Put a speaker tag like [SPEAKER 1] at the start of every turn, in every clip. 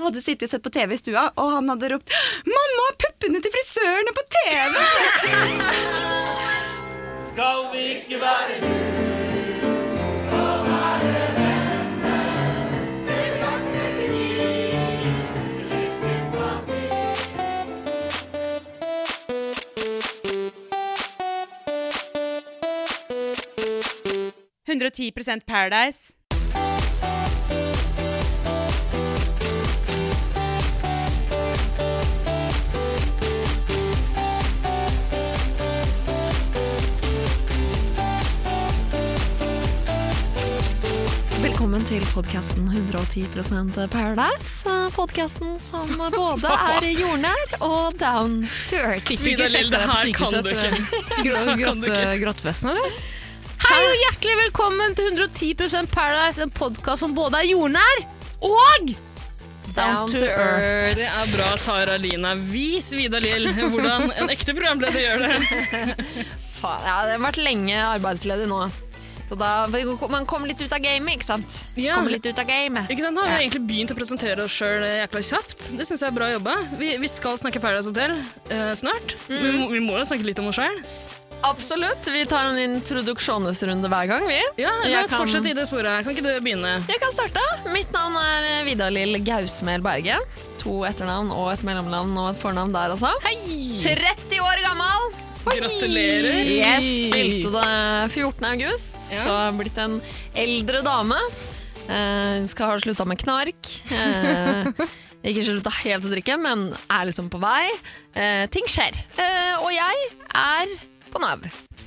[SPEAKER 1] Han hadde sittet og sett på TV i stua, og han hadde ropt 'Mamma, puppene til frisøren er på TV!'
[SPEAKER 2] Skal vi ikke være du,
[SPEAKER 3] Velkommen til podkasten 110 Paradise. eh, Podkasten som både er jordnær og down to earth.
[SPEAKER 4] Vidar-Lill, det her kan du ikke.
[SPEAKER 5] Grottvesten, eller? Hei og hjertelig velkommen til 110 Paradise, en podkast som både er jordnær og down to earth.
[SPEAKER 4] Det er bra, Tara Lina. Vis Vidar-Lill hvordan en ekte programleder gjør det.
[SPEAKER 3] Faen, ja, det har vært lenge arbeidsledig nå. Så da, man kommer litt ut av gamet, ikke sant?
[SPEAKER 4] Ja.
[SPEAKER 3] Kommer litt ut av gamet.
[SPEAKER 4] Ikke sant? Nå har vi egentlig begynt å presentere oss sjøl jækla kjapt. Det syns jeg er bra jobba. Vi, vi skal snakke Paradise Hotel eh, snart. Vi,
[SPEAKER 3] Mm.
[SPEAKER 4] må, vi må jo snakke litt om oss sjøl.
[SPEAKER 3] Absolutt. Vi tar en introduksjonesrunde hver gang, vi.
[SPEAKER 4] Ja,
[SPEAKER 3] Jeg
[SPEAKER 4] la oss
[SPEAKER 3] kan-
[SPEAKER 4] fortsette i det sporet her. Kan ikke du begynne?
[SPEAKER 3] Jeg kan starte. Mitt navn er eh, Vidar-Lill Gausmel Berge. To etternavn og et mellomnavn og et fornavn der, altså.
[SPEAKER 4] Hei!
[SPEAKER 3] 30 år gammel!
[SPEAKER 4] Gratulerer.
[SPEAKER 3] Yes, spilte det 14. august,
[SPEAKER 4] Ja.
[SPEAKER 3] så har blitt en eldre dame. Eh, Hun skal ha slutta med knark. Eh, ikke slutta helt å drikke, men er liksom på vei. Eh, ting skjer. Eh, og jeg er på Nav.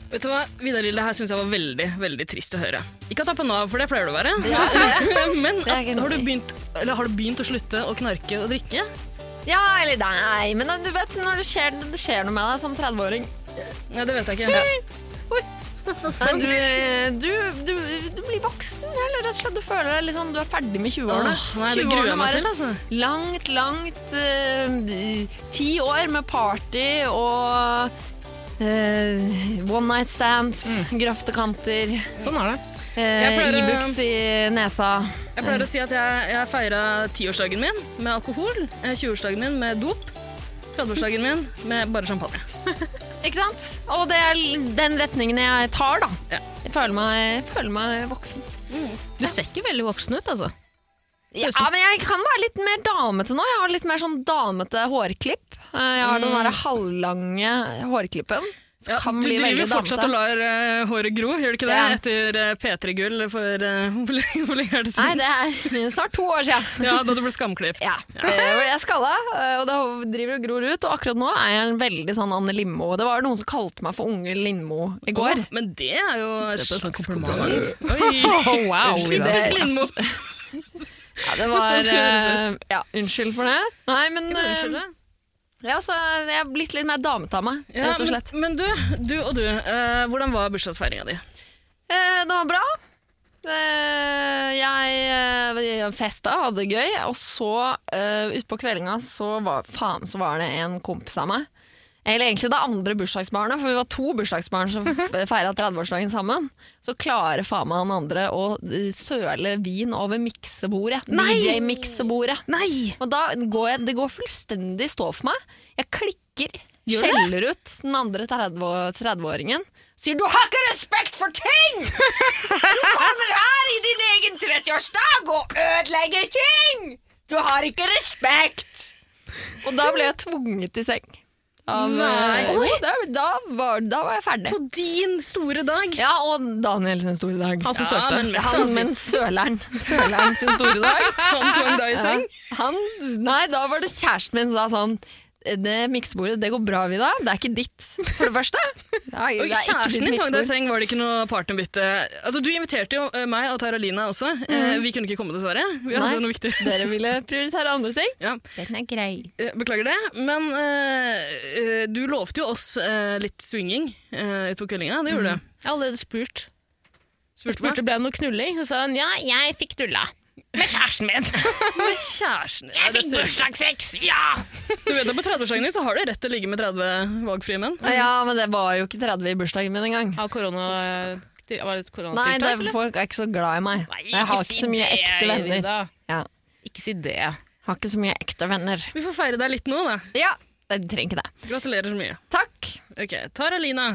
[SPEAKER 4] Vet du hva, Vidar-Lill, det her syns jeg var veldig veldig trist å høre. Ikke at du er på Nav, for det pleier du å være. Men
[SPEAKER 3] Det er ikke
[SPEAKER 4] at,
[SPEAKER 3] noe.
[SPEAKER 4] har, du begynt, eller har du begynt å slutte å knarke og drikke?
[SPEAKER 3] Ja, eller nei, men du vet når det skjer, det skjer noe med deg som 30-åring.
[SPEAKER 4] Nei, det vet jeg ikke.
[SPEAKER 3] Nei, Du, Eh, du, du, du blir voksen, eller rett og slett. Du føler deg liksom, du er ferdig med 20-årene.
[SPEAKER 4] Åh, nei, det
[SPEAKER 3] 20-årene
[SPEAKER 4] gruer jeg meg
[SPEAKER 3] var
[SPEAKER 4] til,
[SPEAKER 3] et
[SPEAKER 4] altså.
[SPEAKER 3] Langt, langt eh, Ti år med party og eh, one night stands, grøftekanter,
[SPEAKER 4] Sånn er det. Jeg
[SPEAKER 3] eh,
[SPEAKER 4] pleier å-
[SPEAKER 3] Ibux i nesa.
[SPEAKER 4] Jeg pleier å si at jeg, jeg feira tiårsdagen min med alkohol, eh, 20-årsdagen min med dop, 30-årsdagen min med bare champagne.
[SPEAKER 3] Ikke sant? Og det er l- den retningen jeg tar, da.
[SPEAKER 4] Ja.
[SPEAKER 3] Jeg føler meg, jeg føler meg voksen.
[SPEAKER 5] Du ser ikke veldig voksen ut, altså.
[SPEAKER 3] Mm. Ja, men jeg kan være litt mer damete nå. Jeg har litt mer sånn damete hårklipp. Eh, Jeg har den derre halvlange hårklippen. Som
[SPEAKER 4] Ja,
[SPEAKER 3] kan
[SPEAKER 4] du
[SPEAKER 3] bli
[SPEAKER 4] driver
[SPEAKER 3] veldig
[SPEAKER 4] jo fortsatt
[SPEAKER 3] damete.
[SPEAKER 4] og lar eh, håret gro, gjør du ikke det?
[SPEAKER 3] Ja.
[SPEAKER 4] Etter eh, P3 Gull for eh, hvor, lenge, hvor lenge er det
[SPEAKER 3] Nei,
[SPEAKER 4] siden?
[SPEAKER 3] det er snart to år siden.
[SPEAKER 4] Ja, da du ble skamklipt.
[SPEAKER 3] Ja. Eh, Jeg er skalla, eh, og det driver og gror ut. Og akkurat nå er jeg en veldig sånn Anne Lindmo. Det var noen som kalte meg for Unge Lindmo i går.
[SPEAKER 4] Åh, Men det er jo et slags kompliment.
[SPEAKER 3] Oh,
[SPEAKER 4] Oi!
[SPEAKER 3] wow,
[SPEAKER 4] Typisk Lindmo.
[SPEAKER 3] Ja, det var,
[SPEAKER 4] Sånn høres
[SPEAKER 3] eh, ja, unnskyld for det. Nei, men
[SPEAKER 4] Ikke noe unnskyld,
[SPEAKER 3] eh,
[SPEAKER 4] det.
[SPEAKER 3] ja, så jeg er blitt litt mer damete av meg,
[SPEAKER 4] Ja,
[SPEAKER 3] rett og slett.
[SPEAKER 4] Men, men du, du og du, eh, hvordan var bursdagsfeiringa di?
[SPEAKER 3] Eh, det var bra. Eh, jeg, eh, jeg festa, hadde det gøy, og så eh, utpå kveldinga så var, faen, så var det en kompis av meg. Eller egentlig det andre bursdagsbarnet, for vi var to bursdagsbarn som feira 30-årsdagen sammen. Så klarer faen meg han andre å eh, søle vin over miksebordet. DJ-miksebordet.
[SPEAKER 5] Nei!
[SPEAKER 3] Og da går jeg, det går fullstendig stå for meg. Jeg klikker,
[SPEAKER 5] Gjør du
[SPEAKER 3] skjeller ut den andre 30 30-åringen. Sier 'du har ikke respekt for ting'! Du kommer her i din egen 30-årsdag og ødelegger ting! Du har ikke respekt! Og da ble jeg tvunget i seng. Av, eh,
[SPEAKER 4] Nei.
[SPEAKER 3] Jo, da, da, var, da var jeg ferdig.
[SPEAKER 4] På din store dag!
[SPEAKER 3] Ja, og Daniel sin store dag.
[SPEAKER 5] Han
[SPEAKER 4] Ja,
[SPEAKER 5] som sølte.
[SPEAKER 4] men mest av
[SPEAKER 3] Han,
[SPEAKER 4] alt-
[SPEAKER 3] men søleren. Søleren sin store dag.
[SPEAKER 4] Han tvang deg i seng?
[SPEAKER 3] Han, nei, da var det kjæresten min som sa sånn det miksebordet, det går bra, Vida. Det er ikke ditt, for det første. Ja,
[SPEAKER 4] Og kjæresten din tok deg i seng, var det ikke noe partnerbytte? Altså, du inviterte jo eh, meg og Taralina også.
[SPEAKER 5] Mhm.
[SPEAKER 4] Eh, Vi kunne ikke komme, dessverre. Vi hadde
[SPEAKER 3] Nei.
[SPEAKER 4] noe viktig.
[SPEAKER 3] Dere ville prioritere andre ting.
[SPEAKER 4] Ja.
[SPEAKER 3] Den er grei.
[SPEAKER 4] Eh, Beklager det, men eh, eh, du lovte jo oss eh, litt swinging uh, utpå kvellinga. Det gjorde du.
[SPEAKER 5] Jeg har allerede spurt. Mhm. Jeg
[SPEAKER 4] Spurte meg.
[SPEAKER 5] spurte ble det noe knulling, så sa hun ja, jeg fikk knulla. Med kjæresten min.
[SPEAKER 4] Med kjæresten din. Ja,
[SPEAKER 5] Jeg
[SPEAKER 4] det er
[SPEAKER 5] fikk
[SPEAKER 4] sur.
[SPEAKER 5] bursdagssex! Ja!
[SPEAKER 4] Du vet at På 30-årsdagen din så har du rett til å ligge med 30 valgfrie menn.
[SPEAKER 3] Ja, men det var jo ikke 30 i bursdagen min engang.
[SPEAKER 5] Av korona... Var det et
[SPEAKER 3] Nei, det
[SPEAKER 5] koronatiltak,
[SPEAKER 3] er, folk er ikke så glad i meg. jeg har ikke så mye ekte venner. Ja.
[SPEAKER 5] Ikke si det.
[SPEAKER 3] Har ikke så mye ekte venner.
[SPEAKER 4] Vi får feire deg litt nå, da.
[SPEAKER 3] Ja, jeg trenger ikke det.
[SPEAKER 4] Gratulerer så mye.
[SPEAKER 3] Takk.
[SPEAKER 4] Ok, Taralina.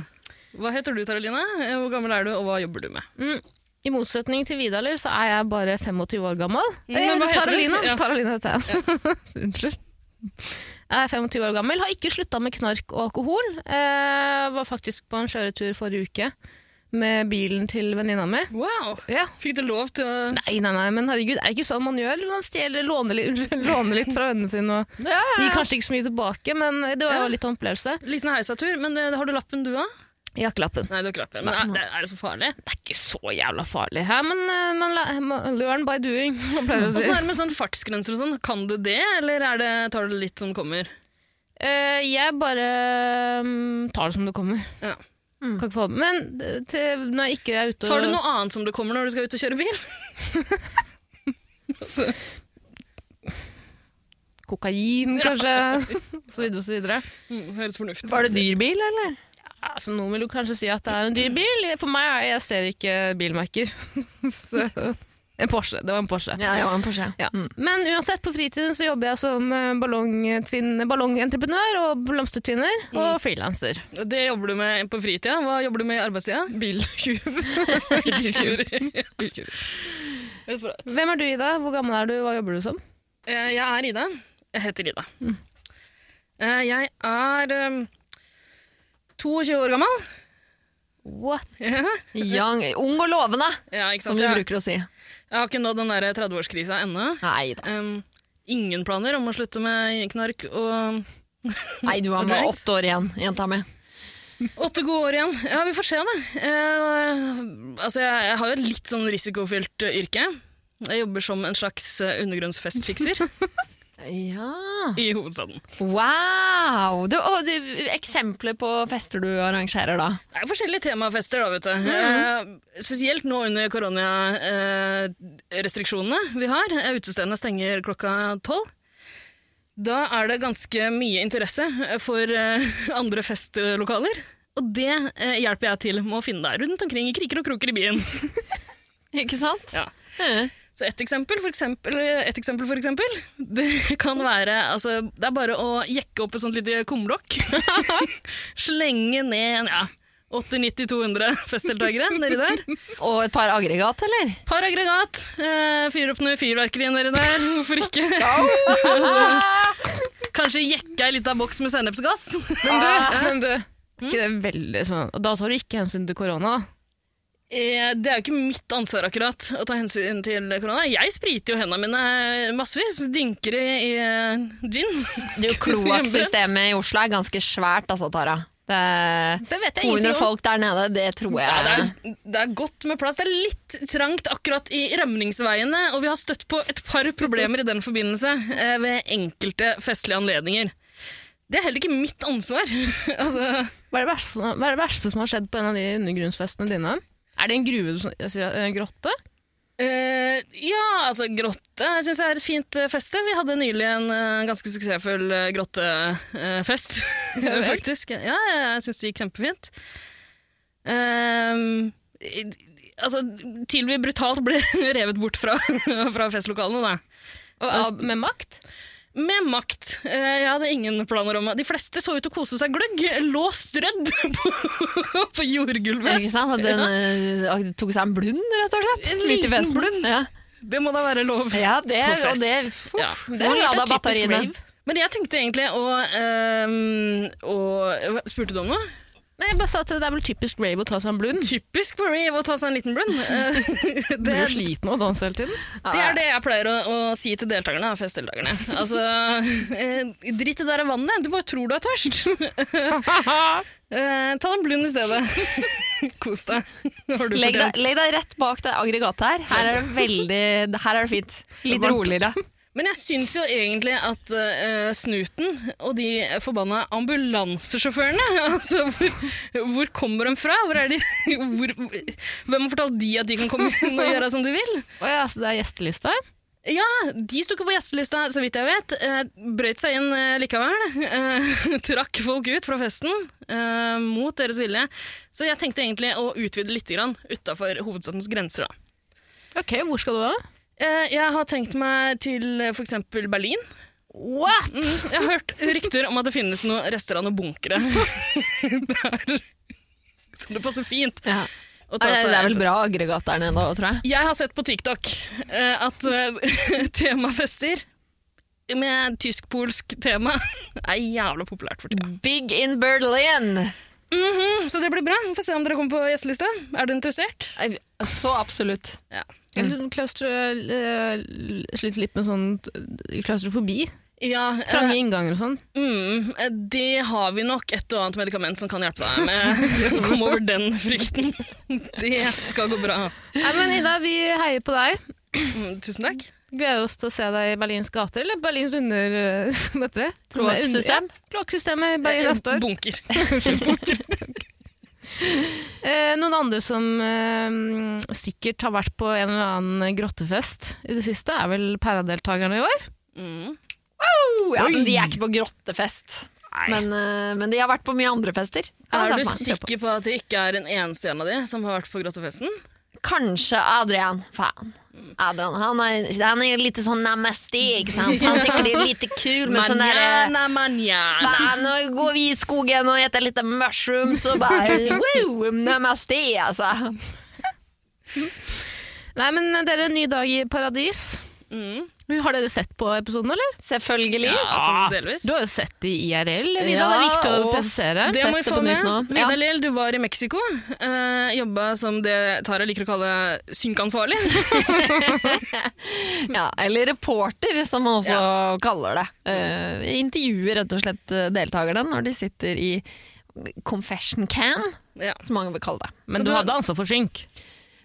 [SPEAKER 4] Hva heter du, Taralina? Eh, Hvor gammel er du, og hva jobber du med?
[SPEAKER 5] I motsetning til Vidaler så er jeg bare 25 år gammel.
[SPEAKER 4] Mm,
[SPEAKER 5] Eh,
[SPEAKER 4] Men hva heter du?
[SPEAKER 5] Taralina.
[SPEAKER 4] Ja.
[SPEAKER 5] Taralina heter jeg. Unnskyld. Jeg er 25 år gammel, har ikke slutta med knark og alkohol. Eh, var faktisk på en kjøretur forrige uke med bilen til venninna mi.
[SPEAKER 4] Wow!
[SPEAKER 5] Ja.
[SPEAKER 4] Fikk du lov til å
[SPEAKER 5] Nei, nei, nei, men herregud, er det ikke sånn man gjør? Man stjeler, låner litt, låner litt fra vennene sine og
[SPEAKER 4] ja,
[SPEAKER 5] gir kanskje ikke så mye tilbake, men det var jo litt av en opplevelse.
[SPEAKER 4] Liten heisatur, men eh, har du lappen du òg?
[SPEAKER 5] Jakkelappen.
[SPEAKER 4] Nei, du har ikke lappen. Men er, det- er det så farlig?
[SPEAKER 5] Det er ikke så jævla farlig her, men eh, man læ- learn by doing, man pleier å si.
[SPEAKER 4] Åssen er det med sånn fartsgrenser og sånn? Kan du det, eller er det, tar du det litt som kommer?
[SPEAKER 5] Eh, jeg bare mm, tar det som det kommer.
[SPEAKER 4] Ja.
[SPEAKER 5] Kan ikke få, men eh, til, når jeg ikke er ute og-
[SPEAKER 4] Mm. Tar du noe annet som det kommer når du skal ut og kjøre bil? altså,
[SPEAKER 5] Kokain, kanskje, og så videre og så videre.
[SPEAKER 4] mm, høres fornuftig ut.
[SPEAKER 3] Var det dyr bil, eller?
[SPEAKER 5] Ja, så Altså, noen vil jo kanskje si at det er en dyr bil. For meg er jeg ser ikke bilmerker. så, en Porsche. Det var en Porsche.
[SPEAKER 3] Ja, Mm. jeg var en Porsche.
[SPEAKER 5] Ja. Men uansett, på fritiden så jobber jeg som eh, ballongtvin- ballongentreprenør og blomstertvinner
[SPEAKER 3] Mm.
[SPEAKER 5] og frilanser.
[SPEAKER 4] Det jobber du med på fritida. Hva jobber du med i arbeidstida? Biltjuv. Biltjuv. Høres bra ut.
[SPEAKER 5] Hvem er du, Ida? Hvor gammel er du? Hva jobber du som?
[SPEAKER 4] Eh, Jeg er Ida. Jeg heter Ida. Eh, Jeg er eh, 22 år gammel.
[SPEAKER 5] What?
[SPEAKER 3] Young, ung og lovende,
[SPEAKER 4] Ja, ikke
[SPEAKER 3] som du
[SPEAKER 4] sant? Så Jeg,
[SPEAKER 3] bruker å si.
[SPEAKER 4] jeg har ikke nådd den der 30-årskrisa ennå.
[SPEAKER 3] Nei da.
[SPEAKER 4] Um, ingen planer om å slutte med knark og
[SPEAKER 3] Nei, du har bare
[SPEAKER 4] Drinks.
[SPEAKER 3] åtte år igjen, jenta mi.
[SPEAKER 4] Åtte gode år igjen. Ja, vi får se, da. Eh, altså, jeg, jeg har jo et litt sånn risikofylt eh, yrke. Jeg jobber som en slags eh, undergrunnsfestfikser
[SPEAKER 3] Ja.
[SPEAKER 4] i hovedstaden.
[SPEAKER 3] Wow! Du, å, du, eksempler på fester du arrangerer, da.
[SPEAKER 4] Det er jo forskjellige temafester, da, vet
[SPEAKER 3] Mm.
[SPEAKER 4] du. Eh, spesielt nå under koronarestriksjonene vi har. Eh, Utestedene stenger klokka tolv. Da er det ganske mye interesse eh, for eh, andre festlokaler. Og det eh, hjelper jeg til med å finne deg rundt omkring i kriker og kroker i byen.
[SPEAKER 3] Ikke sant?
[SPEAKER 4] Ja. Så et eksempel, for eksempel, et eksempel, for eksempel det kan være altså, Det er bare å jekke opp et sånt lite kumlokk. Slenge ned en, ja, 80-90-200 festdeltakere nedi der.
[SPEAKER 3] Og et par aggregat, eller?
[SPEAKER 4] Par aggregat. Eh, Fyre opp noe fyrverkeri nedi der. Hvorfor ikke? Så, kanskje jekke ei lita boks med sennepsgass.
[SPEAKER 5] Men du, men du ikke det veldig sånn Og Da tar du ikke hensyn til korona.
[SPEAKER 4] Eh, Det er jo ikke mitt ansvar akkurat å ta hensyn til korona. Jeg spriter jo hendene mine massevis. Dynker i, i eh, gin.
[SPEAKER 3] Du, Kloakksystemet i Oslo er ganske svært, altså, Tara. Det er
[SPEAKER 5] Det vet
[SPEAKER 3] 200 folk der nede, det tror jeg.
[SPEAKER 4] Ja, det, er, det er godt med plass. Det er litt trangt akkurat i rømningsveiene, og vi har støtt på et par problemer i den forbindelse eh, ved enkelte festlige anledninger. Det er heller ikke mitt ansvar. altså,
[SPEAKER 5] Hva er, det verste, hva er det verste som har skjedd på en av de undergrunnsfestene dine? Er det en gruve du sn- jeg sier, en grotte?
[SPEAKER 4] eh, ja, altså grotte syns jeg er et fint eh, feste. Vi hadde nylig en eh, ganske suksessfull eh, grottefest, faktisk. Ja, ja, jeg syns det gikk kjempefint. Ehm, i- altså, til vi brutalt ble revet bort fra, fra festlokalene, da.
[SPEAKER 5] Og, av, med makt?
[SPEAKER 4] Med makt. Eh, Jeg hadde ingen planer om De fleste så ut til å kose seg gløgg. Lå strødd på, på jordgulvet.
[SPEAKER 3] Ikke sant? At den eh, tok seg en blund, rett og slett.
[SPEAKER 4] En
[SPEAKER 3] Midt i
[SPEAKER 4] liten
[SPEAKER 3] festen.
[SPEAKER 4] blund.
[SPEAKER 3] Ja,
[SPEAKER 4] Det må da være lov.
[SPEAKER 3] ja det,
[SPEAKER 4] På fest.
[SPEAKER 3] og det,
[SPEAKER 4] Ja.
[SPEAKER 3] uff, det er lada
[SPEAKER 5] typisk
[SPEAKER 3] batteriene.
[SPEAKER 5] rave.
[SPEAKER 4] Men jeg tenkte egentlig å, ehm, å Spurte du om noe?
[SPEAKER 5] Nei, jeg bare sa at det er vel typisk rave å ta seg en blund.
[SPEAKER 4] Typisk for Rave å ta seg en liten blund. Eh,
[SPEAKER 5] Du blir
[SPEAKER 4] det,
[SPEAKER 5] jo sliten av å danse hele tiden.
[SPEAKER 4] det er det jeg pleier å, å si til deltakerne. Festdeltakerne. Altså, eh, drit i det der vannet, du bare tror du er tørst. Eh, ta deg en blund i stedet. Kos deg. Har du
[SPEAKER 3] Legg deg,
[SPEAKER 4] fortjent.
[SPEAKER 3] legg deg rett bak det aggregatet her. Her er det veldig her er det fint. Litt roligere.
[SPEAKER 4] Men jeg syns jo egentlig at eh, snuten og de forbanna ambulansesjåførene altså, hvor, hvor kommer de fra? Hvor er de, hvor, hvem har fortalt de at de kan komme inn og gjøre som de vil?
[SPEAKER 5] Å ja, så det er gjestelista?
[SPEAKER 4] Ja, de sto ikke på gjestelista, så vidt jeg vet. Eh, brøyt seg inn eh, likevel. Eh, trakk folk ut fra festen eh, mot deres vilje. Så jeg tenkte egentlig å utvide litt utafor hovedstadens grenser. da.
[SPEAKER 5] Ok, hvor skal du da?
[SPEAKER 4] Eh, jeg har tenkt meg til f.eks. Berlin.
[SPEAKER 5] What?
[SPEAKER 4] Mm, jeg har hørt rykter om at det finnes noen rester av noen bunkere der. Så det passer fint.
[SPEAKER 3] Ja.
[SPEAKER 4] å ta
[SPEAKER 3] Det
[SPEAKER 4] seg
[SPEAKER 3] er vel
[SPEAKER 4] en
[SPEAKER 3] bra aggregat der nede, da, tror jeg.
[SPEAKER 4] Jeg har sett på TikTok eh, at eh, temafester med tysk-polsk tema er jævla populært for tida.
[SPEAKER 3] Big in Berlin!
[SPEAKER 4] Mhm, Så det blir bra. Vi får se om dere kommer på gjestelista. Er du interessert?
[SPEAKER 3] Så absolutt.
[SPEAKER 5] Eller sånn klaustro... eh, Sliter litt med sånn eh, klaustrofobi.
[SPEAKER 4] Ja. eh,
[SPEAKER 5] Trange innganger og sånn.
[SPEAKER 4] mm, eh, det har vi nok et og annet medikament som kan hjelpe deg med å komme over den frykten. Det skal gå bra.
[SPEAKER 5] Nei, men Ida, vi heier på deg.
[SPEAKER 4] Mm, tusen takk.
[SPEAKER 5] Gleder oss til å se deg i Berlins gater, eller Berlins under... eh, Hva heter det?
[SPEAKER 3] Kloakksystem?
[SPEAKER 5] Ja, kloakksystemet i Berlin neste år.
[SPEAKER 4] Bunker.
[SPEAKER 5] Eh, noen andre som eh, sikkert har vært på en eller annen grottefest i det siste, er vel Pæra-deltakerne i år?
[SPEAKER 3] Oh, ja, men de er ikke på grottefest. Men, eh, men de har vært på mye andre fester. Kan
[SPEAKER 4] Er
[SPEAKER 3] jeg se
[SPEAKER 4] du
[SPEAKER 3] for meg.
[SPEAKER 4] sikker på at det ikke er en eneste en av de som har vært på grottefesten?
[SPEAKER 3] Kanskje Adrian. Faen. Adrian, han er, han er litt sånn namaste, ikke sant? Han tykker det er litt kul med sånn
[SPEAKER 4] eh,
[SPEAKER 3] derre
[SPEAKER 4] Manjana, manjana.
[SPEAKER 3] Faen, nå går vi i skogen og spiser litt mushrooms og bare wow, namaste, altså.
[SPEAKER 5] Nei, men dere, ny dag i paradis. Har dere sett på episoden, eller?
[SPEAKER 3] Selvfølgelig.
[SPEAKER 4] Ja, sånn delvis.
[SPEAKER 5] Du har jo sett det i IRL, Vida.
[SPEAKER 3] Ja,
[SPEAKER 5] det er viktig å
[SPEAKER 3] og
[SPEAKER 5] presisere.
[SPEAKER 4] Det
[SPEAKER 3] Sett
[SPEAKER 4] må vi
[SPEAKER 3] det
[SPEAKER 4] få
[SPEAKER 3] på nytt
[SPEAKER 4] med.
[SPEAKER 3] nå.
[SPEAKER 4] Vidar
[SPEAKER 3] Ja.
[SPEAKER 4] Lill, du var i Mexico. Uh, jobba som det Tara liker å kalle synkansvarlig.
[SPEAKER 3] Ja, eller reporter, som man også kaller det. Eh, intervjuer rett og slett eh, deltakerne når de sitter i confession can,
[SPEAKER 4] Ja.
[SPEAKER 3] som mange vil kalle det.
[SPEAKER 5] Men
[SPEAKER 4] Så
[SPEAKER 5] du
[SPEAKER 4] du-
[SPEAKER 5] hadde ansvar for synk.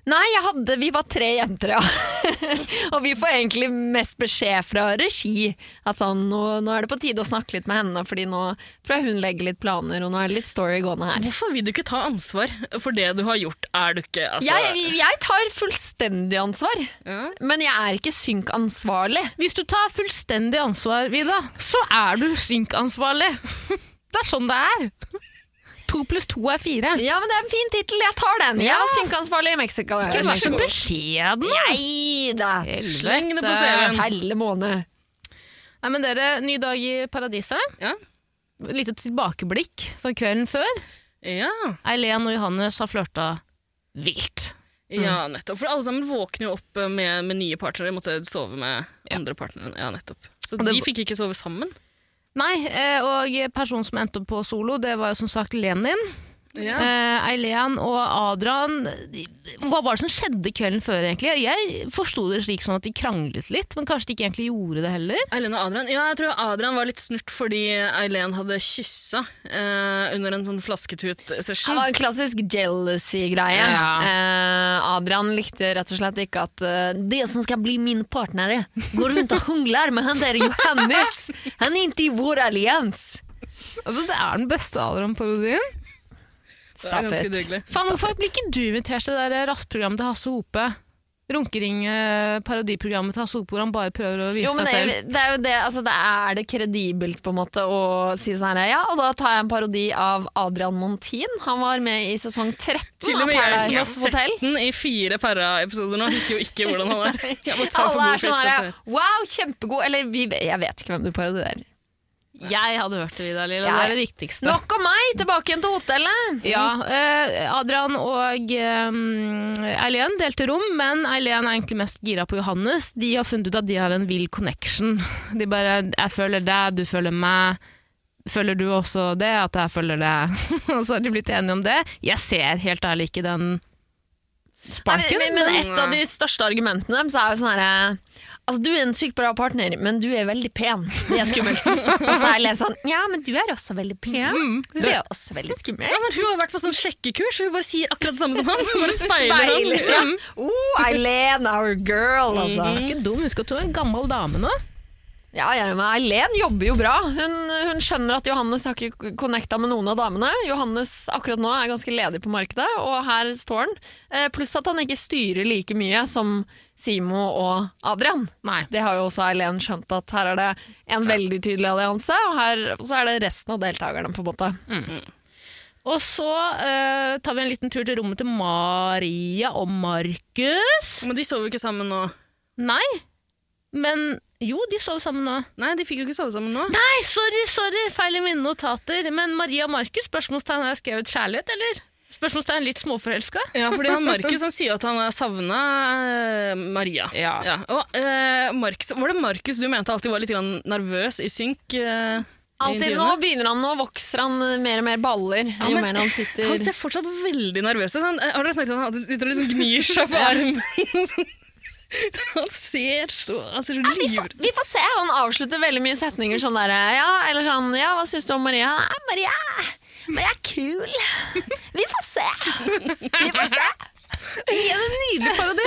[SPEAKER 3] Nei, jeg hadde, vi var tre jenter, ja. og vi får egentlig mest beskjed fra regi. At sånn, nå, nå er det på tide å snakke litt med henne, fordi nå tror jeg hun legger litt planer, og nå er det litt story gående her.
[SPEAKER 4] Hvorfor vil du ikke ta ansvar for det du har gjort? Er du ikke altså,
[SPEAKER 3] Jeg, jeg tar fullstendig ansvar,
[SPEAKER 4] Ja.
[SPEAKER 3] men jeg er ikke synkansvarlig.
[SPEAKER 5] Hvis du tar fullstendig ansvar, Vida, så er du synkansvarlig. Det er sånn det er. To pluss to er fire.
[SPEAKER 3] Ja, men det er en fin tittel, jeg tar den. Jeg var synkansvarlig i Mexico.
[SPEAKER 5] Ikke vær så beskjeden. da.
[SPEAKER 3] Nei da.
[SPEAKER 4] Sleng det på
[SPEAKER 5] Helvete.
[SPEAKER 4] CV-en.
[SPEAKER 3] Helle måned.
[SPEAKER 5] Nei, men dere, ny dag i paradiset.
[SPEAKER 4] Ja.
[SPEAKER 5] Lite tilbakeblikk for kvelden før.
[SPEAKER 4] Ja.
[SPEAKER 5] Eileen og Johannes har flørta vilt.
[SPEAKER 4] ja, nettopp. For alle sammen våkner jo opp med, med nye partnere. Måtte sove med andre partnere. Ja, nettopp. Så
[SPEAKER 5] det-
[SPEAKER 4] de fikk ikke sove sammen.
[SPEAKER 5] Nei, eh, og personen som endte opp på solo, det var jo som sagt Lenin.
[SPEAKER 4] Ja.
[SPEAKER 5] Eh, Eileen og Adrian de- Hva var det som skjedde kvelden før, egentlig? Jeg forsto det slik som at de kranglet litt, men kanskje de ikke egentlig gjorde det heller?
[SPEAKER 4] Eileen og Adrian. Ja, jeg tror Adrian var litt snurt fordi Eileen hadde kyssa eh, under en sånn
[SPEAKER 3] Det
[SPEAKER 4] flasketut-session.
[SPEAKER 3] var en klassisk jealousy-greie.
[SPEAKER 4] Ja.
[SPEAKER 3] Eh, Adrian likte rett og slett ikke at eh, det som skal bli min partner, eh, går rundt og hungler med han der Johannes. Han er ikke i vår allians.
[SPEAKER 5] Altså, det er den beste Adrian-parodien.
[SPEAKER 4] Det er ganske døgelig.
[SPEAKER 5] Faen, hvorfor blir ikke du invitert til det der rassprogrammet til Hasse Hope? Runkering-parodiprogrammet til Hasse Hope, hvor han bare prøver å vise
[SPEAKER 3] Jo, men
[SPEAKER 5] seg
[SPEAKER 3] det, er
[SPEAKER 5] selv.
[SPEAKER 3] jo- det er jo det, altså, det er det kredibelt på en måte å si sånn her, ja, og da tar jeg en parodi av Adrian Montin. Han var med i sesong 13
[SPEAKER 4] Til og
[SPEAKER 3] av
[SPEAKER 4] med jeg som har
[SPEAKER 3] Paradise Hotel.
[SPEAKER 4] sett den i fire Perra-episoder nå, husker jo ikke hvordan han er. Jeg må ta
[SPEAKER 3] Alle
[SPEAKER 4] for god
[SPEAKER 3] er sånn
[SPEAKER 4] fisk at
[SPEAKER 3] her,
[SPEAKER 4] jeg-
[SPEAKER 3] wow, kjempegod, eller vi, jeg vet ikke hvem du parodierer.
[SPEAKER 5] Jeg hadde hørt det, Vidar Lille.
[SPEAKER 3] Ja.
[SPEAKER 5] Det er det viktigste.
[SPEAKER 3] Nok om meg, tilbake igjen til hotellet.
[SPEAKER 5] Ja, eh, Adrian og eh, Eileen delte rom, men Eileen er egentlig mest gira på Johannes. De har funnet ut at de har en vill connection. De bare 'jeg føler deg, du føler meg'. Føler du også det? At jeg følger det? og så har de blitt enige om det. Jeg ser helt ærlig ikke den sparken.
[SPEAKER 3] Nei, men, men et av de største argumentene deres er jo sånn herre Altså, du er en sykt bra partner, men du er veldig pen. Det er skummelt. Og så er det litt sånn Ja, men du er også veldig pen. Så det er også veldig
[SPEAKER 4] Ja,
[SPEAKER 3] skummelt.
[SPEAKER 4] men Hun har vært på sånn sjekkekurs, hun bare sier akkurat det samme som han. Hun bare speiler han.
[SPEAKER 3] Speiler. Ja. Oh, Eileen, our girl, altså.
[SPEAKER 5] Du er ikke dum, husk at du er en gammel dame nå.
[SPEAKER 3] Ja, ja, men Eileen jobber jo bra. Hun, hun skjønner at Johannes har ikke connecta med noen av damene. Johannes akkurat nå er ganske ledig på markedet, og her står han. Eh, Pluss at han ikke styrer like mye som Simo og Adrian.
[SPEAKER 5] Nei.
[SPEAKER 3] Det har jo også Eileen skjønt, at her er det en veldig tydelig allianse, og her, så er det resten av deltakerne, på en måte.
[SPEAKER 5] Og så eh, tar vi en liten tur til rommet til Maria og Markus.
[SPEAKER 4] Men de sover jo ikke sammen nå.
[SPEAKER 5] Nei, men jo, de sov sammen nå.
[SPEAKER 4] Nei, de fikk jo ikke sove sammen nå.
[SPEAKER 5] Nei, sorry, sorry, feil i mine notater. Men Maria og Markus, spørsmålstegn har jeg skrevet kjærlighet, eller? Spørsmålstegn litt småforelska?
[SPEAKER 4] Ja, fordi han Markus han sier at han har savna Maria.
[SPEAKER 5] Ja.
[SPEAKER 4] Og eh, Markus, Var det Markus du mente alltid var litt grann nervøs i synk? eh, i
[SPEAKER 3] Alltid nå
[SPEAKER 4] intervjuene?
[SPEAKER 3] begynner han, nå vokser han mer og mer baller jo
[SPEAKER 4] men
[SPEAKER 3] mer han sitter
[SPEAKER 4] Han ser fortsatt veldig nervøs ut. Han- eh, Har du lagt merke til at han sitter og liksom gnir seg på armen? han ser så, han ser så livredd
[SPEAKER 3] Vi får se. Han avslutter veldig mye setninger sånn der Ja, eller sånn Ja, hva syns du om Maria? Nei, Maria Maria er kul. Vi får se. Vi får se. Igjen en nydelig parodi.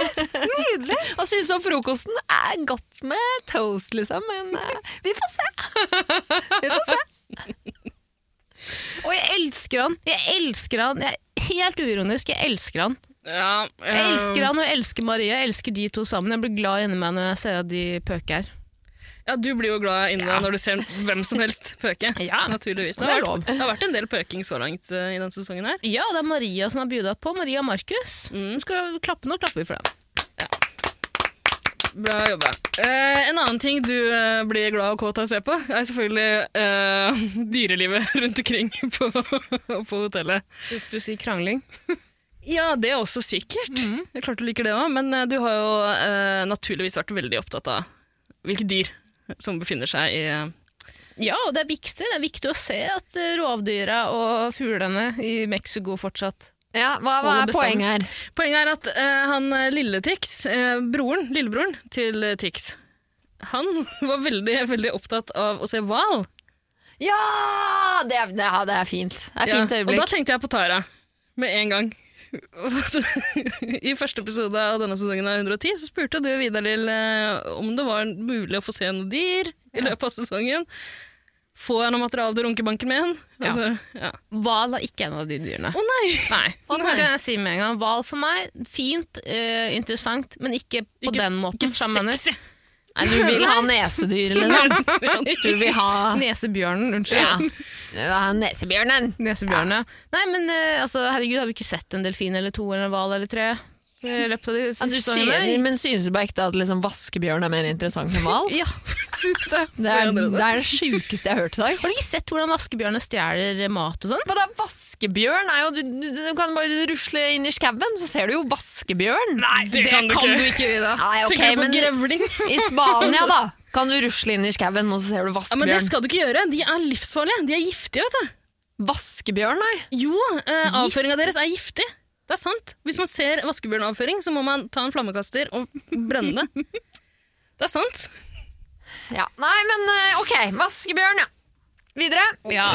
[SPEAKER 3] Nydelig. Hva syns du om frokosten? Er godt med toast, liksom, men eh, vi får se. Vi får se.
[SPEAKER 5] Og jeg elsker han! Jeg elsker han! Jeg, helt uironisk, jeg elsker han.
[SPEAKER 4] Ja, eh,
[SPEAKER 5] Jeg elsker han og jeg elsker Maria. Jeg elsker de to sammen. Jeg blir glad inni meg når jeg ser at de pøker.
[SPEAKER 4] Ja, du blir jo glad inni deg når du ser hvem som helst pøke.
[SPEAKER 5] Ja.
[SPEAKER 4] Naturligvis.
[SPEAKER 5] Det er
[SPEAKER 4] har
[SPEAKER 5] lov.
[SPEAKER 4] vært, det har vært en del pøking så langt eh, i denne sesongen her.
[SPEAKER 5] Ja, det er Maria som er bjuda på. Maria og Markus. Skal vi klappe Mm. nå, klapper vi for dem.
[SPEAKER 4] Bra jobba. Eh, en annen ting du eh, blir glad og kåt av å se på, er selvfølgelig eh, dyrelivet rundt omkring på, på hotellet.
[SPEAKER 5] Hvis du sier krangling.
[SPEAKER 4] Ja, det er også sikkert. Det er klart du liker det òg, men eh, du har jo eh, naturligvis vært veldig opptatt av hvilke dyr som befinner seg i eh,
[SPEAKER 5] Ja, og det er viktig. Det er viktig å se at eh, rovdyra og fuglene i Mexico fortsatt
[SPEAKER 3] Ja, hva, hva
[SPEAKER 5] Holder
[SPEAKER 3] er
[SPEAKER 5] bestanden.
[SPEAKER 3] poenget her?
[SPEAKER 4] Poenget er at eh, han eh, lille Tix, eh, broren, lillebroren til eh, Tix, han var veldig, veldig opptatt av å se hval.
[SPEAKER 3] Ja! Det, er- det, ja, det er fint. Det er
[SPEAKER 4] Ja,
[SPEAKER 3] fint
[SPEAKER 4] Og da
[SPEAKER 3] øyeblikk.
[SPEAKER 4] tenkte jeg på Tara med en gang. Og så- I første episode av denne sesongen av 110 så spurte du Vidar-Lill eh, om det var mulig å få se noe dyr i løpet av sesongen. Får jeg noe materiale til runkebanken min? Altså, ja.
[SPEAKER 5] Hval er ikke en av de dyrene.
[SPEAKER 4] Å nei!
[SPEAKER 5] Nei. Og det
[SPEAKER 4] Nei.
[SPEAKER 5] kan jeg si med en gang. Hval for meg, fint, eh, interessant, men ikke på
[SPEAKER 4] Ikke-
[SPEAKER 5] den måten.
[SPEAKER 4] Ikke
[SPEAKER 5] skjønner du?
[SPEAKER 4] sexy!
[SPEAKER 3] Nei, du vil ha nesedyr, liksom? Du vil ha
[SPEAKER 5] Nesebjørnen, unnskyld.
[SPEAKER 3] Ja. Du vil ha nesebjørnen.
[SPEAKER 5] Nesebjørn, ja. Nei, men eh, altså, herregud, har vi ikke sett en delfin eller to eller en hval eller tre? eh, i løpet av de
[SPEAKER 3] Ja, du
[SPEAKER 5] siste
[SPEAKER 3] sier,
[SPEAKER 5] årene?
[SPEAKER 3] men synes du på ekte at liksom vaskebjørn er mer interessant enn hval?
[SPEAKER 5] Ja, synes jeg.
[SPEAKER 3] Det er det, er det sjukeste jeg har hørt i dag.
[SPEAKER 5] Har du ikke sett hvordan vaskebjørnene stjeler mat og sånn?
[SPEAKER 3] Men da, vaskebjørn er jo du, du, du kan bare rusle inn i skauen, så ser du jo vaskebjørn.
[SPEAKER 4] Nei, det, kan du ikke!
[SPEAKER 3] Ida. Nei, ok,
[SPEAKER 4] Tenker jeg på
[SPEAKER 3] men
[SPEAKER 4] grevling? Altså-
[SPEAKER 3] i Spania, da, kan du rusle inn i skauen, og så ser du
[SPEAKER 4] Ja, men det
[SPEAKER 3] vaskebjørn.
[SPEAKER 4] skal du ikke gjøre. De er livsfarlige. De er giftige, vet du.
[SPEAKER 3] Vaskebjørn, nei.
[SPEAKER 4] Jo, eh, avføringa deres er giftig. Det er sant. Hvis man ser vaskebjørnavføring, så må man ta en flammekaster og brenne det. Det er sant.
[SPEAKER 3] Ja. Nei, men eh, ok, vaskebjørn, ja. Videre.
[SPEAKER 5] Ja.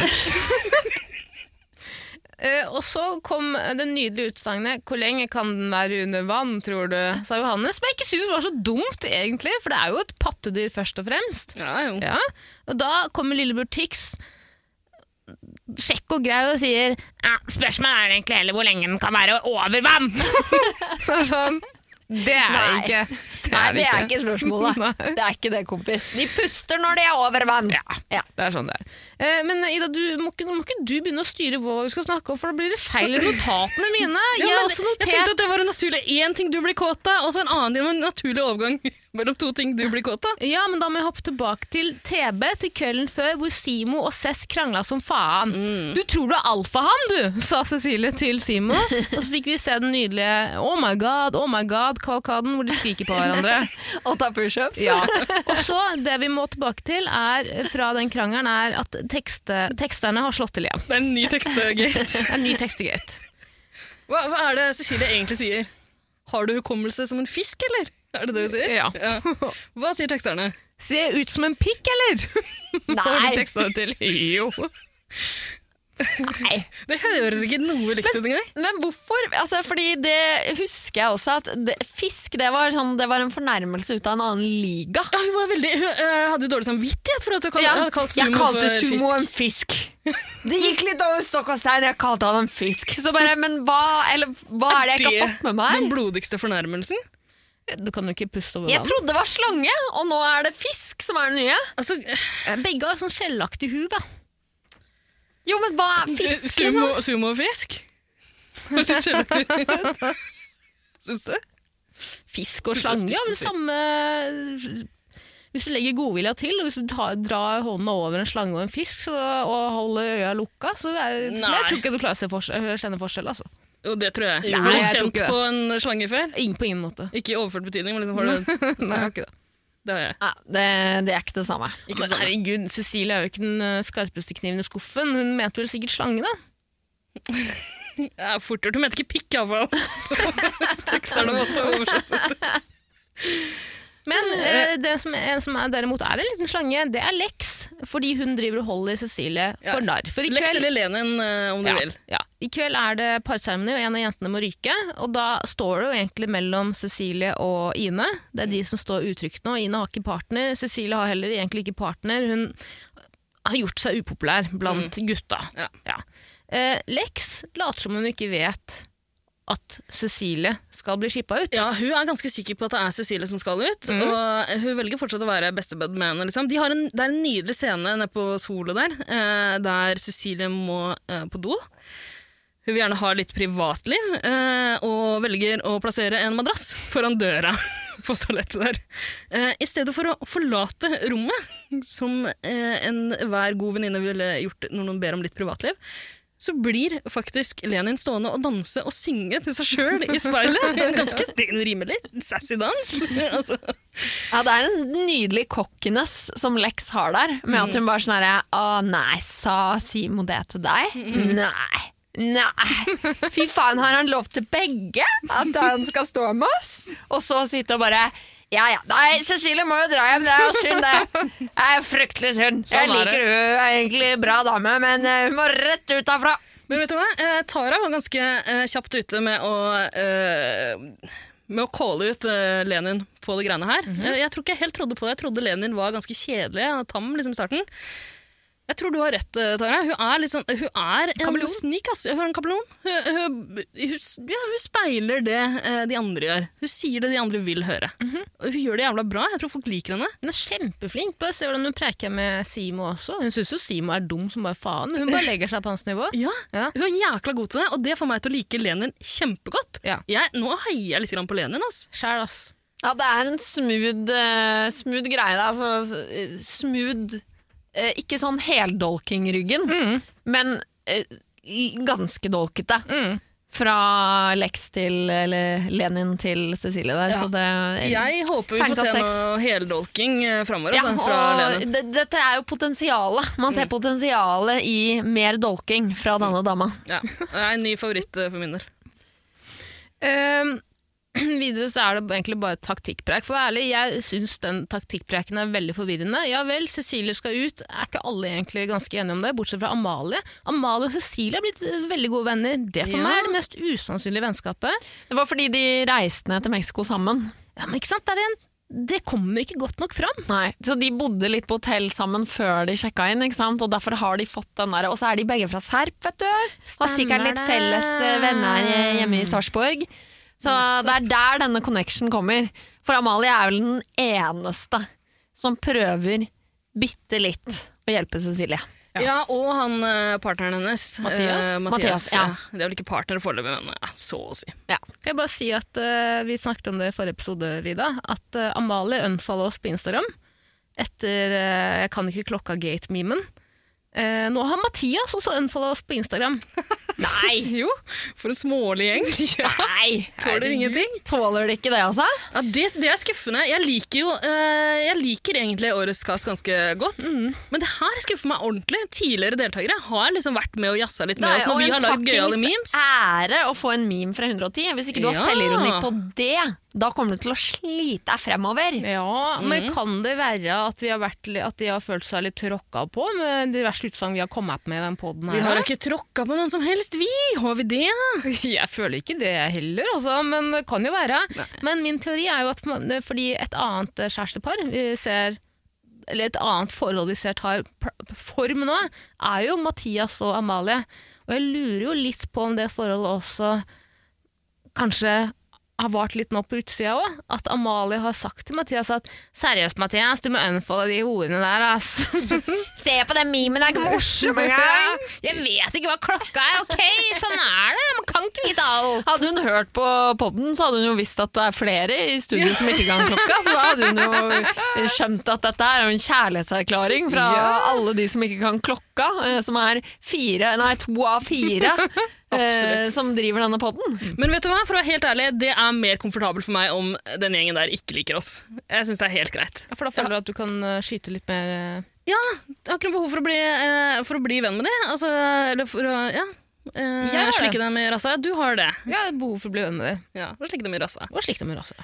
[SPEAKER 5] Eh, og så kom det nydelige utsagnet 'Hvor lenge kan den være under vann, tror du?' sa Johannes. Som jeg ikke syns var så dumt, egentlig, for det er jo et pattedyr først og fremst.
[SPEAKER 4] Ja, jo.
[SPEAKER 5] Ja. Og da kommer lillebror Tix, kjekk og grei, og sier ja, 'Spørsmålet er egentlig heller hvor lenge den kan være over vann'. så er det sånn Det er det
[SPEAKER 3] Nei.
[SPEAKER 5] ikke.
[SPEAKER 3] Nei, det er ikke spørsmålet. Det er ikke det, kompis. De puster når de er over vann. Ja.
[SPEAKER 5] Det er sånn det er. Eh, men Ida, du, må, ikke, nå må ikke du begynne å styre hva vi skal snakke om, for da blir det feil i notatene mine.
[SPEAKER 4] Ja,
[SPEAKER 5] Jeg har
[SPEAKER 4] men
[SPEAKER 5] også
[SPEAKER 4] jeg
[SPEAKER 5] notert
[SPEAKER 4] tenkte at det var en naturlig én ting du blir kåt av, og så en annen ting, en naturlig overgang mellom to ting du blir kåt av.
[SPEAKER 5] Ja, men da må jeg hoppe tilbake til TB til kvelden før, hvor Simo og Cess krangla som faen. Du tror du er alfahann, du, sa Cecilie til Simo. og så fikk vi se den nydelige Oh my god, oh my god-kavalkaden hvor de skriker på hverandre.
[SPEAKER 3] Og ta pushups.
[SPEAKER 5] Ja. Og så, det vi må tilbake til er, fra den krangelen, er at tekste, teksterne har slått til igjen.
[SPEAKER 4] Det er en ny eh, tekstegate.
[SPEAKER 5] Det er en ny tekstegate.
[SPEAKER 4] Hva, hva er det Cecilie egentlig sier? Har du hukommelse som en fisk, eller? Er det det hun sier?
[SPEAKER 5] Ja.
[SPEAKER 4] Hva sier teksterne?
[SPEAKER 5] Ser jeg ut som en pikk, eller? Har du tekstene til? Jo.
[SPEAKER 4] Det høres ikke noe likt ut engang.
[SPEAKER 3] Men hvorfor? Altså, fordi det husker jeg også at det, fisk det var, sånn, det var en fornærmelse ut av en annen liga.
[SPEAKER 4] Ja, hun var veldig, hun eh, hadde jo dårlig samvittighet for at hun kal
[SPEAKER 3] Ja,
[SPEAKER 4] hadde kalt sumo
[SPEAKER 3] jeg kalte
[SPEAKER 4] for
[SPEAKER 3] sumo en fisk. Det gikk litt over stokk og stein, jeg kalte han en fisk. Så bare, men hva, eller, hva er det jeg ikke har fått med meg
[SPEAKER 4] Den
[SPEAKER 3] her?
[SPEAKER 4] blodigste fornærmelsen.
[SPEAKER 5] Du kan jo ikke puste over
[SPEAKER 3] Jeg trodde det var slange, og nå er det fisk som er den nye.
[SPEAKER 4] Altså, eh,
[SPEAKER 5] vann. Begge har sånn skjellaktig hud, da.
[SPEAKER 3] Jo, men hva er fisk, liksom?
[SPEAKER 4] sumo, sumofisk? Litt skjellaktig. Syns du?
[SPEAKER 5] Fisk og
[SPEAKER 4] Synes jeg
[SPEAKER 5] slange
[SPEAKER 4] stygt
[SPEAKER 5] har
[SPEAKER 4] å
[SPEAKER 5] vel
[SPEAKER 4] si.
[SPEAKER 5] samme Hvis du legger godvilja til, og hvis du tar, drar hånda over en slange og en fisk så, og holder øya lukka, så er, jeg
[SPEAKER 4] Nei.
[SPEAKER 5] tror ikke du klarer å se forskjell, kjenne forskjell. Altså.
[SPEAKER 4] Jo, det tror jeg.
[SPEAKER 5] Jo,
[SPEAKER 4] har du
[SPEAKER 5] jeg tror
[SPEAKER 4] kjent
[SPEAKER 5] ikke det.
[SPEAKER 4] på en slange før?
[SPEAKER 5] Ingen på ingen måte.
[SPEAKER 4] Ikke i overført betydning, men liksom har du
[SPEAKER 5] Nei, jeg har ikke det.
[SPEAKER 4] Det har jeg.
[SPEAKER 3] Nei, det, det er ikke det samme.
[SPEAKER 5] Men herregud, Cecilie er jo ikke den eh, skarpeste kniven i skuffen. Hun mente vel sikkert slange, da?
[SPEAKER 4] Det er fort gjort. Hun mente ikke pikk, iallfall. Teksterne måtte oversette.
[SPEAKER 5] Men eh, det som, en som er, derimot er en liten slange, det er Lex. Fordi hun driver og holder Cecilie
[SPEAKER 4] Ja.
[SPEAKER 5] for narr. For i
[SPEAKER 4] Lex
[SPEAKER 5] kveld-
[SPEAKER 4] eller Lenin, eh, om du
[SPEAKER 5] ja,
[SPEAKER 4] vil.
[SPEAKER 5] ja. I kveld er det parseremoni, og en av jentene må ryke. Og da står det jo egentlig mellom Cecilie og Ine. Det er de som står utrygt nå. Ine har ikke partner. Cecilie har heller egentlig ikke partner. Hun har gjort seg upopulær blant gutta.
[SPEAKER 4] Mm. Ja.
[SPEAKER 5] Eh, Lex later som hun ikke vet at Cecilie skal bli skippa ut.
[SPEAKER 4] Ja, Hun er ganske sikker på at det er Cecilie som skal ut. Og hun velger fortsatt å være bestebud med henne. Liksom. De har en, det er en nydelig scene nede på solo der, eh, der Cecilie må eh, på do. Hun vil gjerne ha litt privatliv, eh, og velger å plassere en madrass foran døra på toalettet der. Eh, I stedet for å forlate rommet, som eh, enhver god venninne ville gjort når noen ber om litt privatliv, så blir faktisk Lenin stående og danse og synge til seg sjøl i speilet. En ganske det er en rimelig sassy dans. Altså,
[SPEAKER 3] Ja, det er en nydelig cockiness som Lex har der, med at hun bare sånn herre Å nei, sa Simo det til deg? Nei. Nei! Fy faen, har han lov til begge? At han skal stå med oss? Og så sitte og bare ja, ja. Nei, Cecilie må jo dra hjem. Det er jo synd, det. Det er fryktelig synd. Jeg
[SPEAKER 4] Sånn er det.
[SPEAKER 3] liker hun er egentlig bra dame, men eh, hun må rett ut herfra.
[SPEAKER 4] Men vet du hva? Eh, Tara var ganske eh, kjapt ute med å eh, med å calle ut eh, Lenin på det greiene her. Eh, Jeg tror ikke jeg helt trodde på det. Jeg trodde Lenin var ganske kjedelig og tam liksom, i starten. Jeg tror du har rett, eh, Tara. Hun er, litt sånn, hun er en
[SPEAKER 3] Kameleon.
[SPEAKER 4] snik, ass. Hun er en kameleon. Hun, hun, hun, s- ja, hun speiler det eh, de andre gjør. Hun sier det de andre vil høre. Og Hun gjør det jævla bra. Jeg tror folk liker henne.
[SPEAKER 5] Hun er kjempeflink. Bare se hvordan hun preker med Simo også. Hun syns jo Simo er dum som bare faen. Hun bare legger seg på hans nivå.
[SPEAKER 4] Ja,
[SPEAKER 5] Ja.
[SPEAKER 4] Hun er jækla god til det, og det får meg til å like Lenin kjempegodt.
[SPEAKER 5] Ja.
[SPEAKER 4] Jeg, nå heier jeg litt grann på Lenin. ass.
[SPEAKER 5] Sjæl, ass.
[SPEAKER 3] Ja, det er en smooth, eh, smooth greie. da. Altså, eh, smooth eh, Ikke sånn heldolking-ryggen,
[SPEAKER 4] Mm.
[SPEAKER 3] men eh, i- ganske dolkete.
[SPEAKER 4] Mm.
[SPEAKER 3] Fra Lex til eller Lenin til Cecilie der,
[SPEAKER 4] Ja.
[SPEAKER 3] så det
[SPEAKER 4] Jeg håper vi
[SPEAKER 3] Terningkast
[SPEAKER 4] får se
[SPEAKER 3] seks.
[SPEAKER 4] noe heldolking eh, framover.
[SPEAKER 3] Ja,
[SPEAKER 4] altså, fra
[SPEAKER 3] og
[SPEAKER 4] Lenin. Mm.
[SPEAKER 3] det- dette er jo potensialet. Man ser potensialet i mer dolking fra denne dama.
[SPEAKER 4] Ja. Det er en ny favoritt eh, for min del.
[SPEAKER 5] Ehm, videre så er det egentlig bare taktikkpreik. For å være ærlig, jeg syns den taktikkpreiken er veldig forvirrende. Ja vel, Cecilie skal ut. Er ikke alle egentlig ganske enige om det, bortsett fra Amalie? Amalie og Cecilie er blitt eh, veldig gode venner. Det for
[SPEAKER 4] Ja.
[SPEAKER 5] meg er det mest usannsynlige vennskapet.
[SPEAKER 3] Det var fordi de reiste ned til Mexico sammen.
[SPEAKER 5] Ja, men ikke sant? Det, er en, det kommer ikke godt nok fram.
[SPEAKER 3] Nei, så de bodde litt på hotell sammen før de sjekka inn, ikke sant? og derfor har de fått den der. Og så er de begge fra Serp, vet du. Har sikkert litt
[SPEAKER 5] det.
[SPEAKER 3] felles eh, venner eh, hjemme i Sarpsborg. Så det er der denne connection kommer. For Amalie er vel den eneste som prøver bitte litt å hjelpe Cecilie.
[SPEAKER 4] Ja. og han eh, partneren hennes.
[SPEAKER 3] Mathias?
[SPEAKER 4] eh,
[SPEAKER 3] Mathias, ja.
[SPEAKER 4] Det er vel ikke partner foreløpig, men ja, så å si.
[SPEAKER 5] Kan jeg bare si at eh, Vi snakket om det i forrige episode, Vida. At eh, Amalie unfollow oss på Instagram etter eh, Jeg kan ikke klokka gate-memen. Eh, nå har Mathias også unfollow oss på Instagram.
[SPEAKER 3] Nei!
[SPEAKER 4] Jo, for en smålig gjeng.
[SPEAKER 3] Nei!
[SPEAKER 4] Tåler ingenting.
[SPEAKER 3] Tåler det ikke det, altså?
[SPEAKER 4] Ja, det, det er skuffende. Jeg liker jo eh, Jeg liker egentlig årets kast ganske godt.
[SPEAKER 3] Mm.
[SPEAKER 4] Men det her skuffer meg ordentlig. Tidligere deltakere har liksom vært med og jazza litt med oss når vi har lagd gøyale memes.
[SPEAKER 3] ære å få en meme fra 110. Hvis ikke du har
[SPEAKER 4] Ja.
[SPEAKER 3] selvironi på det, da kommer du til å slite deg fremover.
[SPEAKER 5] Ja,
[SPEAKER 4] Mm.
[SPEAKER 5] men kan det være at, vi har vært, li- at de har følt seg litt tråkka på med diverse utsagn vi har kommet opp med i den poden her?
[SPEAKER 4] Vi har ikke tråkka på noen som helst, vi! Har vi det?
[SPEAKER 5] Jeg føler ikke det heller, altså, men det kan jo være. Men min teori er jo at man- fordi et annet eh, kjærestepar vi ser eller et annet forhold vi ser tar pr- form nå, er jo Mathias og Amalie. Og jeg lurer jo litt på om det forholdet også kanskje har vart litt nå på utsida òg. At Amalie har sagt til Mathias at 'seriøst, Mathias, du må unfolde de horene der', ass.
[SPEAKER 3] Se på den memen, det er ikke morsom engang!
[SPEAKER 5] Jeg vet ikke hva klokka er, OK? Sånn er det, man kan ikke vite alt.
[SPEAKER 3] Hadde hun hørt på podden, så hadde hun jo visst at det er flere i studio som ikke kan klokka, så da hadde hun jo skjønt at dette er jo en kjærlighetserklæring fra alle de som ikke kan klokka, eh, som er fire, nei, to av fire, eh, som driver denne podden.
[SPEAKER 4] Men vet du hva, for å være helt ærlig, det er mer komfortabelt for meg om den gjengen der ikke liker oss. Jeg syns det er helt greit.
[SPEAKER 5] Ja, For da føler du at du kan eh, skyte litt mer eh,
[SPEAKER 4] Ja, jeg har ikke noe behov for å bli, eh, for å bli venn med dem. Altså, eller for å ja. Eh,
[SPEAKER 5] Jeg har det.
[SPEAKER 4] slikke dem i rassa. Du har det.
[SPEAKER 5] Ja, behov for å bli venn med dem.
[SPEAKER 4] Ja, og slikke dem i rassa.
[SPEAKER 5] Og slikt med raser.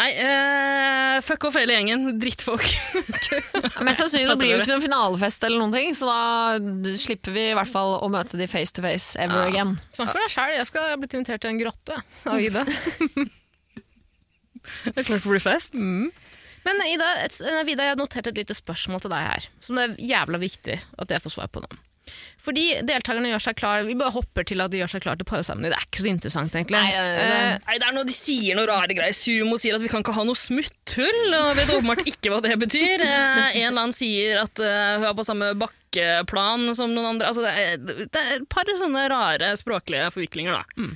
[SPEAKER 4] Nei, eh, fuck off hele gjengen. Drittfolk.
[SPEAKER 3] Mest sannsynlig blir det jo ikke noen finalefest eller noen ting, så da slipper vi i hvert fall å møte de face to face ever again.
[SPEAKER 5] Snakk for deg sjæl, jeg skal bli invitert til en grotte av Ida.
[SPEAKER 4] Det er klart det blir fest.
[SPEAKER 5] Men eh, Ida, et, nei, Vida, jeg har notert et lite spørsmål til deg her, som det er jævla viktig at jeg får svar på nå. Fordi deltakerne gjør seg klar, Vi bare hopper til at de gjør seg klar til parseremoni. Det er ikke så interessant, egentlig.
[SPEAKER 3] Nei, nei, nei.
[SPEAKER 5] Eh,
[SPEAKER 4] Nei, det er noe De sier noe rare greier. Sumo sier at vi kan ikke ha noe smutthull, og vet åpenbart ikke hva det betyr. Eh, en eller annen sier at eh, hun er på samme bakkeplan som noen andre. Altså, det, er, det er et par sånne rare språklige forviklinger, da.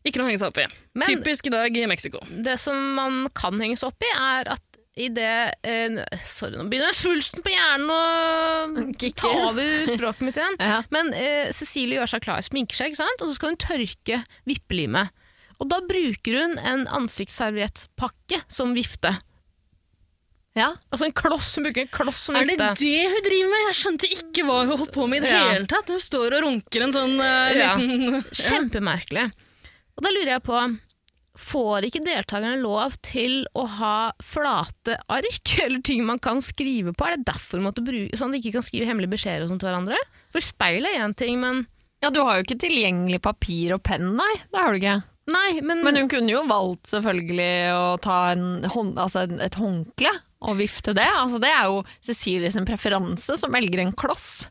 [SPEAKER 4] Ikke noe å henge seg opp i.
[SPEAKER 5] Mm. Men-
[SPEAKER 4] Typisk i dag i Mexico.
[SPEAKER 5] det som man kan henge seg opp i, er at i det eh, Sorry, nå begynner svulsten på hjernen å
[SPEAKER 3] Kicker.
[SPEAKER 5] ta over språket mitt igjen.
[SPEAKER 3] Ja.
[SPEAKER 5] Men eh, Cecilie gjør seg klar, sminker seg, ikke sant? og så skal hun tørke vippelimet. Og da bruker hun en ansiktsserviettpakke som vifte.
[SPEAKER 3] Ja.
[SPEAKER 5] Altså en kloss, hun bruker en kloss som
[SPEAKER 4] Er det
[SPEAKER 5] vifte.
[SPEAKER 4] det hun driver med? Jeg skjønte ikke hva hun holdt på med i det
[SPEAKER 5] Ja.
[SPEAKER 4] hele tatt. Hun står og runker en sånn eh,
[SPEAKER 5] Ja.
[SPEAKER 4] liten
[SPEAKER 5] Kjempemerkelig. Og da lurer jeg på Får ikke deltakerne lov til å ha flate ark eller ting man kan skrive på? Er det derfor de måtte bruke, sånn at de ikke kan skrive hemmelige beskjeder og sånt til hverandre? For speil er én ting, men
[SPEAKER 3] ja, du har jo ikke tilgjengelig papir og penn, nei, det har du ikke.
[SPEAKER 5] Nei, men,
[SPEAKER 3] Men hun kunne jo valgt selvfølgelig å ta en hånd, altså en- et håndkle og vifte det. Altså, det er jo Cecilies preferanse som velger en kloss.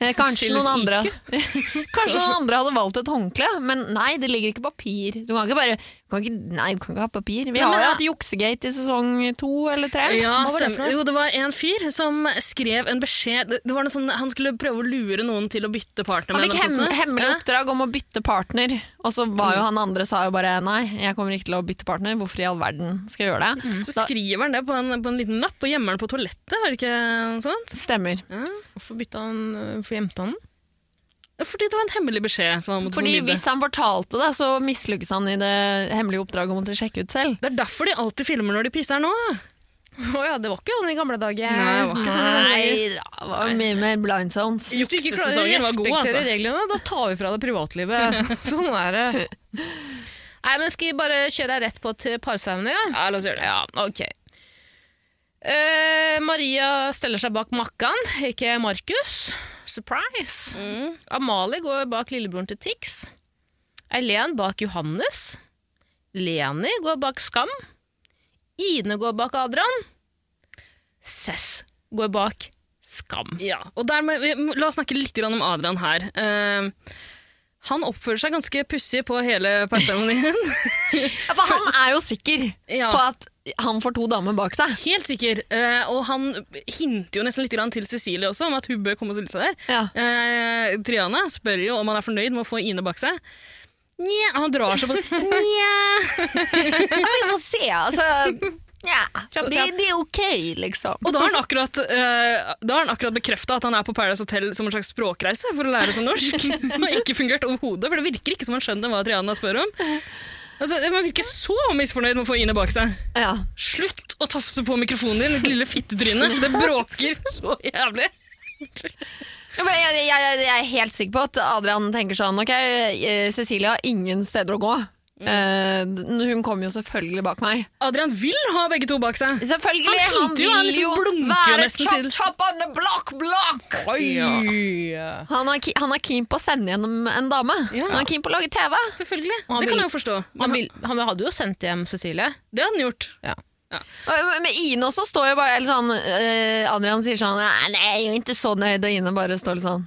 [SPEAKER 3] Eh, Kanskje
[SPEAKER 5] Cecilies
[SPEAKER 3] noen, andre, kanskje noen andre hadde valgt et håndkle, men nei, det ligger ikke papir. Du kan ikke bare du kan ikke, Nei, du kan ikke ha papir. Vi har
[SPEAKER 4] men-
[SPEAKER 3] jo hatt juksegate i sesong to eller tre.
[SPEAKER 4] Ja,
[SPEAKER 3] Hva var det for
[SPEAKER 4] stemmer.
[SPEAKER 3] noe?
[SPEAKER 4] Jo, det var en fyr som skrev en beskjed det det var noe sånn, Han skulle prøve å lure noen til å bytte partner
[SPEAKER 3] Han
[SPEAKER 4] med
[SPEAKER 3] fikk hem,
[SPEAKER 4] henne, eller noe sånt.
[SPEAKER 3] hemmelig oppdrag om å bytte partner, og så var jo han andre sa jo bare nei, jeg kommer ikke til å bytte partner, hvorfor i all verden skal jeg gjøre det?
[SPEAKER 4] Så skriver han det på en, på en liten lapp og gjemmer den på toalettet, var det ikke sånn? noe sånt?
[SPEAKER 3] Stemmer.
[SPEAKER 5] hvorfor bytta han, eh, hvorfor gjemte han den?
[SPEAKER 4] Fordi det var en hemmelig beskjed som han måtte
[SPEAKER 3] Fordi
[SPEAKER 4] formidle.
[SPEAKER 3] hvis han fortalte det, så mislykkes han i det hemmelige oppdraget om å måtte sjekke ut selv.
[SPEAKER 4] Det er derfor de alltid filmer når de pisser nå.
[SPEAKER 5] Å ja, det var ikke sånn i gamle dager.
[SPEAKER 4] Nei, det var ikke sånn.
[SPEAKER 3] Nei, det var mye mer blind zones.
[SPEAKER 5] Hvis du ikke klarer å
[SPEAKER 4] Juksesesongen var god,
[SPEAKER 5] respektere
[SPEAKER 4] altså.
[SPEAKER 5] reglene, da tar vi fra deg privatlivet. sånn er det. Nei, men skal vi bare kjøre rett på til parsaumene? Ja?
[SPEAKER 4] Ja, la oss gjøre det.
[SPEAKER 5] Ja, ok. Eh, Maria steller seg bak Makkan, ikke Markus. Surprise! Amalie går bak lillebroren til Tix. Eileen bak Johannes. Leni går bak Skam. Ine går bak Adrian. Cess går bak Skam.
[SPEAKER 4] Ja, og dermed, vi- La oss snakke litt grann om Adrian her. Eh, han oppfører seg ganske pussig på hele parseremonien.
[SPEAKER 3] Ja, for han er jo sikker
[SPEAKER 4] Ja.
[SPEAKER 3] på at han får to damer bak seg.
[SPEAKER 4] Helt sikker. Eh, og han hinter jo nesten litt grann til Cecilie også om at hun bør komme og stille seg der.
[SPEAKER 3] Ja.
[SPEAKER 4] Eh, Triana spør jo om han er fornøyd med å få Ine bak seg. Nja, han drar seg på det. Nja.
[SPEAKER 3] Ja, vi får se, altså.
[SPEAKER 5] Kjapt,
[SPEAKER 3] det,
[SPEAKER 5] kjapt.
[SPEAKER 3] det er ok, liksom.
[SPEAKER 4] Og da har han akkurat, eh, da har han akkurat bekrefta at han er på Paradise Hotel som en slags språkreise for å lære seg norsk. Det har ikke fungert overhodet, for det virker ikke som han skjønner hva Triana spør om. Altså, Man virker så misfornøyd med å få Ine bak seg.
[SPEAKER 3] Ja.
[SPEAKER 4] Slutt å tafse på mikrofonen din, ditt lille fittetryne. Det bråker så jævlig.
[SPEAKER 3] Ja, men Jeg, jeg, jeg jeg er helt sikker på at Adrian tenker sånn Ok, eh, Cecilie har ingen steder å gå. Eh, hun kommer jo selvfølgelig bak meg.
[SPEAKER 4] Adrian vil ha begge to bak seg.
[SPEAKER 3] Selvfølgelig,
[SPEAKER 4] Han
[SPEAKER 3] han,
[SPEAKER 4] hinter jo,
[SPEAKER 3] vil
[SPEAKER 4] han
[SPEAKER 3] jo,
[SPEAKER 4] liksom blunker jo
[SPEAKER 3] være
[SPEAKER 4] nesten
[SPEAKER 3] chop
[SPEAKER 4] til.
[SPEAKER 3] chop on the block block! Han, er, ki- han er keen på å sende gjennom en dame.
[SPEAKER 4] Ja.
[SPEAKER 3] Han er keen på å lage TV.
[SPEAKER 4] Selvfølgelig.
[SPEAKER 5] Han
[SPEAKER 4] Det
[SPEAKER 5] vil-
[SPEAKER 4] kan jeg jo forstå.
[SPEAKER 5] Han, vil, han hadde jo sendt hjem Cecilie.
[SPEAKER 4] Det hadde han gjort.
[SPEAKER 3] Og- Men Ine også står jo bare eller sånn, eh, Adrian sier sånn Nei, det er jo ikke så nøyd, og Ine bare står litt sånn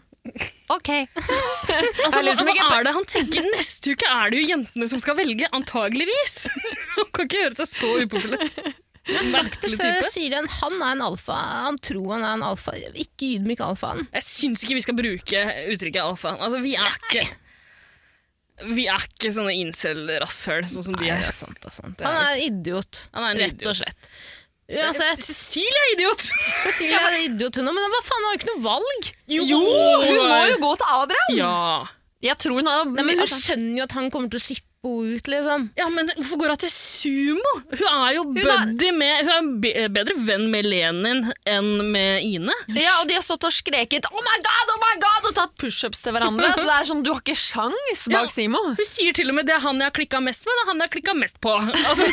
[SPEAKER 3] OK.
[SPEAKER 4] Altså,
[SPEAKER 3] Jeg liksom
[SPEAKER 4] hva,
[SPEAKER 3] ikke-
[SPEAKER 4] hva er det han tenker? Neste uke er det jo jentene som skal velge, antageligvis. Han kan ikke gjøre seg så upopulær. Merkelig
[SPEAKER 5] Før
[SPEAKER 4] type.
[SPEAKER 5] sier han han er en alfa. Han tror han er en alfa. Ikke ydmyk alfaen.
[SPEAKER 4] Jeg syns ikke vi skal bruke uttrykket alfa. Altså, vi er ikke Vi er ikke sånne incel-rasshøl, sånn som de er.
[SPEAKER 5] sant, det er sant. Han er en idiot.
[SPEAKER 4] Han er en
[SPEAKER 5] rett
[SPEAKER 4] idiot.
[SPEAKER 5] og slett. Uansett,
[SPEAKER 4] Cecilie er idiot!
[SPEAKER 5] Cecilie er en idiot hun òg, men hva faen, hun har jo ikke noe valg!
[SPEAKER 4] Jo!
[SPEAKER 3] Hun må jo gå til Adrian!
[SPEAKER 4] Ja.
[SPEAKER 3] Jeg tror hun har
[SPEAKER 5] Nei, men Hun skjønner jo at han kommer til å slippe henne ut, liksom.
[SPEAKER 4] ja, men hvorfor går hun til sumo? Hun er jo buddy med Hun er en be- bedre venn med Lenin enn med Ine.
[SPEAKER 3] Ja, og de har stått og skreket 'oh my god', oh my god og tatt pushups til hverandre. Så det er sånn, du har ikke sjans
[SPEAKER 4] Ja.
[SPEAKER 3] bak Simo.
[SPEAKER 4] Hun sier til og med det er han jeg har klikka mest med, det er han jeg har klikka mest på. Altså,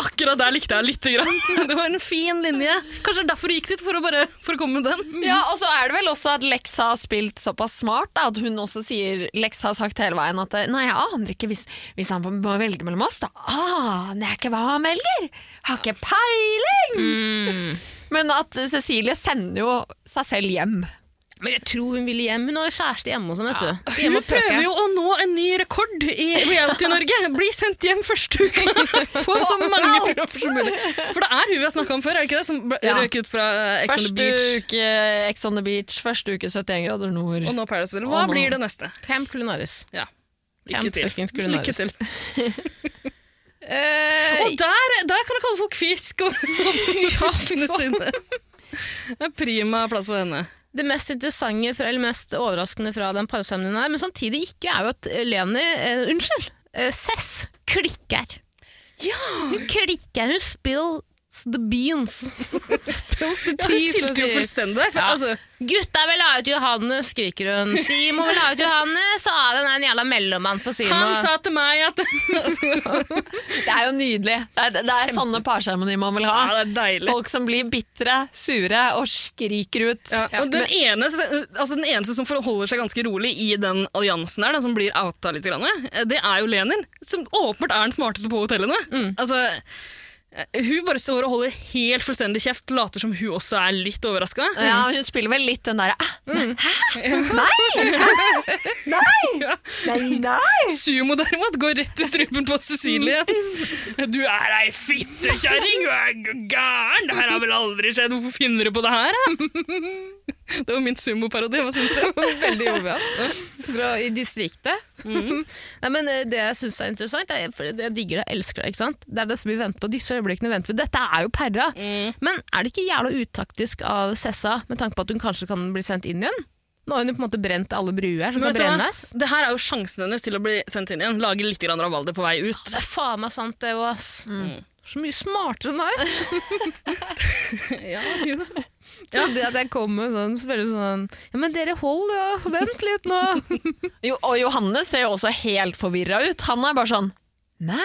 [SPEAKER 4] akkurat der likte jeg lite grann. Det var en fin linje. Kanskje det er derfor du gikk dit, for å, bare, for å komme med den.
[SPEAKER 3] Ja, og så er det vel også at Lex har spilt såpass smart da, at hun også sier Lex har sagt hele veien at nei, jeg aner ikke hvis, hvis han må velge mellom oss, da aner jeg ikke hva han velger! Har ikke peiling! Mm. Men at Cecilie sender jo seg selv hjem.
[SPEAKER 5] Men jeg tror hun ville hjem. Hun har jo kjæreste hjemme og sånn, vet du.
[SPEAKER 4] Hun prøver jo å nå en ny rekord i Reality-Norge. Bli sendt hjem første uka! Få så mange proff som mulig. For det er hun vi har snakka om før, er det ikke det? Som ble-
[SPEAKER 3] Ja.
[SPEAKER 4] røk ut fra eh, Ex on the
[SPEAKER 3] Første
[SPEAKER 4] Beach.
[SPEAKER 3] uke Ex on the Beach, første uke 71 grader nord.
[SPEAKER 4] Og nå Paradise Hotel. Hva
[SPEAKER 3] Og nå-
[SPEAKER 4] blir det neste?
[SPEAKER 5] Camp Culinaris.
[SPEAKER 4] Ja.
[SPEAKER 5] Camp
[SPEAKER 4] Lykke til.
[SPEAKER 5] fuckings Culinaris.
[SPEAKER 4] Lykke til. Eh, Og der, der kan du kalle folk fisk og fiskene sine. Det er prima plass for henne.
[SPEAKER 5] Det mest interessante fra, eller mest overraskende fra den parsemnen her, men samtidig ikke, er jo at Leni eh, Unnskyld! Eh, Cess klikker. Hun klikker. Hun spills the beans. spills the
[SPEAKER 4] Ja,
[SPEAKER 5] tea.
[SPEAKER 4] hun tilter jo fullstendig der. For, altså,
[SPEAKER 5] Gutta vil ha ut Johannes, skriker hun. Simo vil ha ut Johannes, og Adrian er en jævla mellommann for Simo.
[SPEAKER 4] han sa til meg at
[SPEAKER 3] Det er jo nydelig. Det er, det er sånne parseremonier man vil
[SPEAKER 4] Ja,
[SPEAKER 3] ha.
[SPEAKER 4] det er deilig.
[SPEAKER 3] Folk som blir bitre, sure og skriker ut.
[SPEAKER 4] Ja, og den, ene, altså den eneste som forholder seg ganske rolig i den alliansen der, den som blir outa litt, grann, eh, det er jo Lenin, som åpenbart er den smarteste på hotellene. Altså, eh, hun bare står og holder helt fullstendig kjeft, later som hun også er litt overraska.
[SPEAKER 3] Ja, hun spiller vel litt den "Ah!" derre «Æ,
[SPEAKER 4] Ja. Sumo derimot går rett til strupen på Cecilie. Du er ei fittekjerring! Du er g- gæren! Det her har vel aldri skjedd! Hvorfor finner du på det her? da?» Det var min sumoparodi. Hva syns du?
[SPEAKER 5] Veldig overraskende. Fra i distriktet.
[SPEAKER 4] Mm.
[SPEAKER 5] Nei, men eh, Det jeg syns er interessant, er, for det jeg digger det, jeg elsker det. ikke sant? Det er det som vi venter på. Disse øyeblikkene venter vi. Dette er jo perra.
[SPEAKER 4] Mm.
[SPEAKER 5] Men er det ikke jævla utaktisk av Sessa, med tanke på at hun kanskje kan bli sendt inn igjen? Nå har hun jo på en måte brent alle bruer som
[SPEAKER 4] Men
[SPEAKER 5] kan
[SPEAKER 4] vet du hva?
[SPEAKER 5] brennes.
[SPEAKER 4] Det her er jo sjansen hennes til å bli sendt inn igjen. Lage litt grann rabalder på vei ut.
[SPEAKER 5] Det er faen meg sant, det òg, ass.
[SPEAKER 4] Mm.
[SPEAKER 5] Mm. Så mye smartere enn meg!
[SPEAKER 4] Ja,
[SPEAKER 5] Trodde jeg at jeg kom med sånn, så bare sånn Ja, men dere hold, ja. Vent litt nå.
[SPEAKER 3] Jo, og Johannes ser jo også helt forvirra ut. Han er bare sånn Mæ?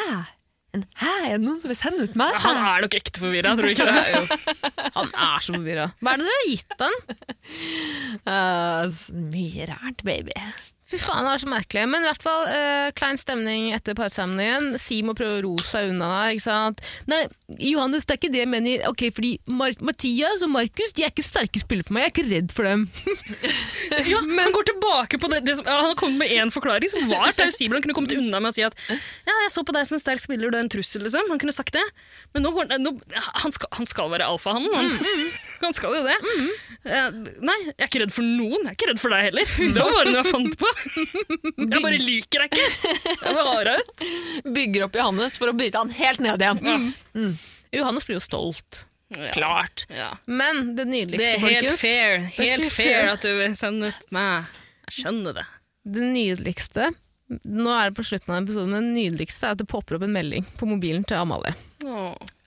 [SPEAKER 3] En hæ? Er det noen som vil sende ut meg?
[SPEAKER 4] Han er nok ekte forvirra, tror du ikke det?
[SPEAKER 5] Han er så forvirra. Hva er det dere har gitt han?
[SPEAKER 3] Eh, så mye rart, baby.
[SPEAKER 5] Fy faen, det er så merkelig. Men i hvert fall, eh, klein stemning etter parsamlingen. Simo prøver å ro seg unna der, ikke sant. Nei, Johannes, det er ikke det jeg mener. Ok, fordi Mar Mathias og Markus de er ikke sterke spillere for meg. Jeg er ikke redd for dem.
[SPEAKER 4] Ja, han går tilbake på det, det som, ja, Han har kommet med én forklaring som var plausibel. Han kunne kommet unna med å si at ja, 'jeg så på deg som en sterk spiller, du er en trussel'. liksom. Han kunne sagt det. Men nå, går han- nå, han, skal, han skal være alfahannen, han. Mm. Han skal jo det. Eh, nei, jeg er ikke redd for noen. Jeg er ikke redd for deg heller. Det var bare noe jeg fant på. Jeg bare liker deg ikke. Jeg bare har deg ut.
[SPEAKER 3] Bygger opp Johannes for å bryte han helt ned igjen.
[SPEAKER 5] Johannes blir jo stolt.
[SPEAKER 4] Ja.
[SPEAKER 5] Klart.
[SPEAKER 4] Ja.
[SPEAKER 5] Men det
[SPEAKER 4] Det
[SPEAKER 5] nydeligste,
[SPEAKER 4] er helt
[SPEAKER 5] folkens,
[SPEAKER 4] fair, helt
[SPEAKER 5] helt
[SPEAKER 4] fair
[SPEAKER 5] fair.
[SPEAKER 4] at du vil sende ut meg. Jeg skjønner det.
[SPEAKER 5] det nydeligste Nå er det på slutten av episoden, men det nydeligste er at det popper opp en melding på mobilen til Amalie.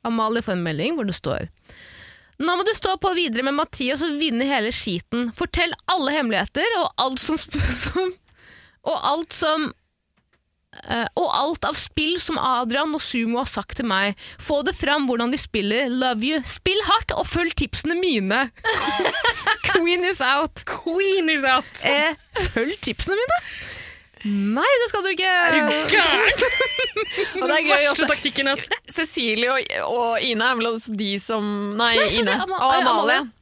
[SPEAKER 5] Amalie får en melding hvor det står Nå må du stå på videre med Mathias og vinne hele skiten. Fortell alle hemmeligheter og alt som, sp- som Og alt som eh, Og alt av spill som Adrian og Sumo har sagt til meg. Få det fram hvordan de spiller. Love you. Spill hardt og følg tipsene mine. Queen is out.
[SPEAKER 4] Queen is out!
[SPEAKER 5] Eh, følg tipsene mine? Nei, det skal du ikke.
[SPEAKER 4] Gæren!
[SPEAKER 3] Og det
[SPEAKER 4] Den
[SPEAKER 3] er gøy
[SPEAKER 4] verste
[SPEAKER 3] også.
[SPEAKER 4] taktikken jeg har sett.
[SPEAKER 3] Cecilie og, og Ine er vel også de som Nei,
[SPEAKER 5] Nei, sorry,
[SPEAKER 3] Ine
[SPEAKER 5] Ama-
[SPEAKER 3] og
[SPEAKER 5] Amalie.
[SPEAKER 3] Amalie.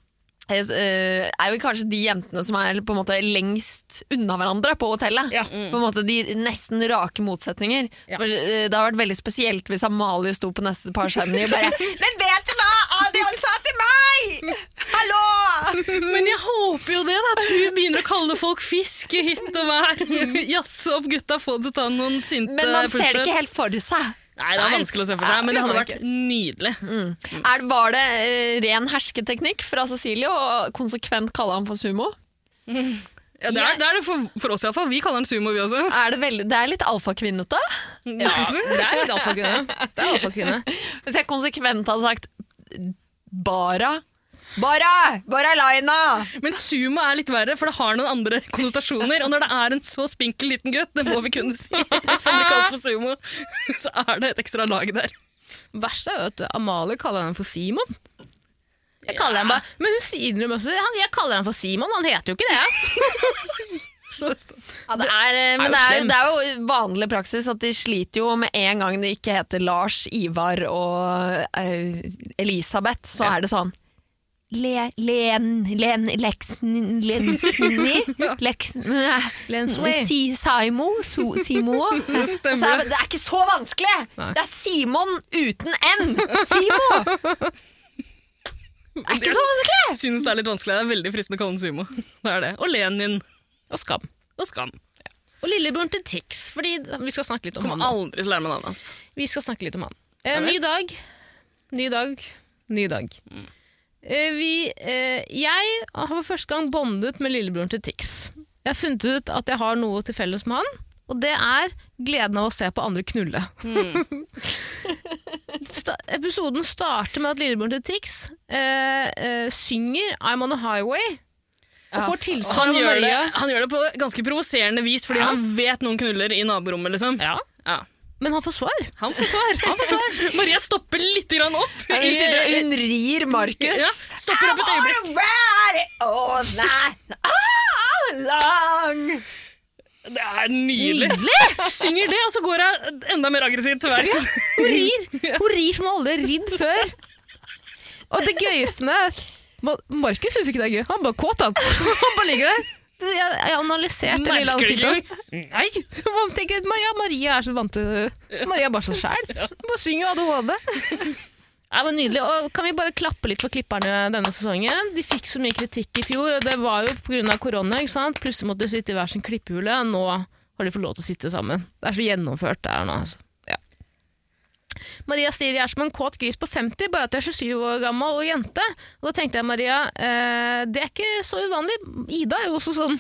[SPEAKER 3] Er, eh, er vel kanskje de jentene som er på en måte lengst unna hverandre på hotellet.
[SPEAKER 4] Ja.
[SPEAKER 3] På en måte De nesten rake motsetninger. For, eh, Det har vært veldig spesielt hvis Amalie sto på neste par skjermene og bare Men vet du hva Adrian sa til meg?! Hallo!
[SPEAKER 4] Men jeg håper jo det, da, at hun begynner å kalle folk fisk i hytt og vær. Jazze opp gutta, få det til å ta noen sinte
[SPEAKER 3] Men man ser det
[SPEAKER 4] pushups.
[SPEAKER 3] ikke helt for seg.
[SPEAKER 4] Nei, det er vanskelig å se for seg, men det hadde vært nydelig.
[SPEAKER 3] Mm. Er, var det eh, ren hersketeknikk fra Cecilie å konsekvent kalle ham for sumo?
[SPEAKER 4] Ja, det, er, det er det for, for oss iallfall. Vi kaller den sumo, vi også.
[SPEAKER 3] Er det, veldig, det er litt alfakvinnete.
[SPEAKER 5] Ja, det er litt alfakvinne. Det er alfakvinne.
[SPEAKER 3] Hvis jeg konsekvent hadde sagt Bara Bara! Bara Laina!
[SPEAKER 4] Men sumo er litt verre, for det har noen andre konnotasjoner. Og når det er en så spinkel liten gutt, det må vi kunne si, som blir kalt for sumo, så er det et ekstra lag der.
[SPEAKER 5] Verst er jo at Amalie kaller henne for Simon. Jeg kaller henne bare, men hun sier det også. Han, jeg kaller henne for Simon, han heter jo ikke det.
[SPEAKER 3] Ja, det er, eh, men det er, jo, det er jo vanlig praksis at de sliter jo med en gang det ikke heter Lars, Ivar og eh, Elisabeth, så er det sånn Le, len, len, leksen, lensni, leksen, eh,
[SPEAKER 5] Lensway.
[SPEAKER 3] si, Saimo, so, Simo. Så
[SPEAKER 4] stemmer.
[SPEAKER 3] er det- det er ikke så vanskelig! Det er Simon uten N! Simo! Det er ikke så vanskelig!
[SPEAKER 4] Synes det er litt vanskelig. Det er veldig fristende å kalle den sumo. Det er det. Og Lenin.
[SPEAKER 5] Og Skam.
[SPEAKER 4] Og Skam.
[SPEAKER 5] Og lillebroren til Tix, fordi vi skal snakke litt om han.
[SPEAKER 4] Kommer
[SPEAKER 5] nå.
[SPEAKER 4] aldri til å lære meg navnet hans.
[SPEAKER 5] Vi skal snakke litt om han. Eh, ny dag, ny dag, ny dag.
[SPEAKER 4] Mm.
[SPEAKER 5] Eh, vi, eh, jeg har for første gang bondet med lillebroren til Tix. Jeg har funnet ut at jeg har noe til felles med han, og det er gleden av å se på andre knulle.
[SPEAKER 4] Mm.
[SPEAKER 5] Sta episoden starter med at lillebroren til Tix eh, eh, synger I'm on a highway, og får
[SPEAKER 4] Og
[SPEAKER 5] tilsvar
[SPEAKER 4] Han
[SPEAKER 5] av
[SPEAKER 4] gjør, det,
[SPEAKER 5] Maria.
[SPEAKER 4] han gjør det på ganske provoserende vis, fordi han vet noen knuller i naborommet. liksom.
[SPEAKER 5] Ja.
[SPEAKER 4] Ja.
[SPEAKER 5] Men han får svar.
[SPEAKER 4] Han får svar. Maria stopper litt grann opp. i
[SPEAKER 3] Hun,
[SPEAKER 4] sitt-
[SPEAKER 3] hun rir Markus.
[SPEAKER 4] ja, stopper opp et øyeblikk.
[SPEAKER 3] All night, all long.
[SPEAKER 4] Det er nydelig. Synger det, og så går hun enda mer aggressivt til verks.
[SPEAKER 5] Hun rir, hun rir som hun aldri har ridd før. Og det gøyeste med det Ma- Markus syns ikke det er gøy. Han er bare kåt, han. Han bare ligger der. Det- Jeg, jeg analyserte det lille
[SPEAKER 4] Merker du
[SPEAKER 5] ansiktet hans. Nei! Man tenker, Maria, Maria er så vant til Maria er bare så sjæl. Hun bare synger ADHD. Det var nydelig. Og kan vi bare klappe litt for klipperne denne sesongen? De fikk så mye kritikk i fjor, og det var jo pga. korona. ikke sant? Plutselig måtte de sitte i hver sin klippehule. Nå har de fått lov til å sitte sammen. Det er så gjennomført det her nå. altså. Maria sier jeg er som en kåt gris på 50, bare at jeg er 27 år gammel og jente. Og da tenkte jeg, Maria, eh, det er ikke så uvanlig. Ida er jo også sånn.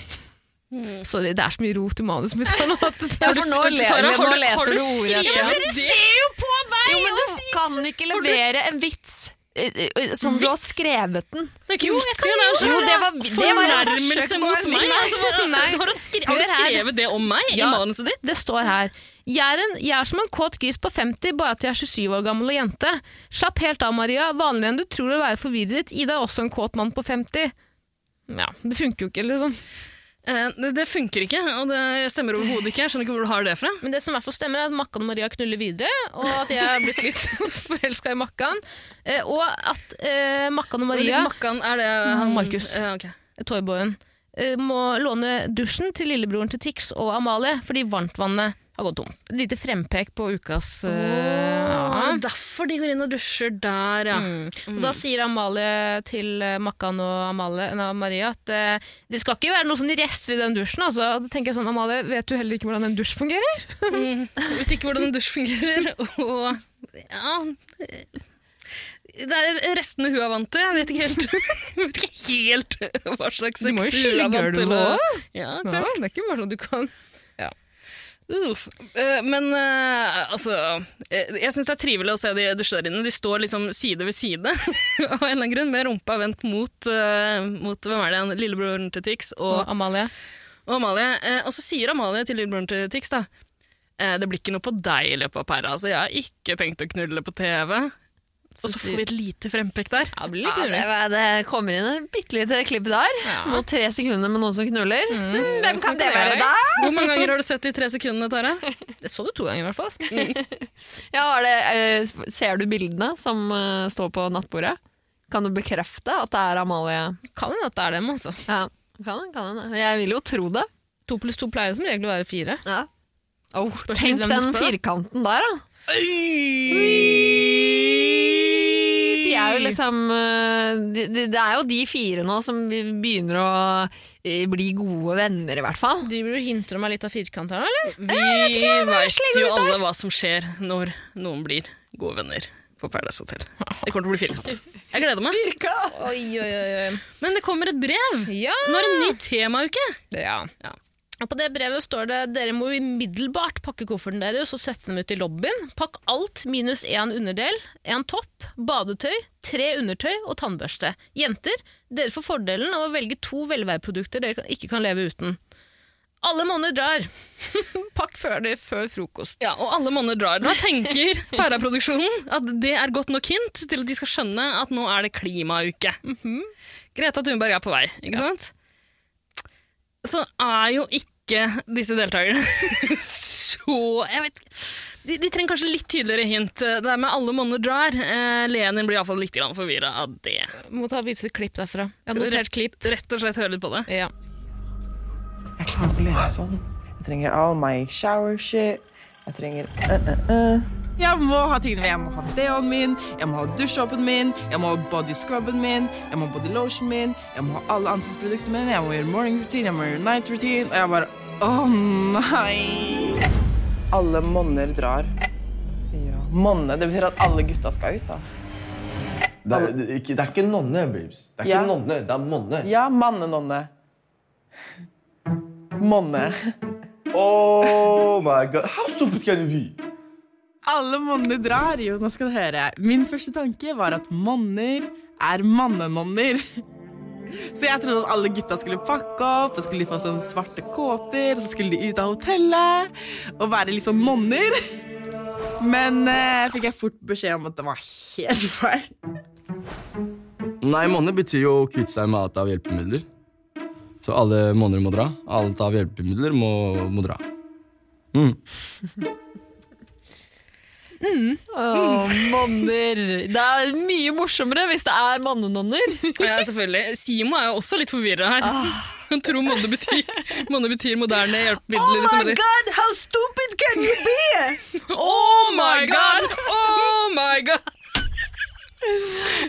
[SPEAKER 4] Mm.
[SPEAKER 5] Sorry, det er så mye rot i manuset mitt. her nå at det
[SPEAKER 3] Ja,
[SPEAKER 5] er-
[SPEAKER 3] for nå, le,
[SPEAKER 4] Sara, har
[SPEAKER 3] nå
[SPEAKER 4] du- har
[SPEAKER 3] leser
[SPEAKER 4] du
[SPEAKER 3] du ordet.
[SPEAKER 4] skrevet
[SPEAKER 3] etter meg.
[SPEAKER 5] Dere ser jo på meg!
[SPEAKER 3] Jo, men du kan ikke levere en vits eh, eh, som du har skrevet den.
[SPEAKER 4] Det er ikke vits i det. er en
[SPEAKER 3] Jo, det
[SPEAKER 4] slags
[SPEAKER 3] var- det var et forsøk
[SPEAKER 4] fornærmelse
[SPEAKER 3] på
[SPEAKER 4] mot
[SPEAKER 3] en
[SPEAKER 4] meg.
[SPEAKER 3] vits.
[SPEAKER 4] altså. Har du skre- har du
[SPEAKER 5] Hør her.
[SPEAKER 4] skrevet det om meg i
[SPEAKER 5] Ja.
[SPEAKER 4] manuset ditt?
[SPEAKER 5] Det står her. Jeg er, en, jeg er som en kåt gris på 50, bare at jeg er 27 år gammel og jente. Slapp helt av, Maria. Vanligere enn du tror å være forvirret. Ida er også en kåt mann på 50. Ja, det funker jo ikke, liksom.
[SPEAKER 4] Eh, det, det funker ikke, og det stemmer overhodet ikke. Jeg skjønner ikke hvor du har det fra.
[SPEAKER 5] Men det som i hvert fall stemmer, er at Makkan og Maria knuller videre, og at jeg er blitt litt forelska i Makkan. Eh, og at eh, Makkan og Maria,
[SPEAKER 4] Makkan, er det han
[SPEAKER 5] Markus.
[SPEAKER 4] Ja, ok.
[SPEAKER 5] toyboyen, eh, må låne dusjen til lillebroren til Tix og Amalie fordi varmtvannet har gått tomt. Et lite frempek på ukas eh,
[SPEAKER 4] Å,
[SPEAKER 5] ja.
[SPEAKER 4] Ah, det er derfor de går inn og dusjer der, ja.
[SPEAKER 5] Og da sier Amalie til eh, Makkan og Amalie, nei, Maria at eh, det skal ikke være noe sånn rester i den dusjen. Altså. Og Da tenker jeg sånn, Amalie, vet du heller ikke hvordan en dusj fungerer?
[SPEAKER 4] Vet ikke hvordan en dusj fungerer, og ja det er restene hun er vant til. Jeg vet ikke helt, jeg vet ikke helt hva slags
[SPEAKER 5] Du må jo
[SPEAKER 4] sex hun
[SPEAKER 5] skylle
[SPEAKER 4] er vant til.
[SPEAKER 5] gulvet
[SPEAKER 4] å-
[SPEAKER 5] også.
[SPEAKER 4] Ja,
[SPEAKER 5] Ja,
[SPEAKER 4] klart.
[SPEAKER 5] det er ikke bare sånn du kan
[SPEAKER 4] Uff. Eh, Men eh, altså eh, Jeg syns det er trivelig å se de dusje der inne. De står liksom side ved side av en eller annen grunn, med rumpa vendt mot, eh, mot hvem er det igjen? Lillebroren til Tix og,
[SPEAKER 5] Amalie.
[SPEAKER 4] og Amalie. Eh, Og så sier Amalie til lillebroren til Tix, da eh, Det blir ikke noe på deg i løpet av pæra, altså. Jeg har ikke tenkt å knulle på TV. Og så får vi et lite frempekk der.
[SPEAKER 5] Ja,
[SPEAKER 3] Ja, det, var- det kommer inn et bitte lite klipp der. Nå tre sekunder med noen som knuller. Mm, hvem kan det være da?
[SPEAKER 4] Hvor mange ganger har du sett de tre sekundene, Tara?
[SPEAKER 5] det så du to ganger i hvert fall.
[SPEAKER 3] Ja, er det, eh, ser du bildene som eh, står på nattbordet? Kan du bekrefte at det er Amalie?
[SPEAKER 5] Kan hende at det er dem, altså.
[SPEAKER 3] Ja, kan, kan henne. Jeg vil jo tro det.
[SPEAKER 5] To pluss to pleier jo som regel å være fire.
[SPEAKER 3] Ja.
[SPEAKER 5] Spørs
[SPEAKER 3] Tenk
[SPEAKER 5] litt hvem du
[SPEAKER 3] den
[SPEAKER 5] spør.
[SPEAKER 3] firkanten der, da. De er jo liksom eh, de, de, Det er jo de fire nå som begynner å eh, bli gode venner, i hvert fall.
[SPEAKER 5] Driver du og hinter om meg litt av firkant her, eller?
[SPEAKER 4] Vi veit jo alle hva som skjer når noen blir gode venner på Paradise Hotel. Det kommer til å bli firkant. Jeg gleder meg.
[SPEAKER 5] Oi, oi, oi.
[SPEAKER 4] Men det kommer et brev!
[SPEAKER 5] Ja!
[SPEAKER 4] Nå er det en ny temauke!
[SPEAKER 5] ja. Og på det brevet står det dere må umiddelbart pakke kofferten deres og sette dem ut i lobbyen. Pakk alt minus én underdel, én topp, badetøy, tre undertøy og tannbørste. Jenter, dere får fordelen av å velge to velværeprodukter dere kan- ikke kan leve uten. Alle måneder drar. Pakk før, det, før frokost.
[SPEAKER 4] Ja, og alle monner drar. Nå tenker Paraproduksjonen at det er godt nok hint til at de skal skjønne at nå er det klimauke. Greta Thunberg er på vei, ikke sant? Så er jo ikke disse deltakerne så Jeg vet ikke. De, de trenger kanskje litt tydeligere hint. Det der med alle monner drar. Eh, Lenin blir iallfall litt forvirra av det.
[SPEAKER 5] Må ta vise et klipp derfra. Jeg har notert
[SPEAKER 4] Rett,
[SPEAKER 5] klipp.
[SPEAKER 4] rett og slett høre litt på det.
[SPEAKER 5] Ja.
[SPEAKER 6] Jeg klarer ikke å leve sånn. Jeg trenger all my shower shit. Jeg trenger uh-uh-uh. Jeg må ha tingene mine. Jeg må ha deoen min, jeg må ha dusjåpen min, jeg må ha body scrubben min, jeg må ha body lotion min, jeg må ha alle ansiktsproduktene mine, jeg må gjøre morning routine, jeg må gjøre night routine, og jeg bare Å nei! Alle monner drar. Ja. Monne, det betyr at alle gutta skal ut, da.
[SPEAKER 7] Det er, det, er ikke, det er ikke nonne, babes. Det er
[SPEAKER 6] Ja.
[SPEAKER 7] ikke nonne, det er monne.
[SPEAKER 6] Ja, mannenonne. Monne.
[SPEAKER 7] Oh my god. How stupid can you be?
[SPEAKER 6] Alle monner drar. Jo, nå skal du høre. Min første tanke var at monner er mannenonner. Så jeg trodde at alle gutta skulle pakke opp og skulle få sånne svarte kåper. Og så skulle de ut av hotellet og være litt sånn monner. Men eh, fikk jeg fort beskjed om at det var helt feil.
[SPEAKER 7] Nei, monne betyr jo å kvitte seg med alt av hjelpemidler. Så alle monner må dra. Alt av hjelpemidler må, må dra.
[SPEAKER 3] Åh, monner. Det er mye morsommere hvis det er mannenonner.
[SPEAKER 4] Ja, selvfølgelig. Simo er jo også litt forvirra her.
[SPEAKER 3] Ah.
[SPEAKER 4] Hun tror monne betyr, monne betyr moderne hjelpemidler. som det-
[SPEAKER 3] Oh god, how stupid can you be?
[SPEAKER 4] Oh my god! Oh my god!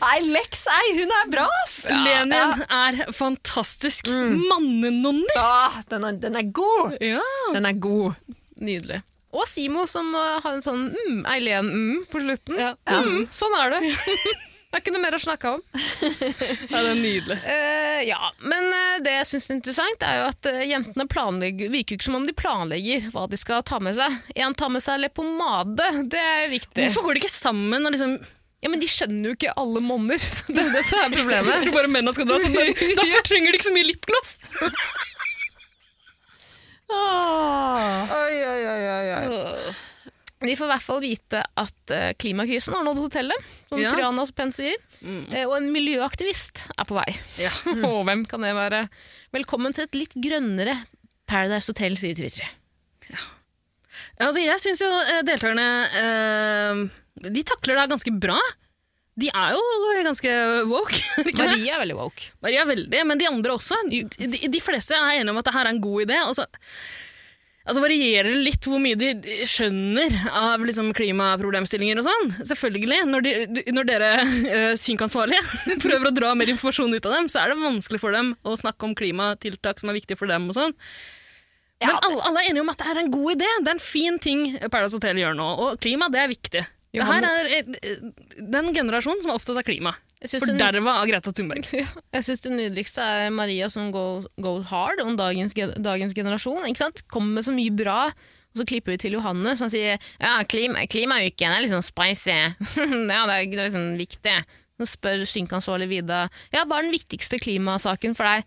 [SPEAKER 3] Nei, Lex, ei, hun er bra, ass.
[SPEAKER 4] Lenin er fantastisk. Mannenonner!
[SPEAKER 3] Ja, Mm. Ah, den er, den er god.
[SPEAKER 4] Ja.
[SPEAKER 3] Den er god.
[SPEAKER 5] Nydelig. Og Simo som uh, har en sånn mm, Eileen mm på slutten.
[SPEAKER 4] Ja.
[SPEAKER 5] Mm, sånn er det. Det er ikke noe mer å snakke om.
[SPEAKER 4] det er nydelig.
[SPEAKER 5] Eh, ja, Men eh, det jeg syns er interessant, er jo at eh, jentene planlegger, virker jo ikke som om de planlegger hva de skal ta med seg. En tar med seg leppepomade, det er viktig.
[SPEAKER 4] Hvorfor går de ikke sammen? Og liksom,
[SPEAKER 5] Ja, Men de skjønner jo ikke alle monner. Det er det som er
[SPEAKER 4] jeg
[SPEAKER 5] problemet.
[SPEAKER 4] tror bare mennene skal dra sånn. Derfor trenger de ikke så mye lipgloss!
[SPEAKER 5] Oi, oi, oi, oi, oi. De får i hvert fall vite at eh, klimakrisen har nådd hotellet, som
[SPEAKER 4] Ja. Mm.
[SPEAKER 5] Triana så pent sier. Eh, og en miljøaktivist er på vei.
[SPEAKER 4] Ja.
[SPEAKER 5] og hvem kan det være? Velkommen til et litt grønnere Paradise Hotel, sier Tritri.
[SPEAKER 4] Altså, jeg syns jo eh, deltakerne eh, De takler det her ganske bra. De er jo ganske woke. er de ikke det?
[SPEAKER 5] Maria er veldig woke.
[SPEAKER 4] Maria er veldig, men de andre også. De, de fleste er enige om at det her er en god idé. Og så altså varierer det litt hvor mye de de skjønner av liksom klimaproblemstillinger og sånn. Selvfølgelig. Når, de, de- når dere eh, synkansvarlige prøver å dra mer informasjon ut av dem, så er det vanskelig for dem å snakke om klimatiltak som er viktige for dem og sånn. Men alle, alle er enige om at det her er en god idé. Det er en fin ting Paradise Hotel gjør nå. Og klima, det er viktig. Det her er eh, den generasjonen som er opptatt av klima.
[SPEAKER 5] synes
[SPEAKER 4] For
[SPEAKER 5] hun-
[SPEAKER 4] derva av Greta Thunberg.
[SPEAKER 5] Jeg syns det nydeligste er Maria som go- goes hard om dagens, ge- dagens generasjon. Ikke sant? Kommer med så mye bra, og så klipper vi til Johanne som sier ja, klima, klimauken er litt sånn spicy. ja, det er, det er liksom viktig. Så spør skinkansvarlig Vida ja, hva er den viktigste klimasaken for deg.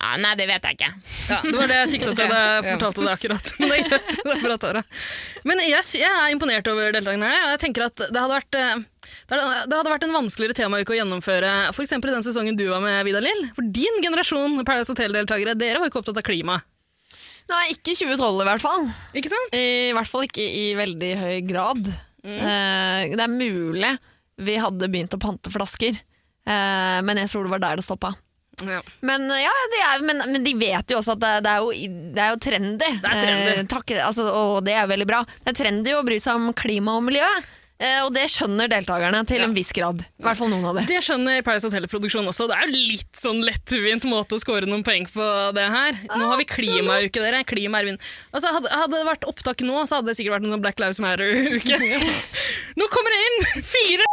[SPEAKER 5] Ja, nei, det vet jeg ikke.
[SPEAKER 4] Ja, det var det jeg sikta til da jeg
[SPEAKER 5] Ja.
[SPEAKER 4] fortalte det akkurat. Men, det er greit, det er bra, Tara. Men jeg, sy- jeg er imponert over deltakerne her, og jeg tenker at det hadde vært eh, det hadde- det hadde vært en vanskeligere temauke å gjennomføre f.eks. i den sesongen du var med, Vidar Lill. For din generasjon Paradise Hotel-deltakere, dere var jo ikke opptatt av klima.
[SPEAKER 3] Nei, ikke 2012 i hvert fall.
[SPEAKER 4] Ikke sant?
[SPEAKER 3] I hvert fall ikke i veldig høy grad. Eh, det er mulig vi hadde begynt å pante flasker, eh, men jeg tror det var der det stoppa.
[SPEAKER 4] Ja.
[SPEAKER 3] Men, eh, ja, det er, men, men de vet jo også at det, det, er, jo, i- det er jo trendy.
[SPEAKER 4] Det er trendy.
[SPEAKER 3] Eh, takk, altså, og det er veldig bra. Det er trendy å bry seg om klima og miljø, eh, og det skjønner deltakerne til en viss grad. I hvert fall noen av dem.
[SPEAKER 4] Det skjønner Paradise Hotel-produksjonen også. Det er jo litt sånn lettvint måte å score noen poeng på det her. Nå har vi klimauke, dere. Klima er vinn. Altså, hadde, hadde det vært opptak nå, så hadde det sikkert vært en sånn Black Lives Matter-uke. Nå kommer det inn fire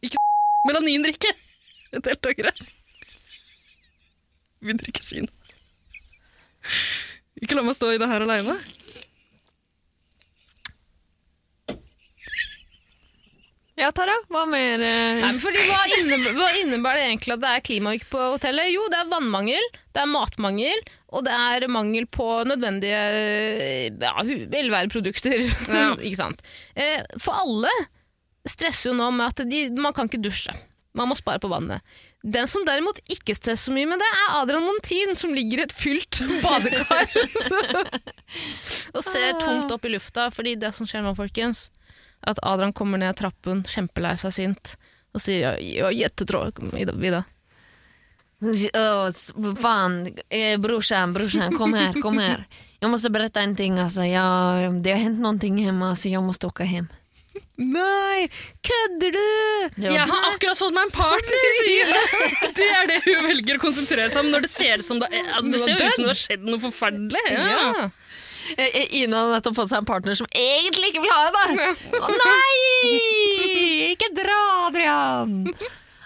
[SPEAKER 4] Ikke melanindrikke. Deltakere. Vi drikker sin. Ikke la meg stå i det her aleine.
[SPEAKER 3] Ja, Tara, hva mer eh?
[SPEAKER 5] Nei, men fordi hva, inne, hva innebærer det egentlig at det er klimauke på hotellet? Jo, det er vannmangel, det er matmangel, og det er mangel på nødvendige ja, hu- velværeprodukter.
[SPEAKER 4] Ja.
[SPEAKER 5] ikke sant? Eh, for alle stresser jo nå med at de, man kan ikke dusje. Man må spare på vannet. Den som derimot ikke stresser så mye med det, er Adrian Montin, som ligger i et fylt badekar og ser tomt opp i lufta. Fordi det som skjer nå, folkens, er at Adrian kommer ned trappen, kjempelei seg sint, og sier ja, ja, gjettetråd, Ida- Vida.
[SPEAKER 3] Åh, s- Fan, eh, brorsan, brorsan, kom här, kom här. Jag måste berätta en ting alltså. Jag, det har hänt någonting hemma så jag måste åka hem.
[SPEAKER 5] Nei, kødder du?!
[SPEAKER 3] Ja.
[SPEAKER 4] Jeg har akkurat fått meg en partner, sier hun. Det er det hun velger å konsentrere seg om når det ser ut som det, altså, det,
[SPEAKER 5] Noe
[SPEAKER 4] ser jo
[SPEAKER 5] dødd.
[SPEAKER 4] ut som det har skjedd noe forferdelig. Ja.
[SPEAKER 5] Ja.
[SPEAKER 3] Eh, eh, Ina har nettopp fått seg en partner som egentlig ikke vil ha henne. Å nei! Ikke dra, Adrian!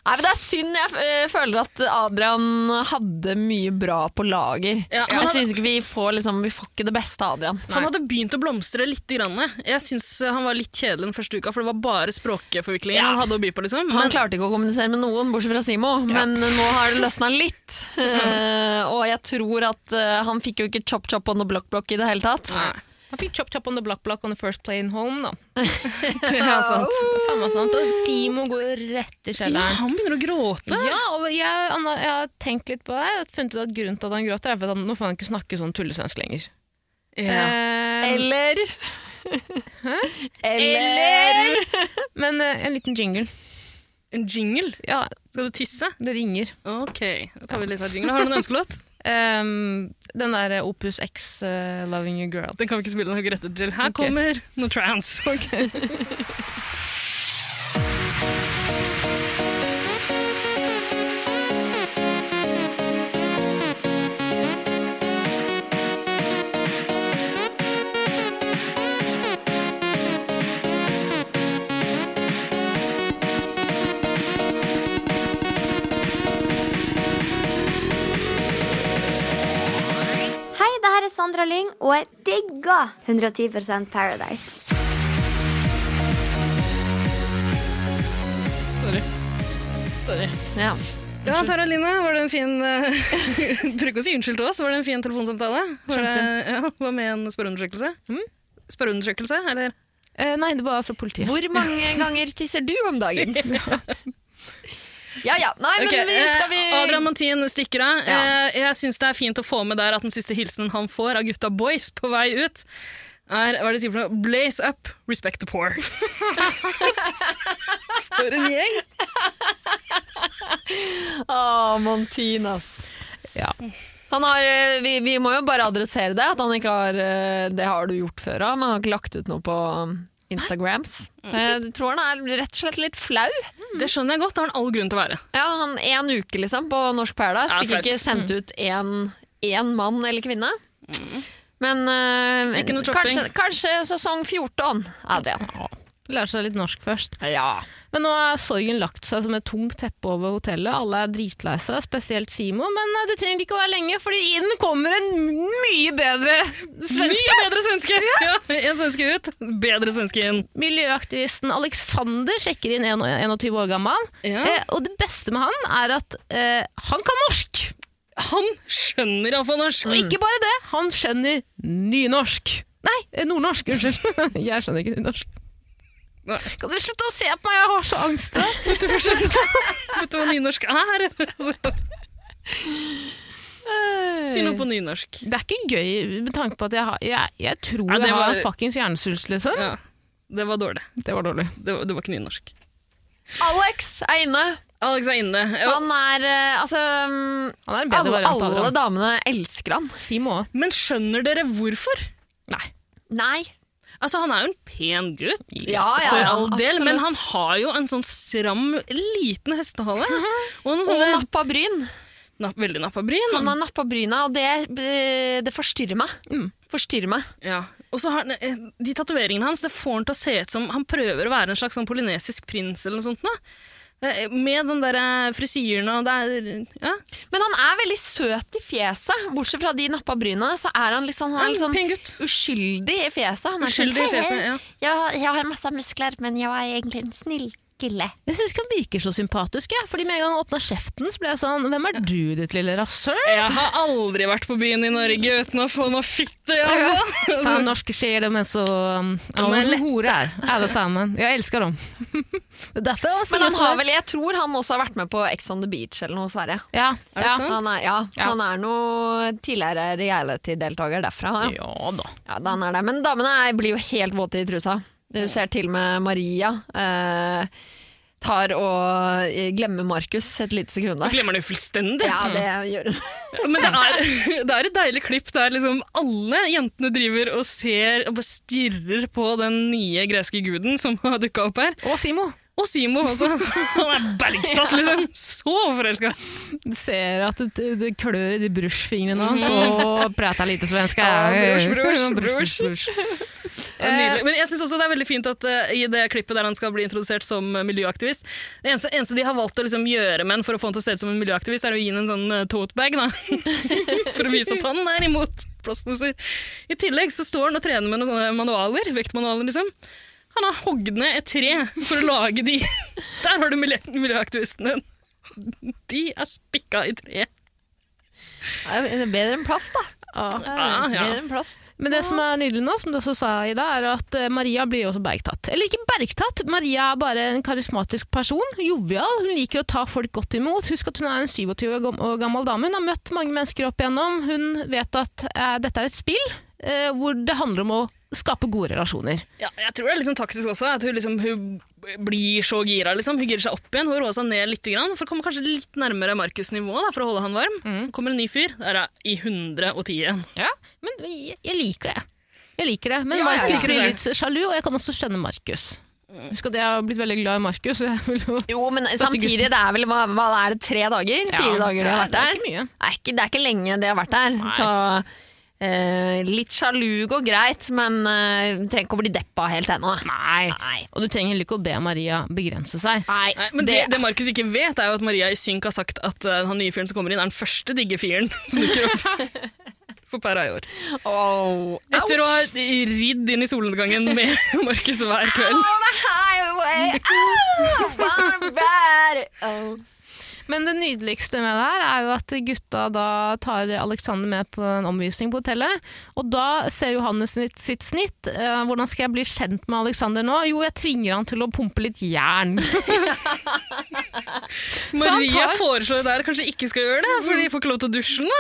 [SPEAKER 3] Nei, men Det er synd. Jeg eh, føler at Adrian hadde mye bra på lager.
[SPEAKER 4] Ja, han
[SPEAKER 3] jeg
[SPEAKER 4] hadde-
[SPEAKER 3] synes ikke vi får, liksom, vi får ikke det beste av Adrian.
[SPEAKER 4] Han hadde begynt å blomstre litt. Grann. Jeg syns han var litt kjedelig den første uka, for det var bare språkforviklinger
[SPEAKER 3] Ja.
[SPEAKER 4] han hadde å by på. liksom.
[SPEAKER 3] Han
[SPEAKER 4] Men,
[SPEAKER 3] klarte ikke å kommunisere med noen, bortsett fra Simo, men nå har det løsna litt. Eh, og jeg tror at eh, han fikk jo ikke chop chop on the block block i det hele tatt.
[SPEAKER 5] Han fikk chop chop on the block block on the first plane home, da.
[SPEAKER 4] det er sant.
[SPEAKER 5] Det er faen meg sant. Og Simo går jo rett i
[SPEAKER 4] Ja,
[SPEAKER 5] kjelleren.
[SPEAKER 4] han begynner å gråte.
[SPEAKER 5] Ja, og jeg, han, har- jeg har tenkt litt på det. Jeg har funnet ut at grunnen til at han gråter, er for at han, nå får han ikke snakke sånn tullesvensk lenger. Eh,
[SPEAKER 3] Eller
[SPEAKER 5] eller Men eh, en liten jingle.
[SPEAKER 4] En jingle.
[SPEAKER 5] Ja,
[SPEAKER 4] Skal du tisse?
[SPEAKER 5] det ringer.
[SPEAKER 4] Ok, da tar vi litt av jingle. Har du noen ønskelåt?
[SPEAKER 5] Ehm, den der eh, Opus X, eh, 'Loving You Girl'.
[SPEAKER 4] Den kan vi ikke spille. den har vi ikke rettet til. Her
[SPEAKER 5] Ok.
[SPEAKER 4] kommer noe trans.
[SPEAKER 8] Hei, det her er Sandra Lyng, og jeg digger 110 Paradise.
[SPEAKER 4] Sorry. Sorry.
[SPEAKER 3] ja.
[SPEAKER 4] Ja, Tara Line, var det en fin eh, Trykk å si unnskyld til oss. Var det en fin telefonsamtale? Var det, ja, var med en spørreundersøkelse? Spørreundersøkelse, eller?
[SPEAKER 5] Eh, nei, det var fra politiet.
[SPEAKER 3] Hvor mange ganger tisser du om dagen? ja ja. Nei, men
[SPEAKER 4] Ok,
[SPEAKER 3] vi, skal vi
[SPEAKER 4] eh, Adrian Montin stikker av.
[SPEAKER 3] Ja.
[SPEAKER 4] Eh, jeg syns det er fint å få med der at den siste hilsenen han får av gutta boys på vei ut, er hva er det de sier for noe? Blaze up, respect the poor. for en gjeng!
[SPEAKER 3] Å, Montin, ass.
[SPEAKER 5] Ja.
[SPEAKER 3] Han har, eh, vi, vi må jo bare adressere det, at han ikke har eh, Det har du gjort før av, men han har ikke lagt ut noe på um, Instagrams. Så jeg tror han er rett og slett litt flau.
[SPEAKER 4] Det skjønner jeg godt. Det har han all grunn til å være.
[SPEAKER 3] Ja, han En uke liksom på Norsk Paradise
[SPEAKER 4] Ja,
[SPEAKER 3] fikk
[SPEAKER 4] flaut.
[SPEAKER 3] ikke sendt ut én mann eller kvinne. Men eh,
[SPEAKER 5] Ikke noe tropping.
[SPEAKER 3] kanskje, kanskje sesong 14, Adrian.
[SPEAKER 5] Lære seg litt norsk først.
[SPEAKER 3] Ja.
[SPEAKER 5] Men nå har sorgen lagt seg som et tungt teppe over hotellet. Alle er dritlei seg, spesielt Simon. Men eh, det trenger ikke å være lenge, fordi inn kommer en mye bedre svenske.
[SPEAKER 4] Mye bedre svenske! Ja, En svenske ut, bedre svenske inn.
[SPEAKER 5] Miljøaktivisten Alexander sjekker inn en 21 år gammel. Eh, og det beste med han er at eh, han kan norsk.
[SPEAKER 4] Han skjønner iallfall norsk.
[SPEAKER 5] Og ikke bare det, han skjønner nynorsk. Nei, eh, nordnorsk. Unnskyld. Jeg skjønner ikke nynorsk. Kan dere slutte å se på meg? Jeg har så angst.
[SPEAKER 4] Vet du forskjell Vet du hva nynorsk er? Altså, Si noe på nynorsk.
[SPEAKER 5] Det er ikke gøy med tanke på at jeg, har, jeg, jeg tror
[SPEAKER 4] Ja, det
[SPEAKER 5] jeg
[SPEAKER 4] var-
[SPEAKER 5] har fuckings hjernesvulst, liksom.
[SPEAKER 4] det var dårlig.
[SPEAKER 5] Det var dårlig.
[SPEAKER 4] Det var, det var ikke nynorsk.
[SPEAKER 3] Alex er inne.
[SPEAKER 4] Alex er inne.
[SPEAKER 3] Han er eh, altså
[SPEAKER 5] Han er en bedre
[SPEAKER 3] alle,
[SPEAKER 5] variant av
[SPEAKER 3] alle
[SPEAKER 5] Adrian.
[SPEAKER 3] damene elsker han.
[SPEAKER 5] Simo òg.
[SPEAKER 4] Men skjønner dere hvorfor?
[SPEAKER 3] Nei.
[SPEAKER 4] Altså, han er jo en pen gutt,
[SPEAKER 3] Ja, ja,
[SPEAKER 4] for
[SPEAKER 3] ja,
[SPEAKER 4] all del,
[SPEAKER 3] absolutt.
[SPEAKER 4] men han har jo en sånn stram, liten hestehale. Og noen
[SPEAKER 3] Og
[SPEAKER 4] sånne
[SPEAKER 3] nappa bryn.
[SPEAKER 4] napp, veldig nappa bryn.
[SPEAKER 3] Han har nappa bryna, og det, eh, det forstyrrer meg.
[SPEAKER 5] Mm.
[SPEAKER 3] Forstyrrer meg.
[SPEAKER 4] Ja. Og så har, han- de tatoveringene hans det får han til å se ut som han prøver å være en slags sånn polynesisk prins eller noe sånt. nå. Eh, Med den der eh, frisyren og det er ja.
[SPEAKER 3] Men han er veldig søt i fjeset. Bortsett fra de nappa bryna, så er han liksom, han er
[SPEAKER 4] En
[SPEAKER 3] litt sånn
[SPEAKER 4] pen gutt.
[SPEAKER 3] uskyldig i fjeset. Han er
[SPEAKER 4] Uskyldig i
[SPEAKER 3] sånn, «Hei,
[SPEAKER 4] fjeset,
[SPEAKER 3] hei,
[SPEAKER 4] ja.
[SPEAKER 3] jeg, jeg har masse muskler, men jeg er egentlig en snill gille.
[SPEAKER 5] Jeg syns ikke han virker så sympatisk, jeg. Fordi med en gang han åpna kjeften, så ble jeg sånn Hvem er du, ditt lille rasshøl?
[SPEAKER 4] Jeg har aldri vært på byen i Norge uten å få noe fitte, altså!
[SPEAKER 5] Faen, norske skjeer, de er så um, ja,
[SPEAKER 4] er
[SPEAKER 5] de
[SPEAKER 4] lette.
[SPEAKER 5] hore her. Alle sammen. Jeg elsker dem. Det er Derfor han
[SPEAKER 3] Men
[SPEAKER 5] sier
[SPEAKER 3] han har
[SPEAKER 5] sånn.
[SPEAKER 3] vel, jeg tror han også har vært med på Ex on the Beach eller noe, Sverre.
[SPEAKER 5] Ja,
[SPEAKER 4] Er det
[SPEAKER 5] ja.
[SPEAKER 4] sant?
[SPEAKER 3] Han er, ja,
[SPEAKER 5] Ja.
[SPEAKER 3] han er noe tidligere reality-deltaker derfra. Ja.
[SPEAKER 5] ja da.
[SPEAKER 3] Ja, da han er det. Men damene er, blir jo helt våte i trusa. Du ser til og med Maria eh, tar og eh, glemmer Markus et lite sekund der. Mm.
[SPEAKER 4] Glemmer det jo fullstendig.
[SPEAKER 3] Ja, det gjør hun.
[SPEAKER 4] Men det er, det er et deilig klipp der liksom alle jentene driver og ser og bare stirrer på den nye greske guden som har dukka opp her.
[SPEAKER 5] Og Simo.
[SPEAKER 4] Og Simo også. Han er bergtatt, liksom. Så forelska!
[SPEAKER 5] Du ser at det, det klør i de brusjfingrene hans. Og prater lite svenska.
[SPEAKER 4] brus, brus,
[SPEAKER 5] brus, brus.
[SPEAKER 4] Ja, nydelig. Men jeg synes også det er veldig fint at eh, i det klippet der han skal bli introdusert som eh, miljøaktivist Det eneste, eneste de har valgt å liksom gjøre med han for å få han til å se ut som en miljøaktivist, er å gi han en sånn eh, tote bag, da. for å vise at han er imot plastposer. I tillegg så står han og trener med noen sånne manualer, vektmanualer, liksom. Han har hogd ned et tre for å lage de. Der har du miljø miljøaktivisten din. De er spikka i tre.
[SPEAKER 3] Det er bedre enn plast, da.
[SPEAKER 4] Ah, ja.
[SPEAKER 3] Bedre enn plast.
[SPEAKER 5] Men det som er nydelig nå, som du også sa, Ida, er at eh, Maria blir jo også bergtatt. Eller ikke bergtatt, Maria er bare en karismatisk person. Jovial. Hun liker å ta folk godt imot. Husk at hun er en 27 år gam- år gammel dame. Hun har møtt mange mennesker opp igjennom. Hun vet at eh, dette er et spill eh, hvor det handler om å skape gode relasjoner.
[SPEAKER 4] Ja, jeg tror det er liksom taktisk også, at hun, liksom, hun blir så gira, liksom. Hun girer seg opp igjen, hun roer seg ned litt, grann, for å komme kanskje litt nærmere Markus-nivået, da, for å holde han varm. Kommer en ny fyr, der er i 110 igjen.
[SPEAKER 5] Ja, men jeg, jeg liker det. Jeg liker det. Men
[SPEAKER 4] Ja, ja, ja.
[SPEAKER 5] Markus blir litt sjalu, og jeg kan også skjønne Markus. Husk at jeg har blitt veldig glad i Markus. så jeg vil jo-
[SPEAKER 3] Jo, men samtidig, det er vel hva, hva er det, tre dager? Fire
[SPEAKER 5] Ja,
[SPEAKER 3] dager de har vært
[SPEAKER 5] det er
[SPEAKER 3] der?
[SPEAKER 5] ikke mye.
[SPEAKER 3] Det er ikke, det er ikke lenge de har vært der. Så eh, litt sjalu går greit, men eh, vi trenger ikke å bli deppa helt ennå.
[SPEAKER 5] Nei.
[SPEAKER 3] Nei.
[SPEAKER 5] Og du trenger heller ikke å be Maria begrense seg.
[SPEAKER 4] Nei, men det, det Markus ikke vet, er jo at Maria i synk har sagt at eh, han nye fyren som kommer inn, er den første digge fyren som dukker opp. På pæra i år.
[SPEAKER 3] Au.
[SPEAKER 4] Etter å ha ridd inn i solnedgangen med Markus hver kveld.
[SPEAKER 3] Highway, au, barbar. Au.
[SPEAKER 5] Men det nydeligste med det her er jo at gutta da tar Alexander med på en omvisning på hotellet. Og da ser Johannes sitt, sitt snitt. Eh, hvordan skal jeg bli kjent med Alexander nå? Jo, jeg tvinger han til å pumpe litt jern. han
[SPEAKER 4] Maria
[SPEAKER 5] tar-
[SPEAKER 4] foreslår der kanskje ikke skal gjøre det, for de får ikke lov til å dusje den.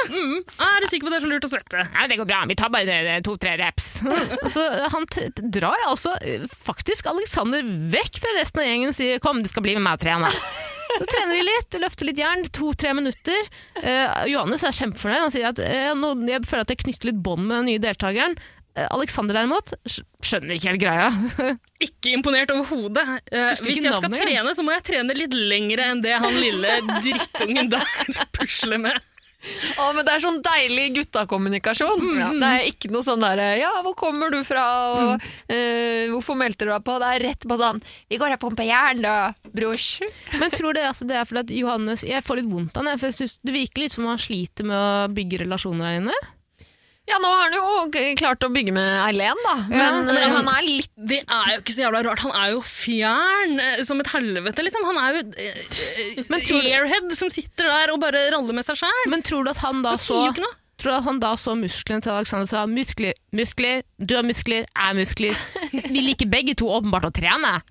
[SPEAKER 4] da. Er du sikker på at det er så lurt å svette?
[SPEAKER 5] Nei, det går bra, vi tar bare eh, to-tre reps. så Altså, han t t- drar altså eh, faktisk Alexander vekk fra resten av gjengen og sier 'kom, du skal bli med meg og trene'. Så trener de litt, løfter litt jern, to-tre minutter. Eh, Johannes er kjempefornøyd. Han sier at eh, nå, 'jeg føler at jeg knytter litt bånd med den nye deltakeren'. Eh, Alexander derimot skj- skjønner ikke helt greia.
[SPEAKER 4] ikke imponert overhodet. Eh,
[SPEAKER 5] Husker
[SPEAKER 4] hvis
[SPEAKER 5] ikke
[SPEAKER 4] jeg skal
[SPEAKER 5] navnet engang.
[SPEAKER 4] trene, så må jeg trene litt lengre enn det han lille drittungen der pusler med.
[SPEAKER 3] Å, men Det er sånn deilig guttakommunikasjon. Det er ikke noe sånn derre 'ja, hvor kommer du fra', og eh, 'hvorfor meldte du deg på'? Det er rett på sånn 'vi går og pumper jern, da, brors'.
[SPEAKER 5] Men tror dere altså, det er fordi at Johannes Jeg får litt vondt av det, for jeg synes det virker litt som han sliter med å bygge relasjoner her inne.
[SPEAKER 3] Ja, nå har han jo k- klart å bygge med Eileen, da. Men, eh, han er litt
[SPEAKER 4] Det er jo ikke så jævla rart. Han er jo fjern eh, som et helvete, liksom. Han er jo eh, eh, airhead som sitter der og bare raller med seg sjæl.
[SPEAKER 5] Men tror du at han da
[SPEAKER 4] sier jo
[SPEAKER 5] så-
[SPEAKER 4] ikke noe.
[SPEAKER 5] Tror du at han da så musklene til Alexander og sa 'muskler, muskler, du har muskler, jeg har muskler'. Vi liker begge to åpenbart å trene.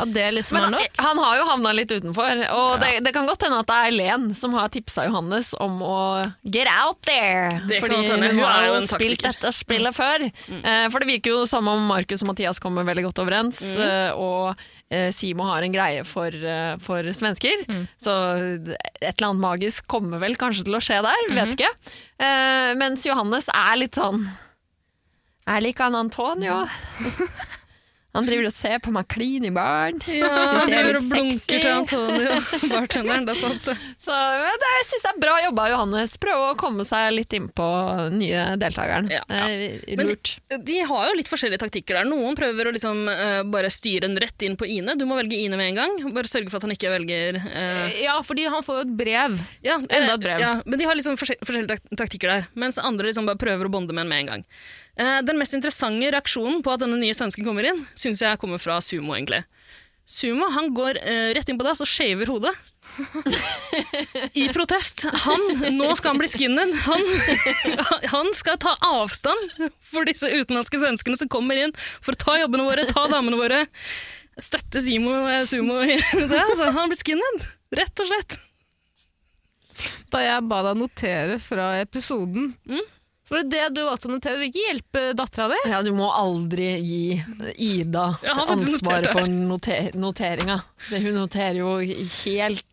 [SPEAKER 5] At det liksom
[SPEAKER 3] men
[SPEAKER 5] er nok.
[SPEAKER 3] han, han har jo havna litt utenfor, og det, det kan godt hende at det er Eileen som har tipsa Johannes om å get out there.
[SPEAKER 4] Det kan
[SPEAKER 3] Fordi
[SPEAKER 4] godt hende.
[SPEAKER 3] hun
[SPEAKER 4] Hun er
[SPEAKER 3] har
[SPEAKER 4] jo
[SPEAKER 3] jo
[SPEAKER 4] en
[SPEAKER 3] spilt
[SPEAKER 4] taktiker. Mm.
[SPEAKER 3] dette spillet før. Eh, For det virker jo som om Markus og Mathias kommer veldig godt overens,
[SPEAKER 4] Mm.
[SPEAKER 3] eh, og eh, Simo har en greie for, eh, for svensker.
[SPEAKER 4] Mm.
[SPEAKER 3] Så et eller annet magisk kommer vel kanskje til å skje der,
[SPEAKER 4] Mm-hmm.
[SPEAKER 3] vet ikke. Eh, Mens Johannes er litt sånn Jeg liker han Antonio. Han driver og ser på meg klin i baren.
[SPEAKER 4] Ja, han driver og blunker til Antonio, bartenderen. Det er sant.
[SPEAKER 3] Så men det, jeg syns det er bra jobba, Johannes. Prøve å komme seg litt innpå nye deltakeren. Eh,
[SPEAKER 4] Men
[SPEAKER 3] Lurt.
[SPEAKER 4] de, de har jo litt forskjellige taktikker der. Noen prøver å liksom eh, bare styre den rett inn på Ine. Du må velge Ine med en gang. Bare sørge for at han ikke velger eh,
[SPEAKER 5] Ja, fordi han får jo et brev.
[SPEAKER 4] ja,
[SPEAKER 5] Enda et brev.
[SPEAKER 4] Ja, men de har liksom forskjell, forskjellige tak- taktikker der. Mens andre liksom bare prøver å bonde med en med en gang. Eh, den mest interessante reaksjonen på at denne nye svensken kommer inn, syns jeg kommer fra Sumo, egentlig. Sumo han går eh, rett inn på dass og shaver hodet. I protest. Han, nå skal han bli skinnen. Han, han skal ta avstand for disse utenlandske svenskene som kommer inn for å ta jobbene våre, ta damene våre. Støtte Simo eh, Sumo i det. Så han blir skinnen, rett og slett.
[SPEAKER 5] Da jeg ba deg notere fra episoden For det du valgte å notere, vil ikke hjelpe dattera di.
[SPEAKER 3] Mm. Ja, du må aldri gi Ida
[SPEAKER 5] Jeg har faktisk
[SPEAKER 3] ansvaret
[SPEAKER 5] notert
[SPEAKER 3] for
[SPEAKER 5] det.
[SPEAKER 3] noter noteringa. Det- Hun noterer jo helt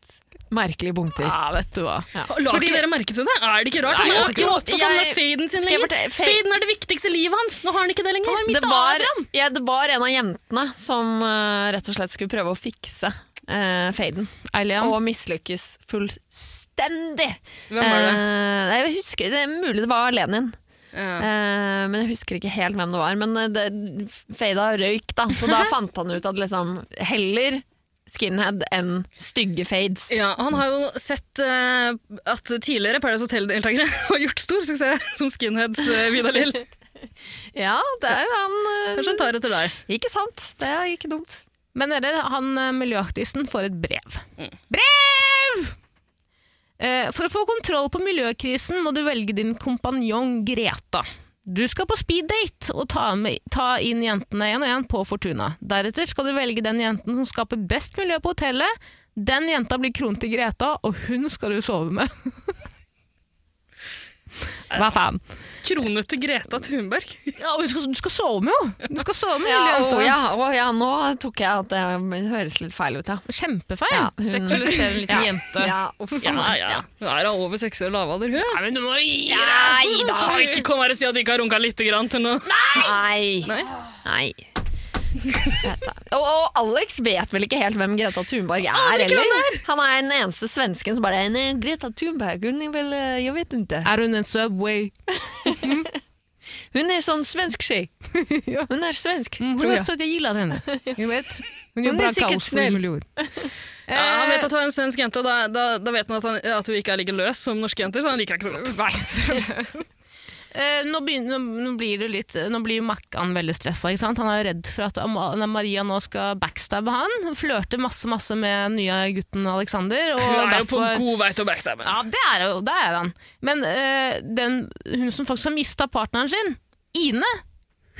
[SPEAKER 3] merkelige punkter.
[SPEAKER 5] Ja, vet du hva.
[SPEAKER 3] Ja.
[SPEAKER 4] La ikke dere merke til det? Er det ikke rart?
[SPEAKER 3] Nei,
[SPEAKER 4] Han
[SPEAKER 3] altså,
[SPEAKER 4] er ikke
[SPEAKER 3] jo,
[SPEAKER 4] opptatt av den
[SPEAKER 3] jeg-
[SPEAKER 4] faden
[SPEAKER 3] skal
[SPEAKER 4] sin
[SPEAKER 3] jeg
[SPEAKER 4] lenger.
[SPEAKER 3] fortelle- fa-
[SPEAKER 4] Faden er det viktigste i livet hans. Nå har han ikke det lenger.
[SPEAKER 3] Det var, ja, det var en av jentene som eh, rett og slett skulle prøve å fikse eh, faden. Og mislykkes fullstendig.
[SPEAKER 4] Hvem var det?
[SPEAKER 3] Eh, jeg husker, det er mulig det var Lenin.
[SPEAKER 4] Ja.
[SPEAKER 3] Eh, men jeg husker ikke helt hvem det var. Men eh, det, fada røyk, da. Så da fant han ut at liksom heller skinhead enn stygge fades.
[SPEAKER 4] Ja, han har jo sett eh, at tidligere Paradise Hotel-deltakere har gjort stor suksess som skinheads, uh, Vidar Lill.
[SPEAKER 3] Ja, det er han eh,
[SPEAKER 4] Kanskje han tar etter deg.
[SPEAKER 3] Ikke sant. Det er ikke dumt.
[SPEAKER 5] Men dere, han eh, miljøaktivisten får et brev. Brev! Eh, For å få kontroll på miljøkrisen må du velge din kompanjong Greta. Du skal på speeddate og ta, med, ta inn jentene én og én på Fortuna. Deretter skal du velge den jenten som skaper best miljø på hotellet. Den jenta blir kronen til Greta, og hun skal du sove med. Hva faen?
[SPEAKER 4] Kronete Greta Thunberg.
[SPEAKER 5] Ja, og du skal, du skal sove med henne! Du skal sove med
[SPEAKER 3] Ja,
[SPEAKER 5] hele jenta.
[SPEAKER 3] å, ja, å, ja, nå tok jeg at det høres litt feil ut, ja.
[SPEAKER 5] Kjempefeil. Seksualiserer en liten
[SPEAKER 3] ja.
[SPEAKER 5] jente.
[SPEAKER 3] Ja, uff,
[SPEAKER 4] Ja,
[SPEAKER 3] meg.
[SPEAKER 4] ja. Hun er da over seksuell lavalder, hun. Nei, men du må gi
[SPEAKER 3] Nei, da.
[SPEAKER 4] Ikke kom her og si at du ikke har runka lite grann til nå.
[SPEAKER 3] Nei. Nei. Vet da. Og, og Alex vet vel ikke helt hvem Greta Thunberg er
[SPEAKER 4] Aner ikke hvem
[SPEAKER 3] heller. Han er den eneste svensken som bare er "Nei, Greta Thunberg, hun er vel eh, Jeg vet ikke.
[SPEAKER 5] Er hun en Subway?
[SPEAKER 3] Hun er sånn svensk skje. Hun er svensk,
[SPEAKER 5] Mm,
[SPEAKER 4] Mm,
[SPEAKER 5] Hun
[SPEAKER 3] tror
[SPEAKER 5] er
[SPEAKER 3] jeg.
[SPEAKER 5] søt, jeg gillar henne. Hun vet. Hun
[SPEAKER 3] Hon
[SPEAKER 5] gjør
[SPEAKER 3] är
[SPEAKER 5] bra
[SPEAKER 3] säkert
[SPEAKER 5] kaos for
[SPEAKER 3] snäll.
[SPEAKER 5] miljøer.
[SPEAKER 4] Ja, han vet at hun er en svensk jente, da, da, da vet han at, han at hun ikke er like løs som norske jenter, så han liker henne ikke så godt.
[SPEAKER 5] Eh, nå, begynner, nå, nå blir det litt Nå blir Makkan veldig stressa. Ikke sant? Han er redd for at Ama- nei, Maria nå skal backstabbe han. Flørter masse masse med den nye gutten Alexander. Og
[SPEAKER 4] Hun er jo på
[SPEAKER 5] derfor,
[SPEAKER 4] god vei til å backstabbe.
[SPEAKER 5] Ja, det er, jo- det er han. Men eh, den, hun som faktisk har mista partneren sin, Ine,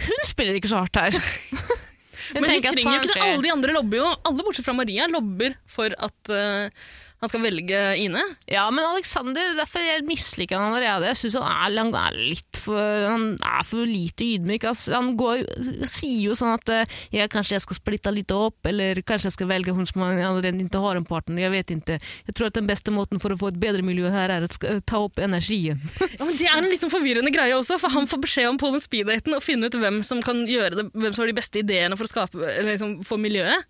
[SPEAKER 5] hun spiller ikke så hardt her. Hun
[SPEAKER 4] Men hun
[SPEAKER 5] tenker at
[SPEAKER 4] trenger jo
[SPEAKER 5] faen
[SPEAKER 4] ikke det.
[SPEAKER 5] skjer.
[SPEAKER 4] Alle de andre lobber jo. Alle bortsett fra Maria lobber for at eh, han skal velge Ine.
[SPEAKER 5] Ja, men Alexander, derfor jeg misliker han allerede. Jeg synes han er, han er litt for, han er for lite ydmyk. Altså, han går, sier jo sånn at eh, ja, kanskje jeg skal splitte litt opp, eller kanskje jeg skal velge hun som allerede ikke har en partner, jeg vet ikke. Jeg tror at den beste måten for å få et bedre miljø her er å sk- eh, ta opp energien.
[SPEAKER 4] Ja, men Det er en liksom forvirrende greie også, for han får beskjed om på den speeddaten å finne ut hvem som kan gjøre det, hvem som har de beste ideene for å skape, eller liksom, for miljøet.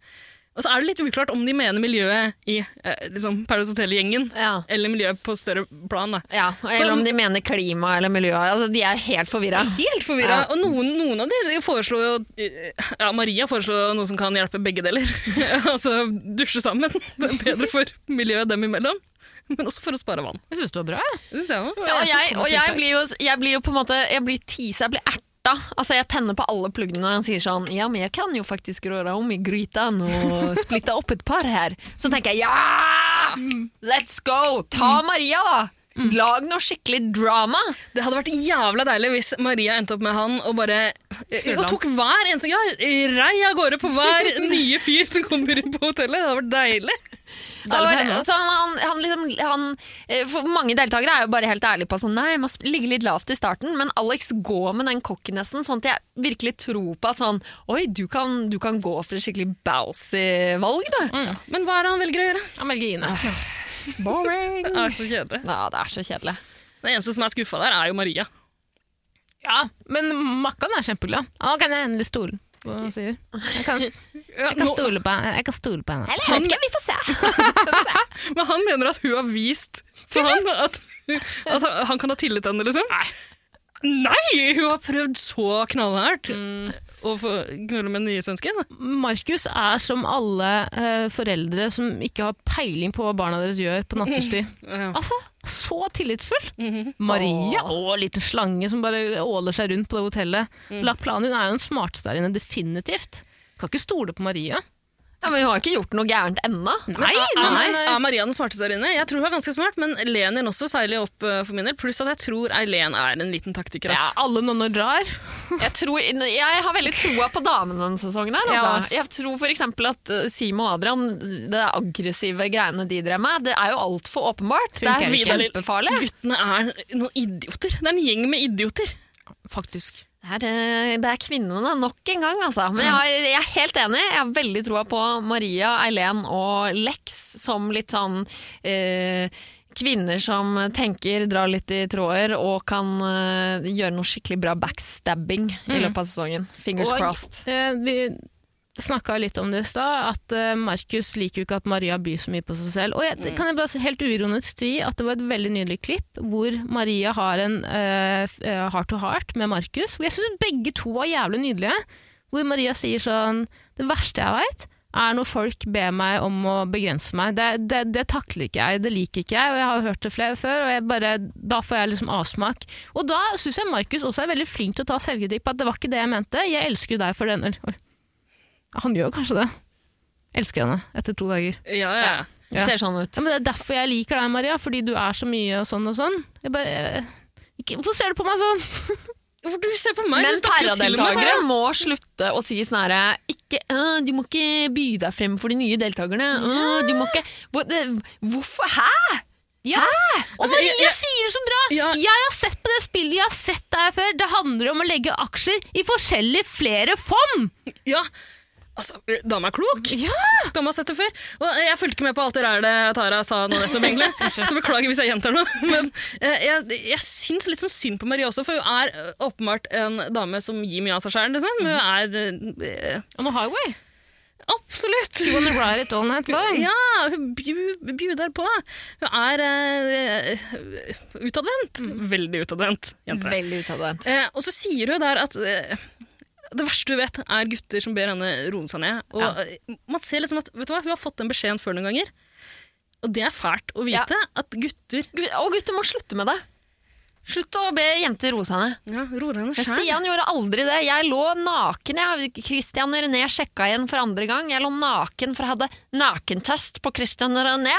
[SPEAKER 4] Og så er det litt uklart om de mener miljøet i eh, liksom Paradise Hotel-gjengen, eller miljøet på større plan. Da.
[SPEAKER 3] Eller om de mener klima eller miljø. Altså, de er helt forvirra.
[SPEAKER 4] Helt forvirra. Og noen, noen av de foreslår jo Ja, Maria foreslår noe som kan hjelpe begge deler. altså dusje sammen. Det er bedre for miljøet dem imellom. Men også for å spare vann.
[SPEAKER 5] Jeg syns det var bra.
[SPEAKER 4] Det synes jeg også.
[SPEAKER 3] Ja, og jeg, og jeg, blir jo, jeg blir jo på en måte Jeg blir tisa, jeg blir erta. Altså, jeg tenner på alle pluggene når han sier sånn Ja, men jeg kan jo faktisk røre om i grytan og splitte opp et par her. Så tenker jeg ja! Let's go! Ta Maria, da! Lag noe skikkelig drama.
[SPEAKER 4] Det hadde vært jævla deilig hvis Maria endte opp med han og bare
[SPEAKER 3] Knulla
[SPEAKER 4] Og
[SPEAKER 3] han.
[SPEAKER 4] tok hver eneste Ja, rei av gårde på hver nye fyr som kommer inn på hotellet. Det hadde vært deilig.
[SPEAKER 3] Det var, altså, han, han, han liksom, han, eh, for mange deltakere er jo bare helt ærlige på sånn, nei, man ligger litt lavt i starten, men Alex går med den kokkenessen, sånn at jeg virkelig tror på at sånn, oi, du kan, du kan gå for et skikkelig bouncy valg, da.
[SPEAKER 4] Men hva er det han velger å gjøre?
[SPEAKER 5] Han velger Ine.
[SPEAKER 3] Boring.
[SPEAKER 4] Det er så kjedelig.
[SPEAKER 3] Ja, det er så kjedelig.
[SPEAKER 4] Den eneste som er skuffa der, er jo Maria.
[SPEAKER 5] Ja, men Makkan er kjempeglad. Å, kan jeg endelig stole på hva han sier? Jeg kan, jeg kan,
[SPEAKER 4] nå-
[SPEAKER 5] stole, på, jeg kan stole på henne.
[SPEAKER 3] Eller, jeg vet ikke, vi får se.
[SPEAKER 4] Men han mener at hun har vist til han at, at han- han kan ha tillit til henne, liksom. Nei. Hun har prøvd så knallhardt
[SPEAKER 5] Mm.
[SPEAKER 4] å få knulle med den nye svensken.
[SPEAKER 5] Markus er som alle eh, foreldre som ikke har peiling på hva barna deres gjør på natterstid. Altså, så tillitsfull! Maria og en liten slange som bare åler seg rundt på det hotellet. Lagt planen, Hun er jo den smarteste der inne, definitivt. Kan ikke stole på Maria.
[SPEAKER 3] Ja, men hun har ikke gjort noe gærent ennå.
[SPEAKER 5] Nei, nei, nei, nei.
[SPEAKER 4] Er Maria den smarteste der inne? Jeg tror hun er ganske smart, men Lenin også seiler opp eh, for min del. Pluss at jeg tror Eileen er en liten taktiker.
[SPEAKER 5] Ja,
[SPEAKER 4] ass.
[SPEAKER 5] alle nonner drar.
[SPEAKER 3] Jeg, tror, jeg har veldig troa på damene denne sesongen. her altså.
[SPEAKER 5] Ja.
[SPEAKER 3] Jeg tror for eksempel at eh, Simo og Adrian, det aggressive greiene de drev med, det er jo altfor åpenbart. Det er
[SPEAKER 4] Funker ikke.
[SPEAKER 3] kjempefarlig.
[SPEAKER 4] Guttene er noen idioter. Det er en gjeng med idioter.
[SPEAKER 5] Faktisk.
[SPEAKER 3] Det er, eh, det er kvinnene nok en gang, altså. Men jeg, har- jeg er helt enig. Jeg har veldig troa på Maria, Eileen og Lex som litt sånn eh, Kvinner som tenker, drar litt i tråder og kan eh, gjøre noe skikkelig bra backstabbing
[SPEAKER 4] Mm.
[SPEAKER 3] i løpet av sesongen. Fingers
[SPEAKER 5] Og,
[SPEAKER 3] crossed.
[SPEAKER 5] eh, vi snakka litt om det i stad, at eh, Markus liker jo ikke at Maria byr så mye på seg selv. Og jeg, kan jeg bare så helt uironisk si at det var et veldig nydelig klipp hvor Maria har en eh, f- eh, heart to heart med Markus. Hvor jeg syns begge to var jævlig nydelige. Hvor Maria sier sånn Det verste jeg veit, er når folk ber meg om å begrense meg. Det, det, det takler ikke jeg, det liker ikke jeg, og jeg har hørt det flere før, og jeg bare, da får jeg liksom avsmak. Og da syns jeg Markus også er veldig flink til å ta selvkritikk på at det var ikke det jeg mente, jeg elsker jo deg for den eller, oi. Han gjør kanskje det. Elsker henne etter to dager.
[SPEAKER 4] Ja, ja.
[SPEAKER 3] Det ser sånn ut.
[SPEAKER 5] Ja, men Det er derfor jeg liker deg, Maria, fordi du er så mye og sånn og sånn. Jeg bare, eh, ikke, hvorfor ser du på meg sånn?
[SPEAKER 4] Hvorfor du ser på meg?
[SPEAKER 3] Men
[SPEAKER 4] du snakker jo til og med,
[SPEAKER 3] paradeltakere må slutte å si sånn herre ikke, «Åh, Du må ikke by deg frem for de nye deltakerne. Åh, Du må ikke Hvor, det, Hvorfor? Hæ?!
[SPEAKER 5] Ja. Og
[SPEAKER 4] Altså,
[SPEAKER 5] Maria
[SPEAKER 4] jeg- jeg-
[SPEAKER 5] sier det så bra!
[SPEAKER 4] Ja.
[SPEAKER 5] Jeg har sett på det spillet, jeg har sett deg før. Det handler om å legge aksjer i forskjellige flere fond!
[SPEAKER 4] Ja, altså, dama er klok. Dama har sett det før. Og jeg fulgte ikke med på alt det rælet Tara sa nå nettopp, egentlig. Så beklager hvis jeg gjentar noe. Men eh, jeg, jeg syns litt sånn synd på Maria også, for hun er eh, åpenbart en dame som gir mye av seg sjæl, liksom. Hun er eh,
[SPEAKER 5] On a highway.
[SPEAKER 4] Absolutt!
[SPEAKER 5] You wanna ride it all night long.
[SPEAKER 4] Ja, hun bju- bjuder på. Hun er eh, utadvendt. Mm. Veldig utadvendt, jente.
[SPEAKER 3] Veldig utadvendt.
[SPEAKER 4] Eh, og så sier hun der at eh, det verste du vet, er gutter som ber henne roe seg ned. Og
[SPEAKER 3] Ja.
[SPEAKER 4] eh, man ser liksom at, vet du hva, Hun har fått den beskjeden før noen ganger. Og det er fælt å vite at gutter
[SPEAKER 3] Gu- Og gutter må slutte med det. Slutt å be jenter rose henne.
[SPEAKER 4] ja, roer henne
[SPEAKER 3] Men
[SPEAKER 4] sjæl.
[SPEAKER 3] Stian gjorde aldri det. Jeg lå naken. Jeg. Christian René sjekka igjen for andre gang. Jeg lå naken, for jeg hadde nakentest på Christian René.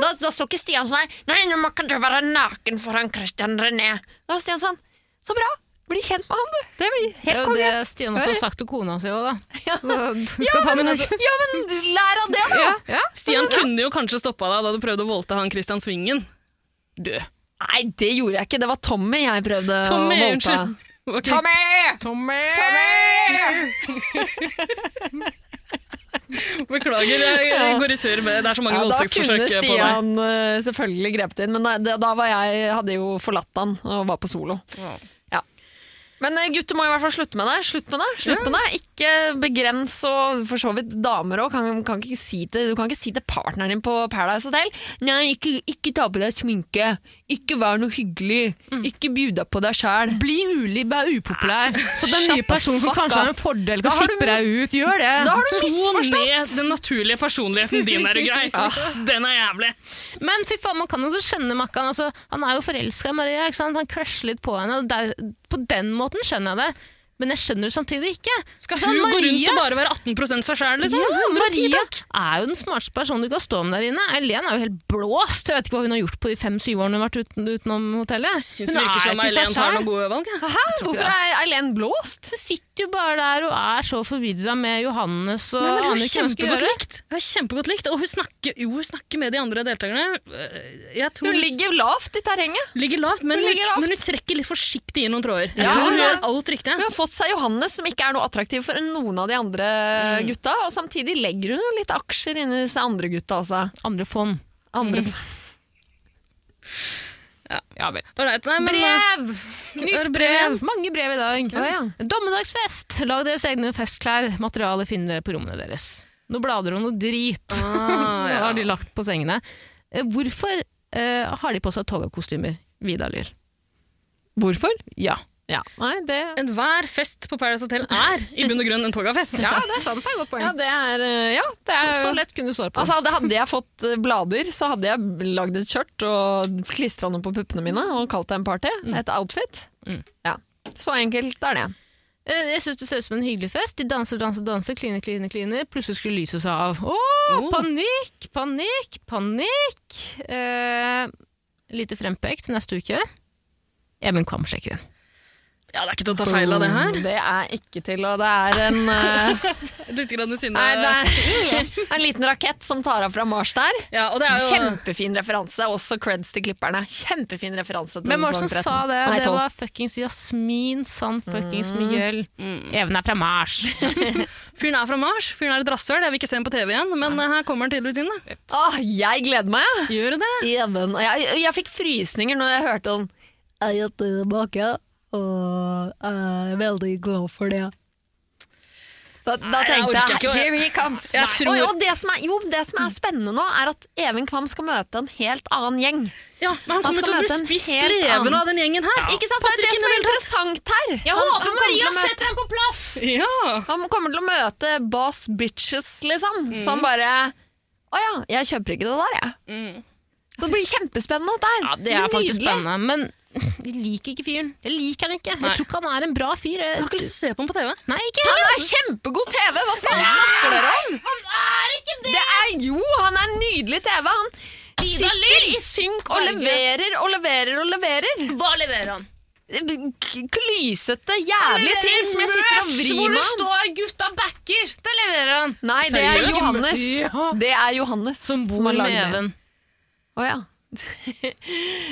[SPEAKER 3] Da, da så ikke Stian sånn her Nei, nå må ikke du være naken foran Christian René. Da var Stian sånn Så bra! Bli kjent med han, du. Det blir
[SPEAKER 5] Det er
[SPEAKER 3] helt
[SPEAKER 5] jo
[SPEAKER 3] konge.
[SPEAKER 5] det Stian også har sagt til kona si òg, da.
[SPEAKER 3] Ja.
[SPEAKER 5] Du
[SPEAKER 3] Ja,
[SPEAKER 5] skal ta
[SPEAKER 3] men,
[SPEAKER 5] den
[SPEAKER 3] altså, ja, men lær av det, da!
[SPEAKER 4] Stian kunne jo kanskje stoppa deg da du prøvde å voldta han Christian Svingen.
[SPEAKER 5] Du.
[SPEAKER 3] Nei, det gjorde jeg ikke. Det var Tommy jeg prøvde
[SPEAKER 4] Tommy,
[SPEAKER 3] å voldta.
[SPEAKER 4] unnskyld. Ok.
[SPEAKER 3] Tommy!
[SPEAKER 5] Tommy!
[SPEAKER 4] Beklager, jeg jeg går i surr. med- Det er så mange
[SPEAKER 3] Ja, da
[SPEAKER 4] voldtektsforsøk
[SPEAKER 3] kunne
[SPEAKER 4] på deg.
[SPEAKER 3] Stian eh, selvfølgelig grepet inn, men da, da var jeg, hadde jeg jo forlatt han og var på solo. Men eh, gutter må i hvert fall slutte med det. Slutt med det. Slutt med det. Ikke begrens og for så vidt damer òg. Kan, kan ikke si til- du kan ikke si til partneren din på Paradise Hotel Nei, ikke, ikke ta på deg sminke. Ikke vær noe hyggelig. Ikke bjuda på deg sjæl.
[SPEAKER 5] Mm. Bli ulib, vær upopulær. Så den nye
[SPEAKER 3] Shut the
[SPEAKER 5] personen som
[SPEAKER 3] fuck
[SPEAKER 5] kanskje har
[SPEAKER 3] up.
[SPEAKER 5] en fordel,
[SPEAKER 3] Da
[SPEAKER 5] kan
[SPEAKER 3] har du-
[SPEAKER 5] slippe deg ut. Gjør det.
[SPEAKER 4] Da har du ned den naturlige personligheten din, er du grei.
[SPEAKER 5] Ja.
[SPEAKER 4] Den er jævlig.
[SPEAKER 5] Men fy faen, man kan jo også skjønne Makkan. Altså, han er jo forelska i Maria. Ikke sant? Han crasher litt på henne. Og der, på den måten skjønner jeg det, men jeg skjønner det samtidig ikke.
[SPEAKER 4] Skal hun gå rundt og bare være 18 seg sjæl, liksom?
[SPEAKER 5] Ja,
[SPEAKER 4] 110,
[SPEAKER 5] Maria
[SPEAKER 4] takk.
[SPEAKER 5] er jo den smarteste personen du kan stå med der inne. Eileen er jo helt blåst. Jeg vet ikke hva hun har gjort på de fem-syv årene hun har vært uten, utenom hotellet.
[SPEAKER 4] Syns det virker som Eileen tar noen gode valg. jeg.
[SPEAKER 5] Hæ?
[SPEAKER 4] Jeg tror ikke
[SPEAKER 5] Hvorfor
[SPEAKER 4] det.
[SPEAKER 5] er Eileen blåst? Hun sitter jo bare der og er så forvirra med Johannes og
[SPEAKER 4] Nei, men hun er
[SPEAKER 5] aner ikke hva hun skal
[SPEAKER 4] kjempegodt
[SPEAKER 5] gjøre.
[SPEAKER 4] likt. Hun er kjempegodt likt, Og hun snakker, jo, hun snakker med de andre deltakerne. Øh, Jeg tror
[SPEAKER 3] Hun ligger lavt i terrenget.
[SPEAKER 4] ligger lavt, men
[SPEAKER 3] Hun
[SPEAKER 4] hun,
[SPEAKER 3] ligger lavt.
[SPEAKER 4] men hun trekker litt forsiktig i noen tråder. Jeg
[SPEAKER 3] Ja,
[SPEAKER 4] tror hun
[SPEAKER 3] ja.
[SPEAKER 4] gjør alt riktig.
[SPEAKER 3] Hun har fått seg Johannes, som ikke er noe attraktiv for noen av de andre gutta. Og samtidig legger hun jo litt aksjer inn i disse andre gutta også.
[SPEAKER 5] Andre fond.
[SPEAKER 3] Andre
[SPEAKER 4] Ja.
[SPEAKER 5] vel.
[SPEAKER 4] Alright, nei, men, eh,
[SPEAKER 5] Brev!
[SPEAKER 4] Brev.
[SPEAKER 5] Nytt brev. Mange brev i dag.
[SPEAKER 3] eh, Å, ja.
[SPEAKER 5] Dommedagsfest! Lag deres egne festklær. Materialet finner dere på rommene deres. Nå blader de om noe drit.
[SPEAKER 4] Ah,
[SPEAKER 5] Nå
[SPEAKER 4] ja.
[SPEAKER 5] har de lagt på sengene. Eh, Hvorfor eh, har de på seg togakostymer, Vidar Lill?
[SPEAKER 3] Hvorfor?
[SPEAKER 5] Ja.
[SPEAKER 3] Ja. Nei, det
[SPEAKER 4] Enhver fest på Paradise Hotel er i bunn og grunn en togafest.
[SPEAKER 3] Ja, det er sant. Det er et godt poeng. Ja, det er, eh, ja, det
[SPEAKER 5] Så,
[SPEAKER 3] er,
[SPEAKER 5] så lett kunne du svare på.
[SPEAKER 3] Altså, hadde, hadde jeg fått eh, blader, så hadde jeg lagd et skjørt og klistra noe på puppene mine og kalt det en party. Et outfit.
[SPEAKER 5] Mm.
[SPEAKER 3] Ja. Så enkelt er det.
[SPEAKER 5] Eh, Jeg synes det ser ut som en hyggelig fest. De danser, danser, danser, kliner, kliner, kliner. Plutselig skulle lyset seg av. Å,
[SPEAKER 3] Oh.
[SPEAKER 5] panikk, panikk, panikk! Eh, lite frempekt neste uke. Even Kvam sjekker inn.
[SPEAKER 4] Ja, det er ikke til å ta feil av det her.
[SPEAKER 3] Det er ikke til, og det er en eh,
[SPEAKER 4] Litt grann sinne.
[SPEAKER 3] Nei, det er en liten rakett som tar av fra Mars der.
[SPEAKER 4] Ja, og det er jo...
[SPEAKER 3] Kjempefin referanse. Også creds til klipperne. Kjempefin referanse til
[SPEAKER 5] Hvem var det som sånn
[SPEAKER 3] sesong 13.
[SPEAKER 5] sa det?
[SPEAKER 3] Nei,
[SPEAKER 5] det
[SPEAKER 3] tolv.
[SPEAKER 5] var fuckings Jasmin San fuckings Miguel. Even er fra Mars.
[SPEAKER 4] Fyren er fra Mars, fyren er et rasshøl, jeg vil ikke se ham på TV igjen, men eh, her kommer han tydeligvis inn. da.
[SPEAKER 3] Åh, jeg gleder meg, jeg.
[SPEAKER 4] Gjør det?
[SPEAKER 3] Even. Og Jeg, jeg fikk frysninger når jeg hørte den. Jeg er tilbake, og jeg er veldig glad for det. Da, da
[SPEAKER 4] Nei, jeg
[SPEAKER 3] tenkte
[SPEAKER 4] orker
[SPEAKER 3] jeg,
[SPEAKER 4] ikke å-
[SPEAKER 3] here he comes.
[SPEAKER 4] Jeg tror-
[SPEAKER 3] Og, og det, som er, jo, det som er spennende nå, er at Even Kvam skal møte en helt annen gjeng.
[SPEAKER 4] Ja, men han
[SPEAKER 3] Han
[SPEAKER 4] kommer
[SPEAKER 3] skal
[SPEAKER 4] til å bli
[SPEAKER 3] møte en
[SPEAKER 4] spist
[SPEAKER 3] helt
[SPEAKER 4] levende
[SPEAKER 3] annen-
[SPEAKER 4] av den gjengen her.
[SPEAKER 3] Ikke sant?
[SPEAKER 4] Passer
[SPEAKER 3] det er det
[SPEAKER 4] ikke
[SPEAKER 3] som er
[SPEAKER 4] inn i det
[SPEAKER 3] interessant her.
[SPEAKER 5] Jeg
[SPEAKER 3] Han- han
[SPEAKER 5] håper
[SPEAKER 3] kommer til
[SPEAKER 5] Maria
[SPEAKER 3] å møte-
[SPEAKER 5] setter ham på plass!
[SPEAKER 4] hele tatt. Ja.
[SPEAKER 3] han kommer til å møte boss bitches, liksom.
[SPEAKER 5] Mm.
[SPEAKER 3] Som bare Å ja, jeg kjøper ikke det der, jeg. Så det blir kjempespennende, dette her.
[SPEAKER 5] Mm. Ja, det
[SPEAKER 3] blir
[SPEAKER 5] er faktisk
[SPEAKER 3] nydelig.
[SPEAKER 5] spennende, men jeg liker ikke fyren. Jeg liker han ikke.
[SPEAKER 4] Nei.
[SPEAKER 5] Jeg tror ikke han er en bra fyr.
[SPEAKER 4] Jeg har ikke lyst til å se på ham på TV.
[SPEAKER 5] Nei, ikke
[SPEAKER 3] Han
[SPEAKER 5] heller.
[SPEAKER 3] er kjempegod TV! Hva faen snakker dere om?
[SPEAKER 5] Han er ikke det!
[SPEAKER 3] Det er jo, han er nydelig TV. Han
[SPEAKER 5] Vidar
[SPEAKER 3] sitter
[SPEAKER 5] Lill.
[SPEAKER 3] i synk og
[SPEAKER 5] Berge.
[SPEAKER 3] leverer og leverer og leverer.
[SPEAKER 5] Hva leverer han?
[SPEAKER 3] K- Klysete, jævlige ting som jeg sitter og
[SPEAKER 5] Rush,
[SPEAKER 3] vrir
[SPEAKER 5] Hvor
[SPEAKER 3] meg
[SPEAKER 5] det
[SPEAKER 3] om.
[SPEAKER 5] står 'gutta backer'. Det leverer han.
[SPEAKER 3] Nei, det er
[SPEAKER 4] Seriøst?
[SPEAKER 3] Johannes.
[SPEAKER 5] Ja.
[SPEAKER 3] Det er Johannes
[SPEAKER 5] Som bor med Even.
[SPEAKER 3] Å ja.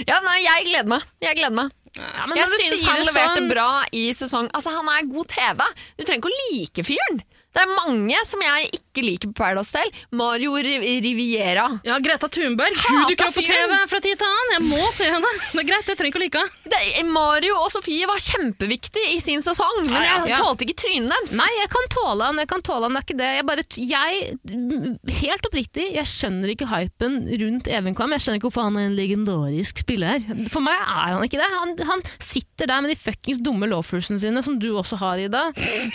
[SPEAKER 3] ja, nei, jeg gleder meg. Jeg gleder meg.
[SPEAKER 5] Ja, men når
[SPEAKER 3] jeg
[SPEAKER 5] du
[SPEAKER 3] syns
[SPEAKER 5] sier
[SPEAKER 3] han
[SPEAKER 5] det
[SPEAKER 3] leverte
[SPEAKER 5] sånn-
[SPEAKER 3] bra i sesong Altså, han er god TV. Du trenger ikke å like fyren. Det er mange som jeg ikke liker på Paradise Hotel. Mario Ri- Riviera.
[SPEAKER 4] Ja, Greta Thunberg, hun
[SPEAKER 3] Hata
[SPEAKER 4] dukker opp på
[SPEAKER 3] fyren.
[SPEAKER 4] TV fra tid til annen. Jeg må se henne. Det er greit, jeg trenger ikke å like henne.
[SPEAKER 3] Det, Mario og Sofie var kjempeviktige i sin sesong, men
[SPEAKER 5] Ja, ja,
[SPEAKER 3] jeg
[SPEAKER 5] ja.
[SPEAKER 3] tålte ikke trynet deres.
[SPEAKER 5] Nei, jeg kan tåle han, jeg kan tåle han, det er ikke det. Jeg bare, t- jeg, helt oppriktig, jeg skjønner ikke hypen rundt Even Kvam. Jeg skjønner ikke hvorfor han er en legendarisk spiller. For meg er han ikke det. Han, han sitter der med de fuckings dumme lawfursene sine, som du også har, Ida.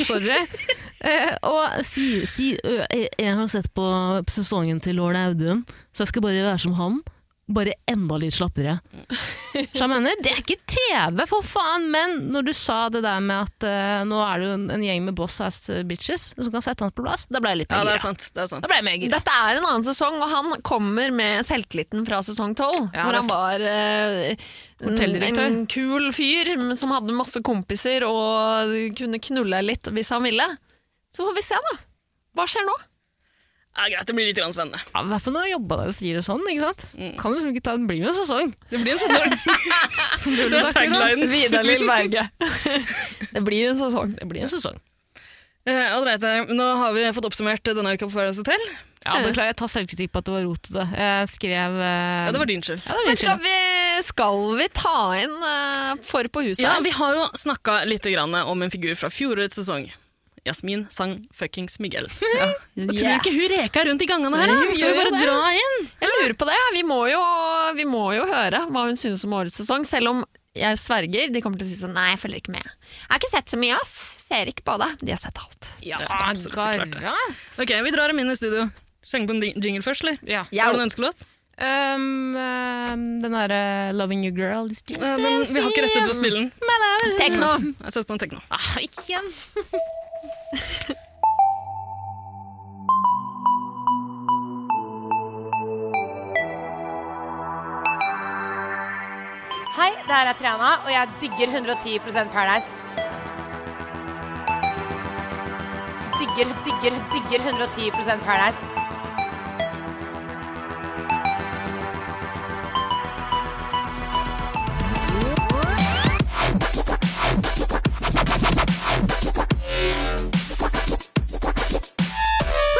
[SPEAKER 5] Sorry. Eh, og si, si ø, jeg, jeg har sett på sesongen til Lord Audun, så jeg skal bare være som han. Bare enda litt slappere. Så jeg mener, det er ikke TV, for faen! Men når du sa det der med at eh, nå er det jo en, en gjeng med boss-ass bitches som kan sette han på plass, da ble jeg litt
[SPEAKER 4] Ja, det
[SPEAKER 5] gira.
[SPEAKER 4] er sant. Det er sant.
[SPEAKER 5] Da ble jeg mer gira.
[SPEAKER 3] Dette er en annen sesong, og han kommer med selvtilliten fra sesong 12.
[SPEAKER 5] Ja,
[SPEAKER 3] hvor
[SPEAKER 5] det er
[SPEAKER 3] han var eh, en
[SPEAKER 5] Hotelldirektør.
[SPEAKER 3] en kul fyr som hadde masse kompiser og kunne knulle litt hvis han ville. Så får vi se, da. Hva skjer nå?
[SPEAKER 4] Ja, greit, det blir litt grann spennende.
[SPEAKER 5] Ja, I hvert fall når jeg jobba der og sier det sånn. ikke sant?
[SPEAKER 4] Mm.
[SPEAKER 5] Kan liksom ikke ta en bli med en sesong.
[SPEAKER 4] Det blir en sesong.
[SPEAKER 5] Som du ville
[SPEAKER 4] Det er
[SPEAKER 5] sagt. Ida.
[SPEAKER 4] taglinen.
[SPEAKER 3] Vidar Lill Berge. det blir en sesong.
[SPEAKER 5] Det blir en sesong.
[SPEAKER 4] Eh, all right, eh, nå har vi fått oppsummert denne uka på Paradise Hotel.
[SPEAKER 5] Ja, Beklager, jeg tar selvkritikk på at det var rotete. Jeg skrev eh, Ja,
[SPEAKER 4] det var din skyld.
[SPEAKER 5] Ja, det var
[SPEAKER 3] Men
[SPEAKER 5] min
[SPEAKER 3] skal
[SPEAKER 5] skyld.
[SPEAKER 3] vi, skal vi ta inn eh, for på huset?
[SPEAKER 4] Ja,
[SPEAKER 3] her?
[SPEAKER 4] vi har jo snakka litt grann om en figur fra fjorårets sesong. Jasmin sang fuckings Miguel. Ja. Jeg tror ikke hun reka rundt i gangene her, da.
[SPEAKER 3] Hun
[SPEAKER 4] Skal vi
[SPEAKER 3] gjør jo
[SPEAKER 4] bare
[SPEAKER 3] det.
[SPEAKER 4] dra inn?
[SPEAKER 3] Jeg lurer på det. ja. Vi må jo, vi må jo høre hva hun synes om årets sesong, selv om jeg sverger, de kommer til å si sånn Nei, jeg følger ikke med. Jeg har ikke sett så mye, ass. Ser ikke på det. De har sett alt.
[SPEAKER 4] Ja, absolutt, så klart det. Ok, vi drar dem inn i studio. Sjange på en jing- jingle først, eller?
[SPEAKER 5] Ja.
[SPEAKER 4] Har du en ønskelåt?
[SPEAKER 5] Um, um, den derre 'Loving You Girl'. Just
[SPEAKER 4] Eh, den- vi har ikke rett til å spille den.
[SPEAKER 3] Tekno.
[SPEAKER 4] Jeg setter på en tekno.
[SPEAKER 5] Ah, ikke igjen.
[SPEAKER 9] Hei, det her er Triana, og jeg digger 110 Paradise. Digger, digger, digger 110 Paradise.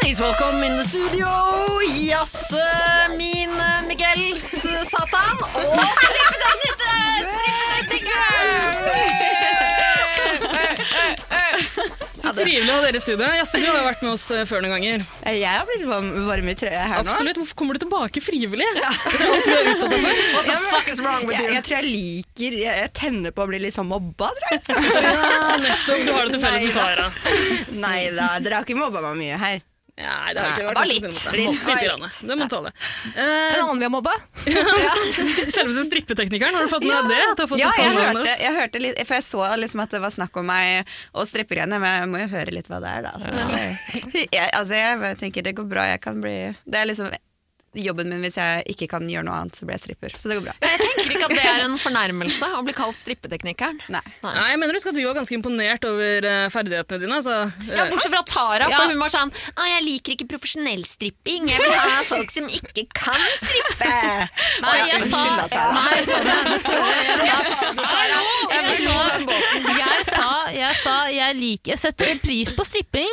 [SPEAKER 3] Please welcome in the studio Jasmin Miguel Satan og
[SPEAKER 4] Så trivelig å ha dere i studio. Jasmin, du har jo vært med oss eh, før noen ganger.
[SPEAKER 10] Jeg har blitt varm, varm i trøya her nå.
[SPEAKER 4] Absolutt. Hvorfor kommer du tilbake frivillig? Ja.
[SPEAKER 10] What the fuck is wrong with you? Jeg, jeg tror jeg liker Jeg, jeg tenner på å bli litt sånn mobba, tror jeg.
[SPEAKER 4] Ja, nettopp. Du har det til felles med
[SPEAKER 10] Neida.
[SPEAKER 4] Tara.
[SPEAKER 10] Neida, dere har ikke mobba meg mye her.
[SPEAKER 4] Nei, det har ikke vært
[SPEAKER 10] Bare
[SPEAKER 4] noe
[SPEAKER 10] litt.
[SPEAKER 4] som sier noe.
[SPEAKER 10] Litt.
[SPEAKER 4] Litt grann. Det må du tåle. Eh,
[SPEAKER 5] en annen vi har mobba.
[SPEAKER 4] Selveste strippeteknikeren, har du fått med deg det? At du har fått
[SPEAKER 10] Ja,
[SPEAKER 4] litt
[SPEAKER 10] jeg
[SPEAKER 4] kallenavn
[SPEAKER 10] hørte-
[SPEAKER 4] av oss?
[SPEAKER 1] Jeg hørte litt, for jeg så liksom at det var snakk om meg og strippegreiene, men jeg må jo høre litt hva det er, da. Jeg, altså, jeg bare tenker det går bra, jeg kan bli Det er liksom jobben min hvis jeg ikke kan gjøre noe annet, så blir jeg stripper. Så det går bra.
[SPEAKER 3] Jeg tenker ikke at det er en fornærmelse å bli kalt strippeteknikeren.
[SPEAKER 1] Nei.
[SPEAKER 4] Nei, jeg mener husk at vi var ganske imponert over eh, ferdighetene dine. Altså,
[SPEAKER 3] Ja, bortsett fra Tara,
[SPEAKER 4] Ja.
[SPEAKER 3] for hun var sånn «Å, Jeg liker ikke profesjonell stripping. Jeg vil ha folk som ikke kan strippe.
[SPEAKER 5] Nei, jeg sa
[SPEAKER 3] Unnskyld, da, Tara.
[SPEAKER 5] Nei, jeg sa det. det skulle, jeg sa Jeg sa- jeg sa Jeg sa jeg liker Jeg setter pris på stripping,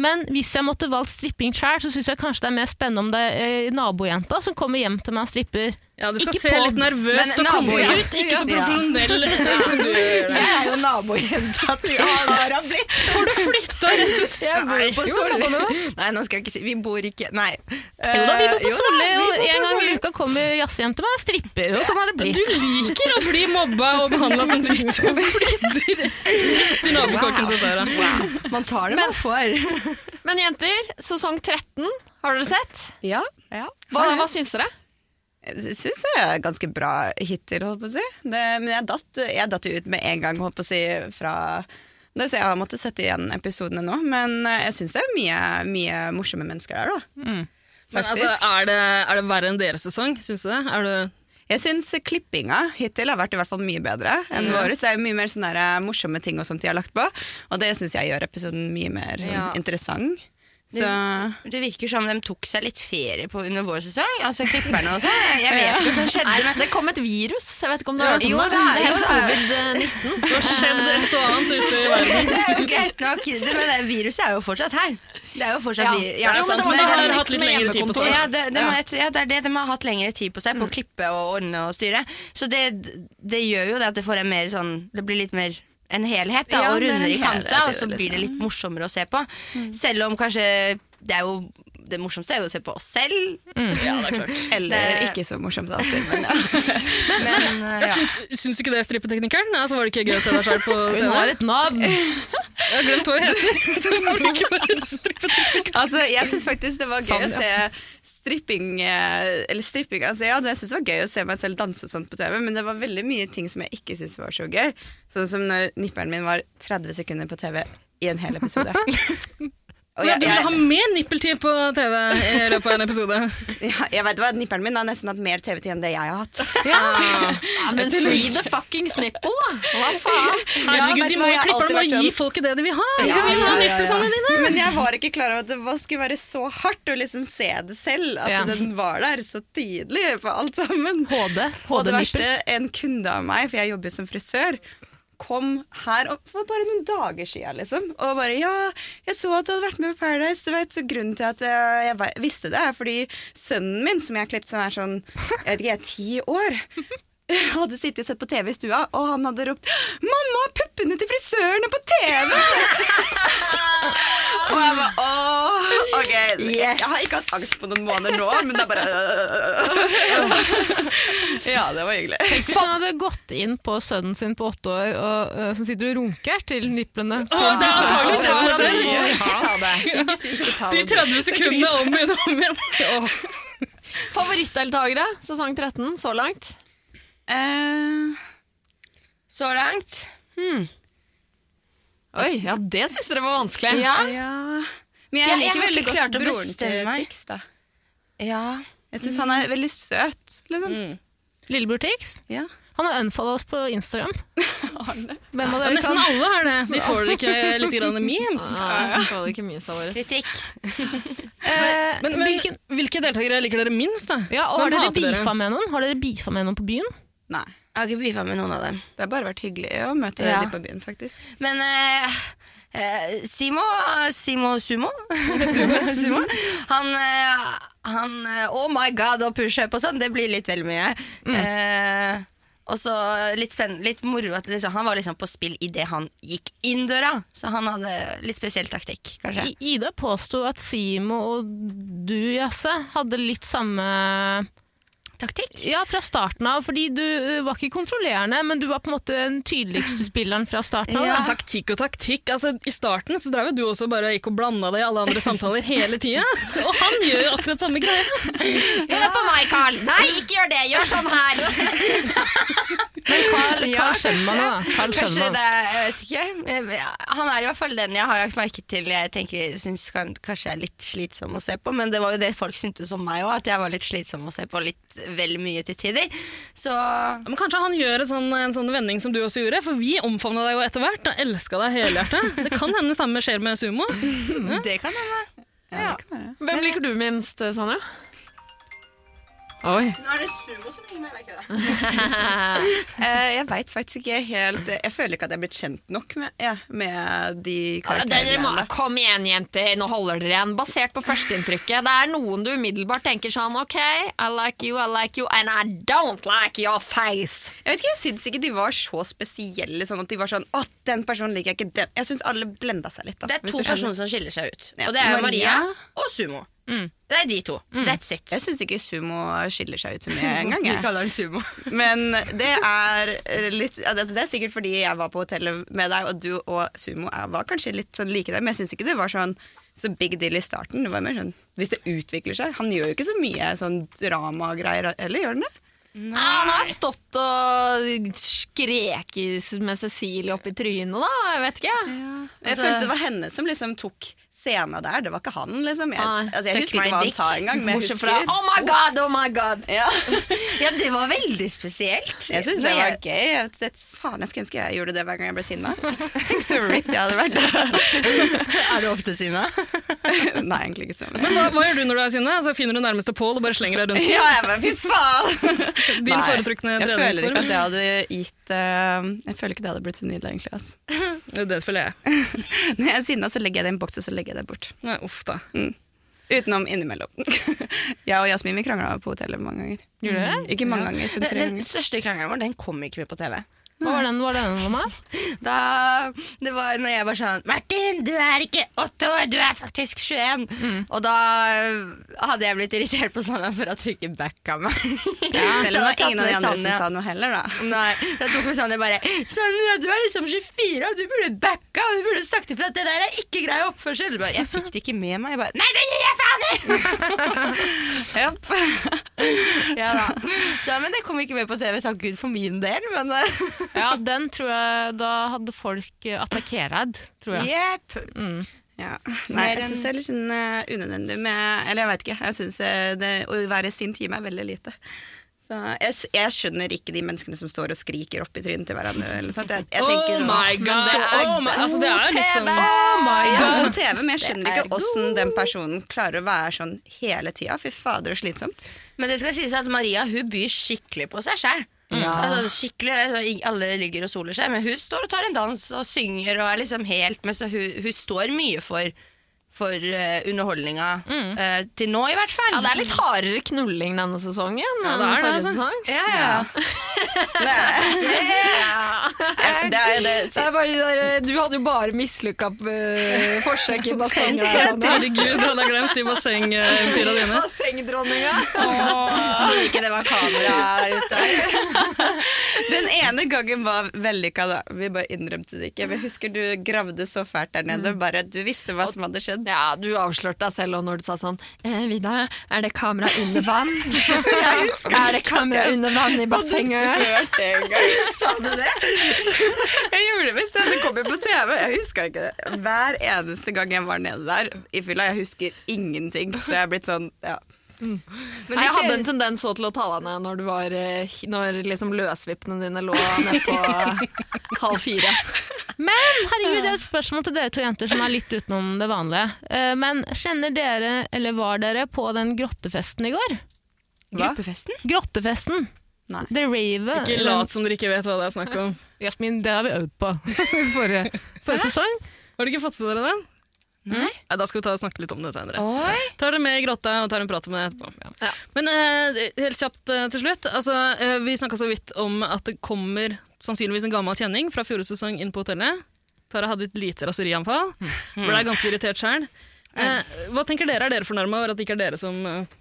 [SPEAKER 5] men hvis jeg måtte valgt stripping sjøl, så syns jeg kanskje det er mer spennende om det er eh, nabojenta som kommer hjem til meg og stripper.
[SPEAKER 4] Ja, det skal
[SPEAKER 5] Ikke
[SPEAKER 4] se
[SPEAKER 5] på-
[SPEAKER 4] litt nervøst og konstig ut, ikke så profesjonell som du gjør.
[SPEAKER 10] Jeg er jo nabojenta til Tara blitt.
[SPEAKER 4] Har du flytta rett ut?
[SPEAKER 10] Jeg bor jo på
[SPEAKER 4] Nei.
[SPEAKER 10] Solli.
[SPEAKER 4] Jo, da kommer
[SPEAKER 10] Nei, nå skal jeg ikke si Vi bor ikke Nei.
[SPEAKER 5] Jo da, vi bor
[SPEAKER 10] Eh,
[SPEAKER 5] på
[SPEAKER 10] jo da,
[SPEAKER 5] Solli,
[SPEAKER 10] vi bor
[SPEAKER 5] og
[SPEAKER 10] på
[SPEAKER 5] en gang i
[SPEAKER 10] Solli.
[SPEAKER 5] uka kommer Jazzy hjem til meg og stripper, og sånn har det blitt.
[SPEAKER 4] Du liker å bli mobba og behandla som dritt og flytter rett i nabokokken til Tara.
[SPEAKER 10] Man tar det man får.
[SPEAKER 3] Men jenter, sesong 13 har dere sett?
[SPEAKER 1] Ja.
[SPEAKER 3] Hva, hva syns dere?
[SPEAKER 1] Jeg syns jeg er ganske bra hittil, holdt på å si. Det, men jeg datt, jeg datt jo ut med en gang, holdt på å si, fra det, Så jeg har måttet sette igjen episodene nå. Men eh, jeg syns det er mye, mye morsomme mennesker der, da.
[SPEAKER 4] Men altså,
[SPEAKER 1] Faktisk.
[SPEAKER 4] er det, er det verre enn deres sesong, syns du det? Er det
[SPEAKER 1] Jeg syns klippinga hittil har vært i hvert fall mye bedre enn
[SPEAKER 4] Mm.
[SPEAKER 1] våre. Så det er jo mye mer sånne der, eh, morsomme ting og sånt de har lagt på. Og det syns jeg gjør episoden mye mer sånn,
[SPEAKER 10] Ja.
[SPEAKER 1] interessant. Så
[SPEAKER 10] Det, det virker som de tok seg litt ferie på under vår sesong. Altså klipperne også. Jeg vet ikke hva som skjedde.
[SPEAKER 3] Nei,
[SPEAKER 10] men-
[SPEAKER 3] det kom et virus. Jeg vet ikke om du har hørt om
[SPEAKER 10] Jo, det er-
[SPEAKER 3] det
[SPEAKER 10] jo,
[SPEAKER 3] het
[SPEAKER 10] det er-
[SPEAKER 3] covid-19.
[SPEAKER 4] Det har skjedd et og annet ute i verden.
[SPEAKER 10] Det er jo greit nok, det- men det viruset er jo fortsatt her. Det er jo fortsatt
[SPEAKER 3] Ja,
[SPEAKER 10] vi-
[SPEAKER 3] det er sant, men de har
[SPEAKER 1] liksom
[SPEAKER 3] hatt litt lengre tid på seg.
[SPEAKER 10] Ja, det, det, må
[SPEAKER 3] Ja.
[SPEAKER 10] jeg tro- ja, det er det de har hatt lengre tid på
[SPEAKER 1] Mm.
[SPEAKER 10] seg, på å klippe og ordne og styre. Så det, det gjør jo det at det får en mer sånn Det blir litt mer en helhet, da,
[SPEAKER 1] Ja,
[SPEAKER 10] og
[SPEAKER 1] det er en
[SPEAKER 10] runder i
[SPEAKER 1] helhet
[SPEAKER 10] kanta,
[SPEAKER 1] i
[SPEAKER 10] og så
[SPEAKER 1] det, Mm.
[SPEAKER 10] blir det
[SPEAKER 1] liksom.
[SPEAKER 10] litt morsommere å se på. Selv om kanskje det er jo det morsomste er jo å se på oss selv.
[SPEAKER 4] Ja, det er klart.
[SPEAKER 1] Eller
[SPEAKER 10] Det-
[SPEAKER 1] ikke så morsomt alltid, men
[SPEAKER 10] Men, eh,
[SPEAKER 4] Jeg syns, syns ikke det, strippeteknikeren? Altså, var det ikke gøy å se deg sjøl på TV?
[SPEAKER 5] Hun har et navn.
[SPEAKER 4] Jeg har glemt hva hun heter. Det var ikke bare en strippeteknikk.
[SPEAKER 1] Altså, jeg syns faktisk det var gøy
[SPEAKER 4] Sånn,
[SPEAKER 1] å se stripping eh, Eller stripping altså, ja, det- Jeg syns det var gøy å se meg selv danse og sånn. sånt på TV, men det var veldig mye ting som jeg ikke syntes var så gøy. Sånn som når nipperen min var 30 sekunder på TV i en hel episode. Og
[SPEAKER 4] Ja,
[SPEAKER 1] jeg,
[SPEAKER 4] du vil ha
[SPEAKER 1] jeg,
[SPEAKER 4] mer nippeltid på TV i løpet av en episode.
[SPEAKER 1] ja, jeg vet hva, Nipperen min har nesten hatt mer TV-tid enn det jeg har hatt.
[SPEAKER 3] Ja, men free the fuckings nipple, da! Hva faen?
[SPEAKER 1] vet
[SPEAKER 4] Herregud, de
[SPEAKER 1] du
[SPEAKER 4] må
[SPEAKER 1] hva,
[SPEAKER 4] jo
[SPEAKER 1] jeg har
[SPEAKER 4] klippe
[SPEAKER 1] alltid
[SPEAKER 4] dem og
[SPEAKER 1] vært
[SPEAKER 4] gi
[SPEAKER 1] sånn.
[SPEAKER 4] folket det de vil ha!
[SPEAKER 1] Ja,
[SPEAKER 4] De vil
[SPEAKER 1] ja,
[SPEAKER 4] ha
[SPEAKER 1] ja,
[SPEAKER 4] nippelsene
[SPEAKER 1] ja.
[SPEAKER 4] dine!
[SPEAKER 1] Men jeg var ikke klar over at det var- skulle være så hardt å liksom se det selv. At
[SPEAKER 5] Ja.
[SPEAKER 1] den var der så tydelig på alt sammen.
[SPEAKER 5] HD.
[SPEAKER 1] Og det
[SPEAKER 5] HD-nippel.
[SPEAKER 1] verste, en kunde av meg, for jeg jobber som frisør, kom her opp for bare noen dager siden, liksom. Og bare Ja, jeg så at du hadde vært med på Paradise. Du vet, grunnen til at jeg, jeg ve- visste det, er fordi sønnen min, som jeg har klippet som er sånn, jeg vet ikke, jeg er ti år hadde sittet og sett på TV i stua, og han hadde ropt 'Mamma, puppene til frisøren er på TV!' og jeg bare åh, ok.
[SPEAKER 10] Yes.
[SPEAKER 1] Jeg har ikke hatt angst på noen måneder nå, men det er bare øh. Ja, det var hyggelig.
[SPEAKER 5] Tenk hvis han hadde gått inn på sønnen sin på åtte år og, øh, som sitter og runker til nipplene.
[SPEAKER 4] det
[SPEAKER 5] til-
[SPEAKER 4] er antageligvis det som har skjedd.
[SPEAKER 5] Ikke ta
[SPEAKER 4] Ikke si ikke ta det. De 30 sekundene om igjen og om igjen. Åh.
[SPEAKER 5] Favorittdeltakere sesong 13 så langt?
[SPEAKER 10] Eh, så langt hmm.
[SPEAKER 5] Oi, ja, det syns dere var vanskelig.
[SPEAKER 10] Ja.
[SPEAKER 1] Men jeg
[SPEAKER 10] Ja,
[SPEAKER 1] liker
[SPEAKER 10] har
[SPEAKER 1] veldig
[SPEAKER 10] ikke
[SPEAKER 1] godt
[SPEAKER 10] klart å
[SPEAKER 1] broren
[SPEAKER 10] bestemme
[SPEAKER 1] til
[SPEAKER 10] meg.
[SPEAKER 1] Tix, da.
[SPEAKER 10] Ja.
[SPEAKER 1] Jeg syns han er veldig søt, liksom.
[SPEAKER 5] Lillebror Tix? Han har unfolda oss på Instagram. Hvem av
[SPEAKER 4] Ja,
[SPEAKER 5] dere
[SPEAKER 4] nesten
[SPEAKER 5] kan-
[SPEAKER 4] alle har det. De tåler ikke litt grann memes.
[SPEAKER 5] Nei, de tåler ikke memes av våre.
[SPEAKER 4] Men, men hvilke, deltakere liker dere minst, da?
[SPEAKER 5] Ja, og har
[SPEAKER 4] Hvem
[SPEAKER 5] dere
[SPEAKER 4] hater dere?
[SPEAKER 5] beefa med noen? Har dere beefa med noen på byen?
[SPEAKER 1] Nei.
[SPEAKER 10] Jeg har ikke beefa med noen av dem.
[SPEAKER 1] Det har bare vært hyggelig å møte
[SPEAKER 10] Ja.
[SPEAKER 1] de på byen, faktisk.
[SPEAKER 10] Men eh, eh, Simo Simo Sumo? Sumo? Han, eh, han eh, Oh my god, og pushup og sånn, det blir litt vel mye. Eh, og så litt, spenn- litt moro at liksom, han var liksom på spill idet han gikk inn døra. Så han hadde litt spesiell taktikk, kanskje.
[SPEAKER 5] I- Ida påsto at Simo og du, Jasse, hadde litt samme
[SPEAKER 10] Taktikk?
[SPEAKER 5] Ja, fra starten av. Fordi du ø, var ikke kontrollerende, men du var på en måte den tydeligste spilleren fra starten av.
[SPEAKER 4] Ja.
[SPEAKER 5] da.
[SPEAKER 4] Taktikk og taktikk. Altså, I starten så drev jo du også bare og gikk og blanda deg i alle andre samtaler hele tida. Og han gjør jo akkurat samme greia.
[SPEAKER 10] Hør på meg, Carl! Nei, ikke gjør det! Gjør sånn her!
[SPEAKER 5] Carl, Carl
[SPEAKER 10] Ja,
[SPEAKER 5] Schjønman, da. Carl
[SPEAKER 10] Kanskje
[SPEAKER 5] Schjønman.
[SPEAKER 10] det er, jeg vet ikke. Eh, Han er i hvert fall den jeg har lagt merke til. Jeg tenker, synes kan, kanskje jeg er litt slitsom å se på, men det var jo det folk syntes om meg òg, at jeg var litt slitsom å se på litt vel mye til tider. Så
[SPEAKER 4] Ja, Men Kanskje han gjør en sånn, en sånn vending som du også gjorde, for vi omfavna deg jo etter hvert og elska deg helhjertet. Det kan hende det samme skjer med sumo.
[SPEAKER 10] Det kan hende.
[SPEAKER 5] Hvem liker du minst, Sanja? Oi.
[SPEAKER 10] Nå er det sumo som ringer meg,
[SPEAKER 1] Eh, jeg veit faktisk ikke helt Jeg føler ikke at jeg er blitt kjent nok med, ja, med de karakterene.
[SPEAKER 3] Dere må,
[SPEAKER 1] ennå.
[SPEAKER 3] kom igjen, jenter. Nå holder dere igjen. Basert på førsteinntrykket. Det er noen du umiddelbart tenker sånn OK, I like you, I like you, and I don't like your face.
[SPEAKER 1] Jeg vet ikke, jeg syns ikke de var så spesielle. Sånn at de var sånn, at den personen liker jeg ikke den. Jeg syns alle blenda seg litt. Da,
[SPEAKER 10] Det er
[SPEAKER 1] hvis du
[SPEAKER 10] to
[SPEAKER 1] skjønner.
[SPEAKER 10] personer som skiller seg ut,
[SPEAKER 1] Ja,
[SPEAKER 10] og det er Maria,
[SPEAKER 1] Maria. Mm.
[SPEAKER 10] og Sumo. Det er de to. That's it.
[SPEAKER 1] Jeg syns ikke sumo skiller seg ut så mye engang.
[SPEAKER 10] Vi kaller den sumo.
[SPEAKER 1] Men det er eh, litt ja, det- altså, Det er sikkert fordi jeg var på hotellet med deg, og du og sumo er- var kanskje litt sånn like der, men jeg syns ikke det var sånn så big deal i starten. Det var mer sånn hvis det utvikler seg. Han gjør jo ikke så mye sånn dramagreier, eller gjør han det?
[SPEAKER 3] Ja, han har stått og skreket med Cecilie opp i trynet, da. Jeg vet ikke.
[SPEAKER 1] Jeg følte det var henne som liksom tok scena der, det var ikke han, liksom. Jeg, altså, jeg husker ikke hva han sa engang, men jeg
[SPEAKER 10] Bortsett
[SPEAKER 1] husker
[SPEAKER 10] fra, Ah. Oh my god, oh my god!
[SPEAKER 1] Ja,
[SPEAKER 10] ja det var veldig spesielt.
[SPEAKER 1] Jeg syns det
[SPEAKER 10] Når
[SPEAKER 1] var
[SPEAKER 10] jeg-
[SPEAKER 1] gøy. Jeg vet- Faen, jeg skulle ønske jeg gjorde det hver gang jeg ble sinna. Tenk så ripped jeg hadde vært.
[SPEAKER 10] Er du ofte sinna?
[SPEAKER 1] Nei, egentlig ikke så mye.
[SPEAKER 4] Men hva, hva gjør du når du er sinne? Altså, finner du nærmeste Pål og bare slenger deg rundt?
[SPEAKER 1] Ja, jeg bare, fy faen!
[SPEAKER 4] Din
[SPEAKER 1] Nei,
[SPEAKER 4] foretrukne
[SPEAKER 1] Jeg føler ikke at det
[SPEAKER 4] treningsform.
[SPEAKER 1] hadde gitt eh, Jeg føler ikke det hadde blitt så nydelig, egentlig. ass.
[SPEAKER 4] Det føler jeg.
[SPEAKER 1] Når jeg er sinna, så legger jeg det i en boks, og så legger jeg det bort.
[SPEAKER 4] Nei, uff da.
[SPEAKER 1] Mm. Utenom innimellom. jeg og Jasmin vi krangla på hotellet mange ganger.
[SPEAKER 5] Gjorde dere?
[SPEAKER 1] Mm. Ikke mange
[SPEAKER 10] Ja.
[SPEAKER 1] ganger, sånn
[SPEAKER 10] Den-
[SPEAKER 1] tre
[SPEAKER 10] Den
[SPEAKER 1] ganger.
[SPEAKER 10] største krangelen vår, den kom ikke med på TV.
[SPEAKER 5] Hva var den, hva var den om her?
[SPEAKER 10] Da, det var når jeg var sånn Martin, du er ikke åtte år, du er faktisk 21.
[SPEAKER 5] Mm.
[SPEAKER 10] Og da øh, hadde jeg blitt irritert på Sanja for at hun ikke backa meg.
[SPEAKER 1] Selv om det var ingen av de andre som sa noe heller, da.
[SPEAKER 10] Nei, da tok vi Sanja bare Sanja, du er liksom 24, og du burde backa, og du burde sagt ifra at det der er ikke grei oppførsel. Du Bare, jeg fikk det ikke med meg. Jeg bare, Nei, det gir jeg faen i!
[SPEAKER 1] Japp.
[SPEAKER 10] Ja da. Så, men det kom ikke med på TV, takk Gud for min del, men eh,
[SPEAKER 5] Ja, den tror jeg Da hadde folk eh, attakkert, tror jeg.
[SPEAKER 10] Jepp.
[SPEAKER 1] Ja. Nei,
[SPEAKER 10] Mer
[SPEAKER 1] jeg syns det er litt sånn eh, unødvendig med Eller jeg veit ikke. Jeg syns det å være sin time er veldig lite. Så jeg, s- jeg skjønner ikke de menneskene som står og skriker opp i trynet til hverandre. Eller sånt. Jeg, jeg tenker
[SPEAKER 4] Oh
[SPEAKER 1] sånn,
[SPEAKER 4] my
[SPEAKER 1] men
[SPEAKER 4] god. Oh my- altså, det er jo litt sånn-
[SPEAKER 1] Oh my god. Ja,
[SPEAKER 4] god.
[SPEAKER 1] god TV, men jeg skjønner
[SPEAKER 10] Det er
[SPEAKER 1] ikke åssen den personen klarer å være sånn hele tida. Fy fader, så slitsomt.
[SPEAKER 10] Men det skal sies at Maria hun byr skikkelig på seg sjøl.
[SPEAKER 1] Mm.
[SPEAKER 10] Ja. Altså, skikkelig, altså, ing- Alle ligger og soler seg, men hun står og tar en dans og synger. Og er liksom helt med, så hun, hun står mye for, for eh, underholdninga.
[SPEAKER 1] Mm.
[SPEAKER 10] eh, til nå, i hvert fall.
[SPEAKER 3] Ja, det er litt hardere knulling denne sesongen enn
[SPEAKER 10] det er det,
[SPEAKER 3] forrige
[SPEAKER 10] altså.
[SPEAKER 3] sesong.
[SPEAKER 10] Ja, ja.
[SPEAKER 3] Det,
[SPEAKER 1] er,
[SPEAKER 3] bare de der, eh, du hadde jo bare mislykka eh, forsøk i bassenget.
[SPEAKER 4] Herregud, han har glemt eh, de bassengtida dine.
[SPEAKER 3] Bassengdronninga.
[SPEAKER 10] Tror ikke det var kamera ute.
[SPEAKER 1] Den ene gangen var vellykka, da. Vi bare innrømte det ikke. Jeg husker du gravde så fælt der nede.
[SPEAKER 10] Mm.
[SPEAKER 1] Bare du visste hva som hadde skjedd.
[SPEAKER 3] Ja, du avslørte deg selv når du sa sånn eh, 'Vida, er det kamera under vann?' er det kamera under vann i bassenget?
[SPEAKER 1] Hørte jeg en gang. Sa du det? Jeg gjorde det visst. Det kom jo på TV. Jeg huska ikke det. Hver eneste gang jeg var nede der i fylla, jeg husker ingenting. Så jeg er blitt sånn, ja.
[SPEAKER 10] Mm.
[SPEAKER 3] Nei, jeg hadde en tendens så til å ta deg ned når, du var, eh, hi- når liksom løsvippene dine lå nede på halv fire.
[SPEAKER 5] Men herregud, det er et spørsmål til dere to jenter som er litt utenom det vanlige. Eh, Men kjenner dere, eller var dere, på den grottefesten i går?
[SPEAKER 10] sånn Gruppefesten?
[SPEAKER 5] Grottefesten.
[SPEAKER 1] Nei.
[SPEAKER 5] The Rave.
[SPEAKER 4] Ikke lat som dere ikke vet hva det er snakk om.
[SPEAKER 5] Jasmin, det har vi øvd på forrige, forrige sesong.
[SPEAKER 4] Har du ikke fått på dere den? Nei. Da skal vi ta og snakke litt om det senere. Tar det med i grotta og tar en prat om det etterpå. Ja. Men eh, helt kjapt eh, til slutt. Altså, eh, vi snakka så vidt om at det kommer sannsynligvis en gammel kjenning fra fjorårets sesong inn på hotellet. Tara hadde et lite raserianfall. Ble ganske irritert sjøl. hva tenker dere? Er dere fornærma over at det ikke er dere som eh,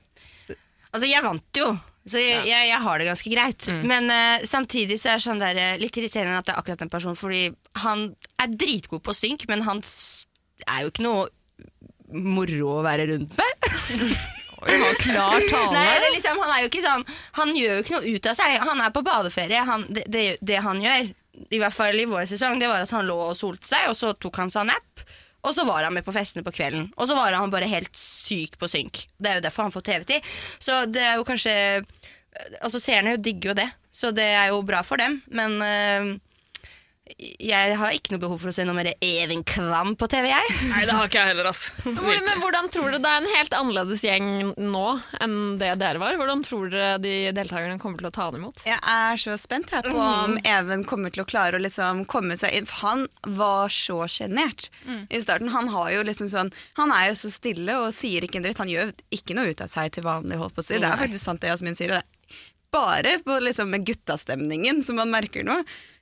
[SPEAKER 10] Altså, jeg vant jo, så jeg, jeg, jeg har det ganske greit.
[SPEAKER 1] Mm.
[SPEAKER 10] Men eh, samtidig så er det sånn der, eh, litt irriterende at det er akkurat den personen, fordi han er dritgod på synk, men han s- er jo ikke noe moro å være rundt med.
[SPEAKER 5] Klar tale.
[SPEAKER 10] Nei, det er liksom, han er jo ikke sånn Han gjør jo ikke noe ut av seg. Han er på badeferie. Han, det, det, det han gjør, i hvert fall i vår sesong, det var at han lå og solte seg, og så tok han seg en nap. Og så var han med på festene på kvelden. Og så var han bare helt syk på synk. Det er jo derfor han får TV-tid. Så det er jo kanskje Altså, seerne jo digger jo det, så det er jo bra for dem, men øh, jeg har ikke noe behov for å se noe mer Even Kvam på TV, jeg.
[SPEAKER 4] Nei, det har ikke jeg heller, ass.
[SPEAKER 3] Hvor, men hvordan tror dere det er en helt annerledes gjeng nå enn det dere var? Hvordan tror dere de deltakerne kommer til å ta det imot?
[SPEAKER 1] Jeg er så spent her på
[SPEAKER 10] Mm.
[SPEAKER 1] om Even kommer til å klare å liksom komme seg inn. For han var så sjenert
[SPEAKER 3] Mm.
[SPEAKER 1] i starten. Han, har jo liksom sånn, han er jo så stille og sier ikke en dritt. Han gjør ikke noe ut av seg til vanlig, holdt på å si. Det er
[SPEAKER 10] Nei.
[SPEAKER 1] faktisk sant det Jasmin sier. og Det er bare på liksom med guttastemningen som man merker noe.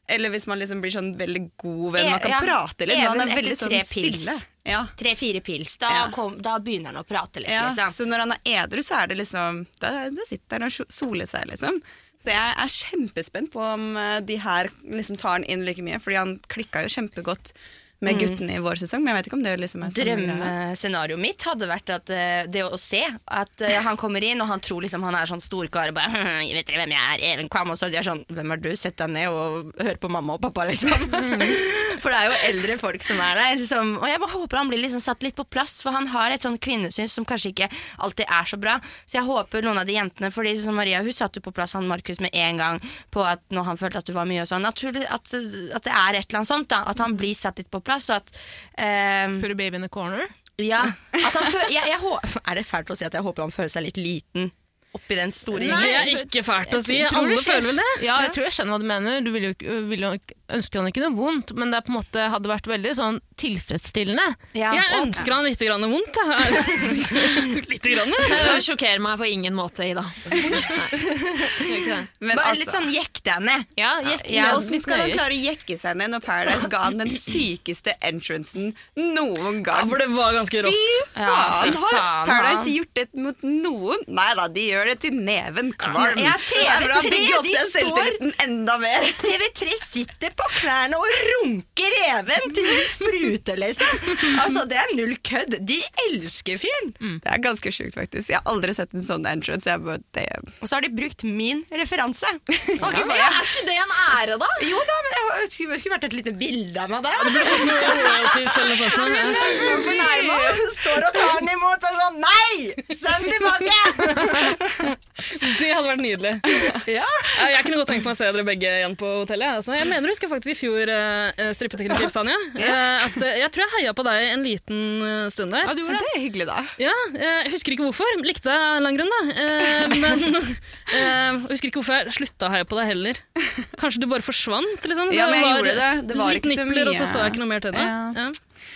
[SPEAKER 1] Eller hvis man liksom blir sånn veldig god venn. Man kan
[SPEAKER 10] E- Ja,
[SPEAKER 1] prate litt, men han
[SPEAKER 10] Even
[SPEAKER 1] er veldig
[SPEAKER 10] etter
[SPEAKER 1] sånn
[SPEAKER 10] tre pils.
[SPEAKER 1] stille. Ja.
[SPEAKER 10] Tre-fire pils. Da, kom, da begynner han å prate litt,
[SPEAKER 1] Ja,
[SPEAKER 10] liksom.
[SPEAKER 1] Så når han er edru, så er det liksom Da, da sitter han og sjo- soler seg, liksom. Så jeg er kjempespent på om eh, de her liksom tar han inn like mye, fordi han klikka jo kjempegodt med
[SPEAKER 10] Mm.
[SPEAKER 1] guttene i vår sesong, men jeg vet ikke om det liksom er samme greia.
[SPEAKER 10] Drømmescenarioet mitt hadde vært at eh, det å se at eh, han kommer inn, og han tror liksom han er sånn storkar og bare «Hm, Vet dere hvem jeg er? Even Kvam. Og så de er sånn Hvem er du? Sett deg ned og hør på mamma og pappa, liksom. for det er jo eldre folk som er der. Som, og jeg bare håper han blir liksom satt litt på plass, for han har et sånn kvinnesyn som kanskje ikke alltid er så bra. Så jeg håper noen av de jentene Fordi som Maria, hun satte jo på plass han Markus med en gang på at når han følte at du var mye og sånn. Naturlig at, at det er et eller annet sånt, da. At han blir satt litt på plass, og at eh, Put
[SPEAKER 5] a baby in the corner?
[SPEAKER 10] Ja. At han føl- jeg, jeg, hå- er det fælt å si at jeg håper han føler seg litt liten oppi den store
[SPEAKER 4] Nei, det er ikke fælt å si. Alle føler vel det?
[SPEAKER 5] Ja, jeg tror jeg skjønner hva du mener. Du ville jo, ikke- ville jo ikke- ønsker han ikke noe vondt, men det er på en måte hadde vært veldig sånn tilfredsstillende.
[SPEAKER 4] Jeg ønsker han litt grann vondt. jeg. litt grann.
[SPEAKER 3] Nei, Det sjokkerer meg på ingen måte, Ida.
[SPEAKER 1] Men
[SPEAKER 10] Bare
[SPEAKER 1] altså-
[SPEAKER 10] litt sånn jekk deg ned.
[SPEAKER 5] Ja,
[SPEAKER 1] Ja, Hvordan skal han klare å jekke seg ned når Paradise ga han den sykeste entrancen noen gang?
[SPEAKER 4] Ja, for det var ganske rått.
[SPEAKER 1] Fy
[SPEAKER 4] Ja, fy
[SPEAKER 1] faen! Har
[SPEAKER 4] faen,
[SPEAKER 1] Paradise
[SPEAKER 4] ja.
[SPEAKER 1] gjort det mot noen? Nei da, de gjør det til neven kvalm.
[SPEAKER 10] Ja,
[SPEAKER 1] Det er bra å
[SPEAKER 10] TV3,
[SPEAKER 1] bygge opp
[SPEAKER 10] de
[SPEAKER 1] den
[SPEAKER 10] står-
[SPEAKER 1] selvtilliten enda mer.
[SPEAKER 10] TV3 sitter på knærne og runker reven til de spruter, liksom. Altså, det er null kødd. De elsker fyren.
[SPEAKER 1] Det er ganske sjukt, faktisk. Jeg har aldri sett en sånn entrance. Jeg bare, damn.
[SPEAKER 10] Og så har de brukt min referanse.
[SPEAKER 3] er ikke det en ære, da?
[SPEAKER 10] Jo da, men jeg, det skulle skulle vært et lite bilde av meg der.
[SPEAKER 4] det burde vært noe royalties eller noe sånt, ja.
[SPEAKER 10] Jeg blir fornærmet. Står og tar den imot og er sånn Nei! Send tilbake!
[SPEAKER 4] Det hadde vært nydelig. Ja, Jeg kunne godt tenkt meg å se dere begge igjen på hotellet. jeg, Altså, jeg mener du skal faktisk i fjor uh, strippetekniker, Sanja. Eh, at, eh, jeg tror jeg heia på deg en liten eh, stund der.
[SPEAKER 10] Ja, du gjorde det. Det er hyggelig, da.
[SPEAKER 4] Ja, eh, jeg husker ikke hvorfor. Likte deg av en eller annen grunn, da. Eh, men eh, jeg husker ikke hvorfor jeg slutta å heie på deg heller. Kanskje du bare forsvant, liksom?
[SPEAKER 10] Ja, men jeg
[SPEAKER 4] var
[SPEAKER 10] gjorde det. Det var
[SPEAKER 4] litt
[SPEAKER 10] ikke så
[SPEAKER 4] nipler, Og så
[SPEAKER 10] mye.
[SPEAKER 4] så jeg ikke noe mer til det. Ja.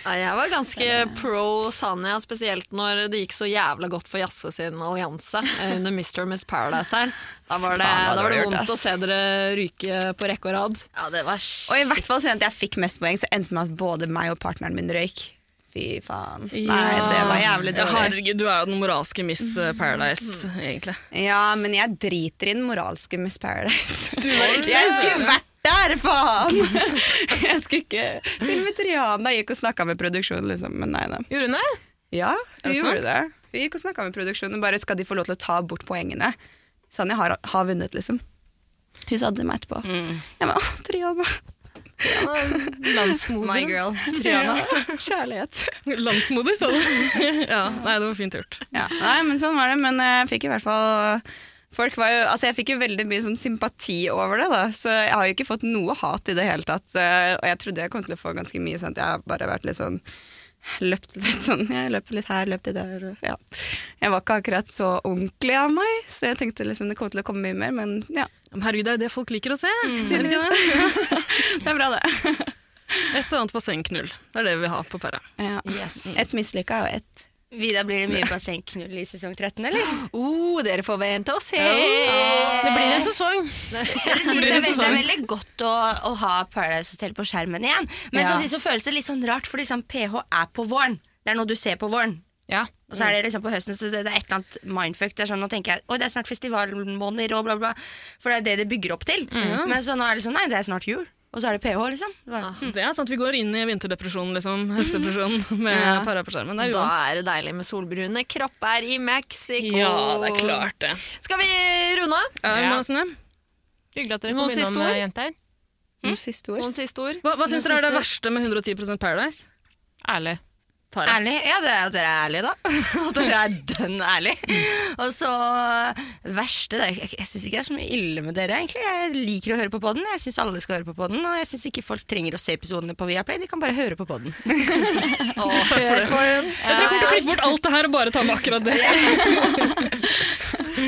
[SPEAKER 3] Ja, jeg var ganske pro Sanja, spesielt når det gikk så jævla godt for Jasse sin allianse eh, under Mr. og Miss Paradise der. Da var det,
[SPEAKER 10] Faen, hva
[SPEAKER 3] da var det
[SPEAKER 10] dårlig gjort,
[SPEAKER 3] vondt å
[SPEAKER 10] ass.
[SPEAKER 3] se dere ryke på rekke og rad. Ja, det var
[SPEAKER 10] Og i hvert fall siden at jeg fikk mest poeng, så endte det med at både meg og partneren min røyk. Fy faen. Nei, det var jævlig
[SPEAKER 4] Ja,
[SPEAKER 10] dårlig. Mm.
[SPEAKER 4] herregud, du er jo den moralske Miss Paradise, egentlig.
[SPEAKER 10] Ja, men jeg driter i den moralske Miss Paradise.
[SPEAKER 4] Du var ikke
[SPEAKER 10] jeg
[SPEAKER 4] det.
[SPEAKER 10] skulle vært der, faen! Jeg skulle ikke Til og med Triana gikk og snakka med produksjonen, liksom. Men nei da.
[SPEAKER 3] Gjorde hun det?
[SPEAKER 10] Ja,
[SPEAKER 3] Er
[SPEAKER 10] vi
[SPEAKER 3] det
[SPEAKER 10] gjorde det.
[SPEAKER 3] sant?
[SPEAKER 10] Vi gikk og snakka med produksjonen. Bare skal de få lov til å ta bort poengene? Sånn jeg har, har vunnet, liksom. Hun sa det til meg etterpå.
[SPEAKER 3] Mm.
[SPEAKER 10] Jeg bare, «Åh, Triana.
[SPEAKER 3] Landsmoder. My girl.
[SPEAKER 10] Triana. Kjærlighet.
[SPEAKER 4] Landsmoder, sa du. ja, nei, det var fint gjort.
[SPEAKER 10] Ja, nei, men sånn var det. Men jeg fikk i hvert fall Folk var jo, altså jeg fikk jo veldig mye sånn sympati over det, da. så jeg har jo ikke fått noe hat i det hele tatt. eh, Og jeg trodde jeg kom til å få ganske mye, sånn at jeg har bare vært litt sånn Løpt litt sånn, jeg løp litt her, løp litt der. og Ja. Jeg var ikke akkurat så ordentlig av meg, så jeg tenkte liksom det kom til å komme mye mer, men ja.
[SPEAKER 4] Men Herregud, det er jo det folk liker å se. er det ikke
[SPEAKER 10] Tydeligvis. det er bra, det.
[SPEAKER 4] Et og annet bassengknull. Det er det vi har på pæra.
[SPEAKER 10] Ja. Et mislykka og et
[SPEAKER 9] Vidar, blir det mye bassengknull i sesong 13, eller?
[SPEAKER 3] Oh, dere får vente og se.
[SPEAKER 9] Det
[SPEAKER 3] blir en sesong.
[SPEAKER 9] Jeg synes
[SPEAKER 3] Det
[SPEAKER 9] det
[SPEAKER 3] blir
[SPEAKER 9] er veldig,
[SPEAKER 3] en
[SPEAKER 9] det er
[SPEAKER 3] sesong.
[SPEAKER 9] veldig godt å, å ha Paradise Hotel på skjermen igjen. Men
[SPEAKER 3] Ja.
[SPEAKER 9] samtidig så føles det litt sånn rart, for liksom PH er på våren. Det er noe du ser på våren. Og så er det liksom på høsten, så det, det er et eller annet mindfuck. Det er sånn, nå tenker jeg, Oi, det er snart festivalmåneder og bla, bla. For det er det det bygger opp til.
[SPEAKER 4] Mhm.
[SPEAKER 9] Men så nå er det sånn, nei, det er snart jul. Og så er det PH, liksom. Det var-
[SPEAKER 4] Det er sant, Vi går inn i vinterdepresjonen, liksom. Høstdepresjonen med
[SPEAKER 3] Ja.
[SPEAKER 4] para på skjermen. Det er
[SPEAKER 3] Da
[SPEAKER 4] uvant.
[SPEAKER 3] er det deilig med solbrune kropper i Mexico.
[SPEAKER 4] Ja, det er klart det.
[SPEAKER 3] Skal vi runde av?
[SPEAKER 4] Ja, men altså,
[SPEAKER 5] Hyggelig at dere
[SPEAKER 4] Noen
[SPEAKER 5] kom innom,
[SPEAKER 4] siste ord?
[SPEAKER 5] eh, jenter.
[SPEAKER 9] Hm?
[SPEAKER 10] Noen siste ord?
[SPEAKER 3] Noen siste ord?
[SPEAKER 4] Hva, hva syns
[SPEAKER 3] Noen
[SPEAKER 4] dere er det
[SPEAKER 3] siste
[SPEAKER 4] verste med 110 Paradise?
[SPEAKER 5] Ærlig.
[SPEAKER 4] Tara.
[SPEAKER 9] Ærlig? Ja, det er at dere er ærlige, da. At dere er dønn ærlige. Og så verste det, er- Jeg syns ikke det er så mye ille med dere, egentlig. Jeg liker å høre på podden. Jeg syns alle skal høre på podden. Og jeg syns ikke folk trenger å se episodene på Viaplay. De kan bare høre på podden. Eh,
[SPEAKER 4] Takk for det. Jeg tror jeg kommer til å klippe bort alt det her og bare ta med akkurat det.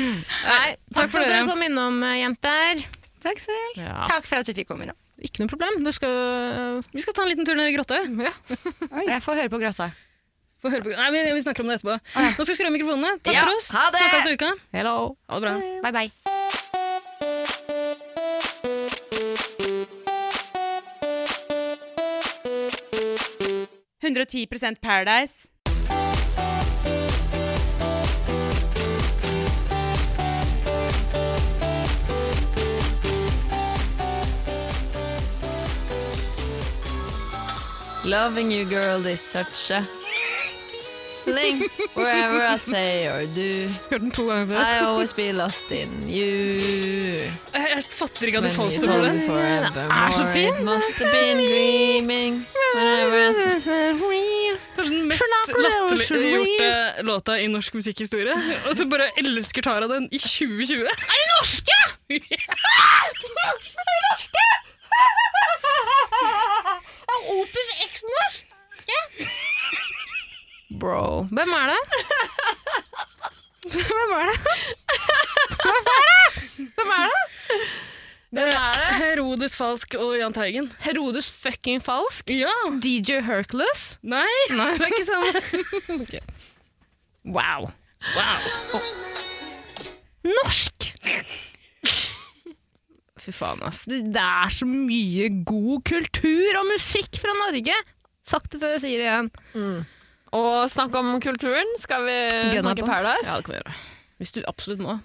[SPEAKER 5] Nei, takk for at
[SPEAKER 4] dere.
[SPEAKER 5] dere kom innom, eh, jenter.
[SPEAKER 10] Takk selv.
[SPEAKER 5] Ja.
[SPEAKER 9] Takk for at du fikk komme innom.
[SPEAKER 5] Ikke noe problem. Du skal
[SPEAKER 4] Vi skal ta en liten tur ned i grotta. vi. Ja.
[SPEAKER 9] Jeg får høre på Grøtta.
[SPEAKER 4] Få høre på. Nei, vi, vi snakker om det etterpå. Nå skal vi skru av mikrofonene. Takk
[SPEAKER 9] Ja,
[SPEAKER 4] for oss.
[SPEAKER 9] ha det.
[SPEAKER 4] Snakkes i uka.
[SPEAKER 5] Hello.
[SPEAKER 4] Ha det bra.
[SPEAKER 9] Bye, bye.
[SPEAKER 11] Paradise.
[SPEAKER 3] Loving you girl is such a thing Wherever I say or do
[SPEAKER 4] Hørt den to ganger før.
[SPEAKER 3] I always be lost in you
[SPEAKER 4] Jeg, jeg fatter ikke at du
[SPEAKER 3] When
[SPEAKER 4] falt
[SPEAKER 3] you
[SPEAKER 4] seg for
[SPEAKER 3] told
[SPEAKER 4] den.
[SPEAKER 3] forevermore
[SPEAKER 4] Den er så fin!
[SPEAKER 3] It must have been dreaming Whenever I say
[SPEAKER 4] Kanskje den mest
[SPEAKER 3] Sjokolade og
[SPEAKER 4] latterliggjorte låta i norsk musikkhistorie. Og så bare elsker Tara den i 2020. Er de norske?!
[SPEAKER 2] Er det norske? Er Opus X norsk?
[SPEAKER 5] Bro. Hvem er det? Hvem er det? Hvem er det? Hvem er det?
[SPEAKER 4] Eh, Herodes Falsk og Jahn Teigen.
[SPEAKER 5] Herodes fucking falsk?
[SPEAKER 4] Ja.
[SPEAKER 5] DJ Hercules?
[SPEAKER 4] Nei, det er ikke sånn.
[SPEAKER 5] Wow.
[SPEAKER 4] Wow.
[SPEAKER 5] Norsk! Fy faen, ass. Det er så mye god kultur og musikk fra Norge! Sagt det før jeg sier det igjen.
[SPEAKER 3] Og snakk om kulturen Skal vi
[SPEAKER 5] Gønna
[SPEAKER 3] snakke
[SPEAKER 5] på.
[SPEAKER 3] Paradise?
[SPEAKER 5] Ja, det kan vi gjøre. Hvis du absolutt må.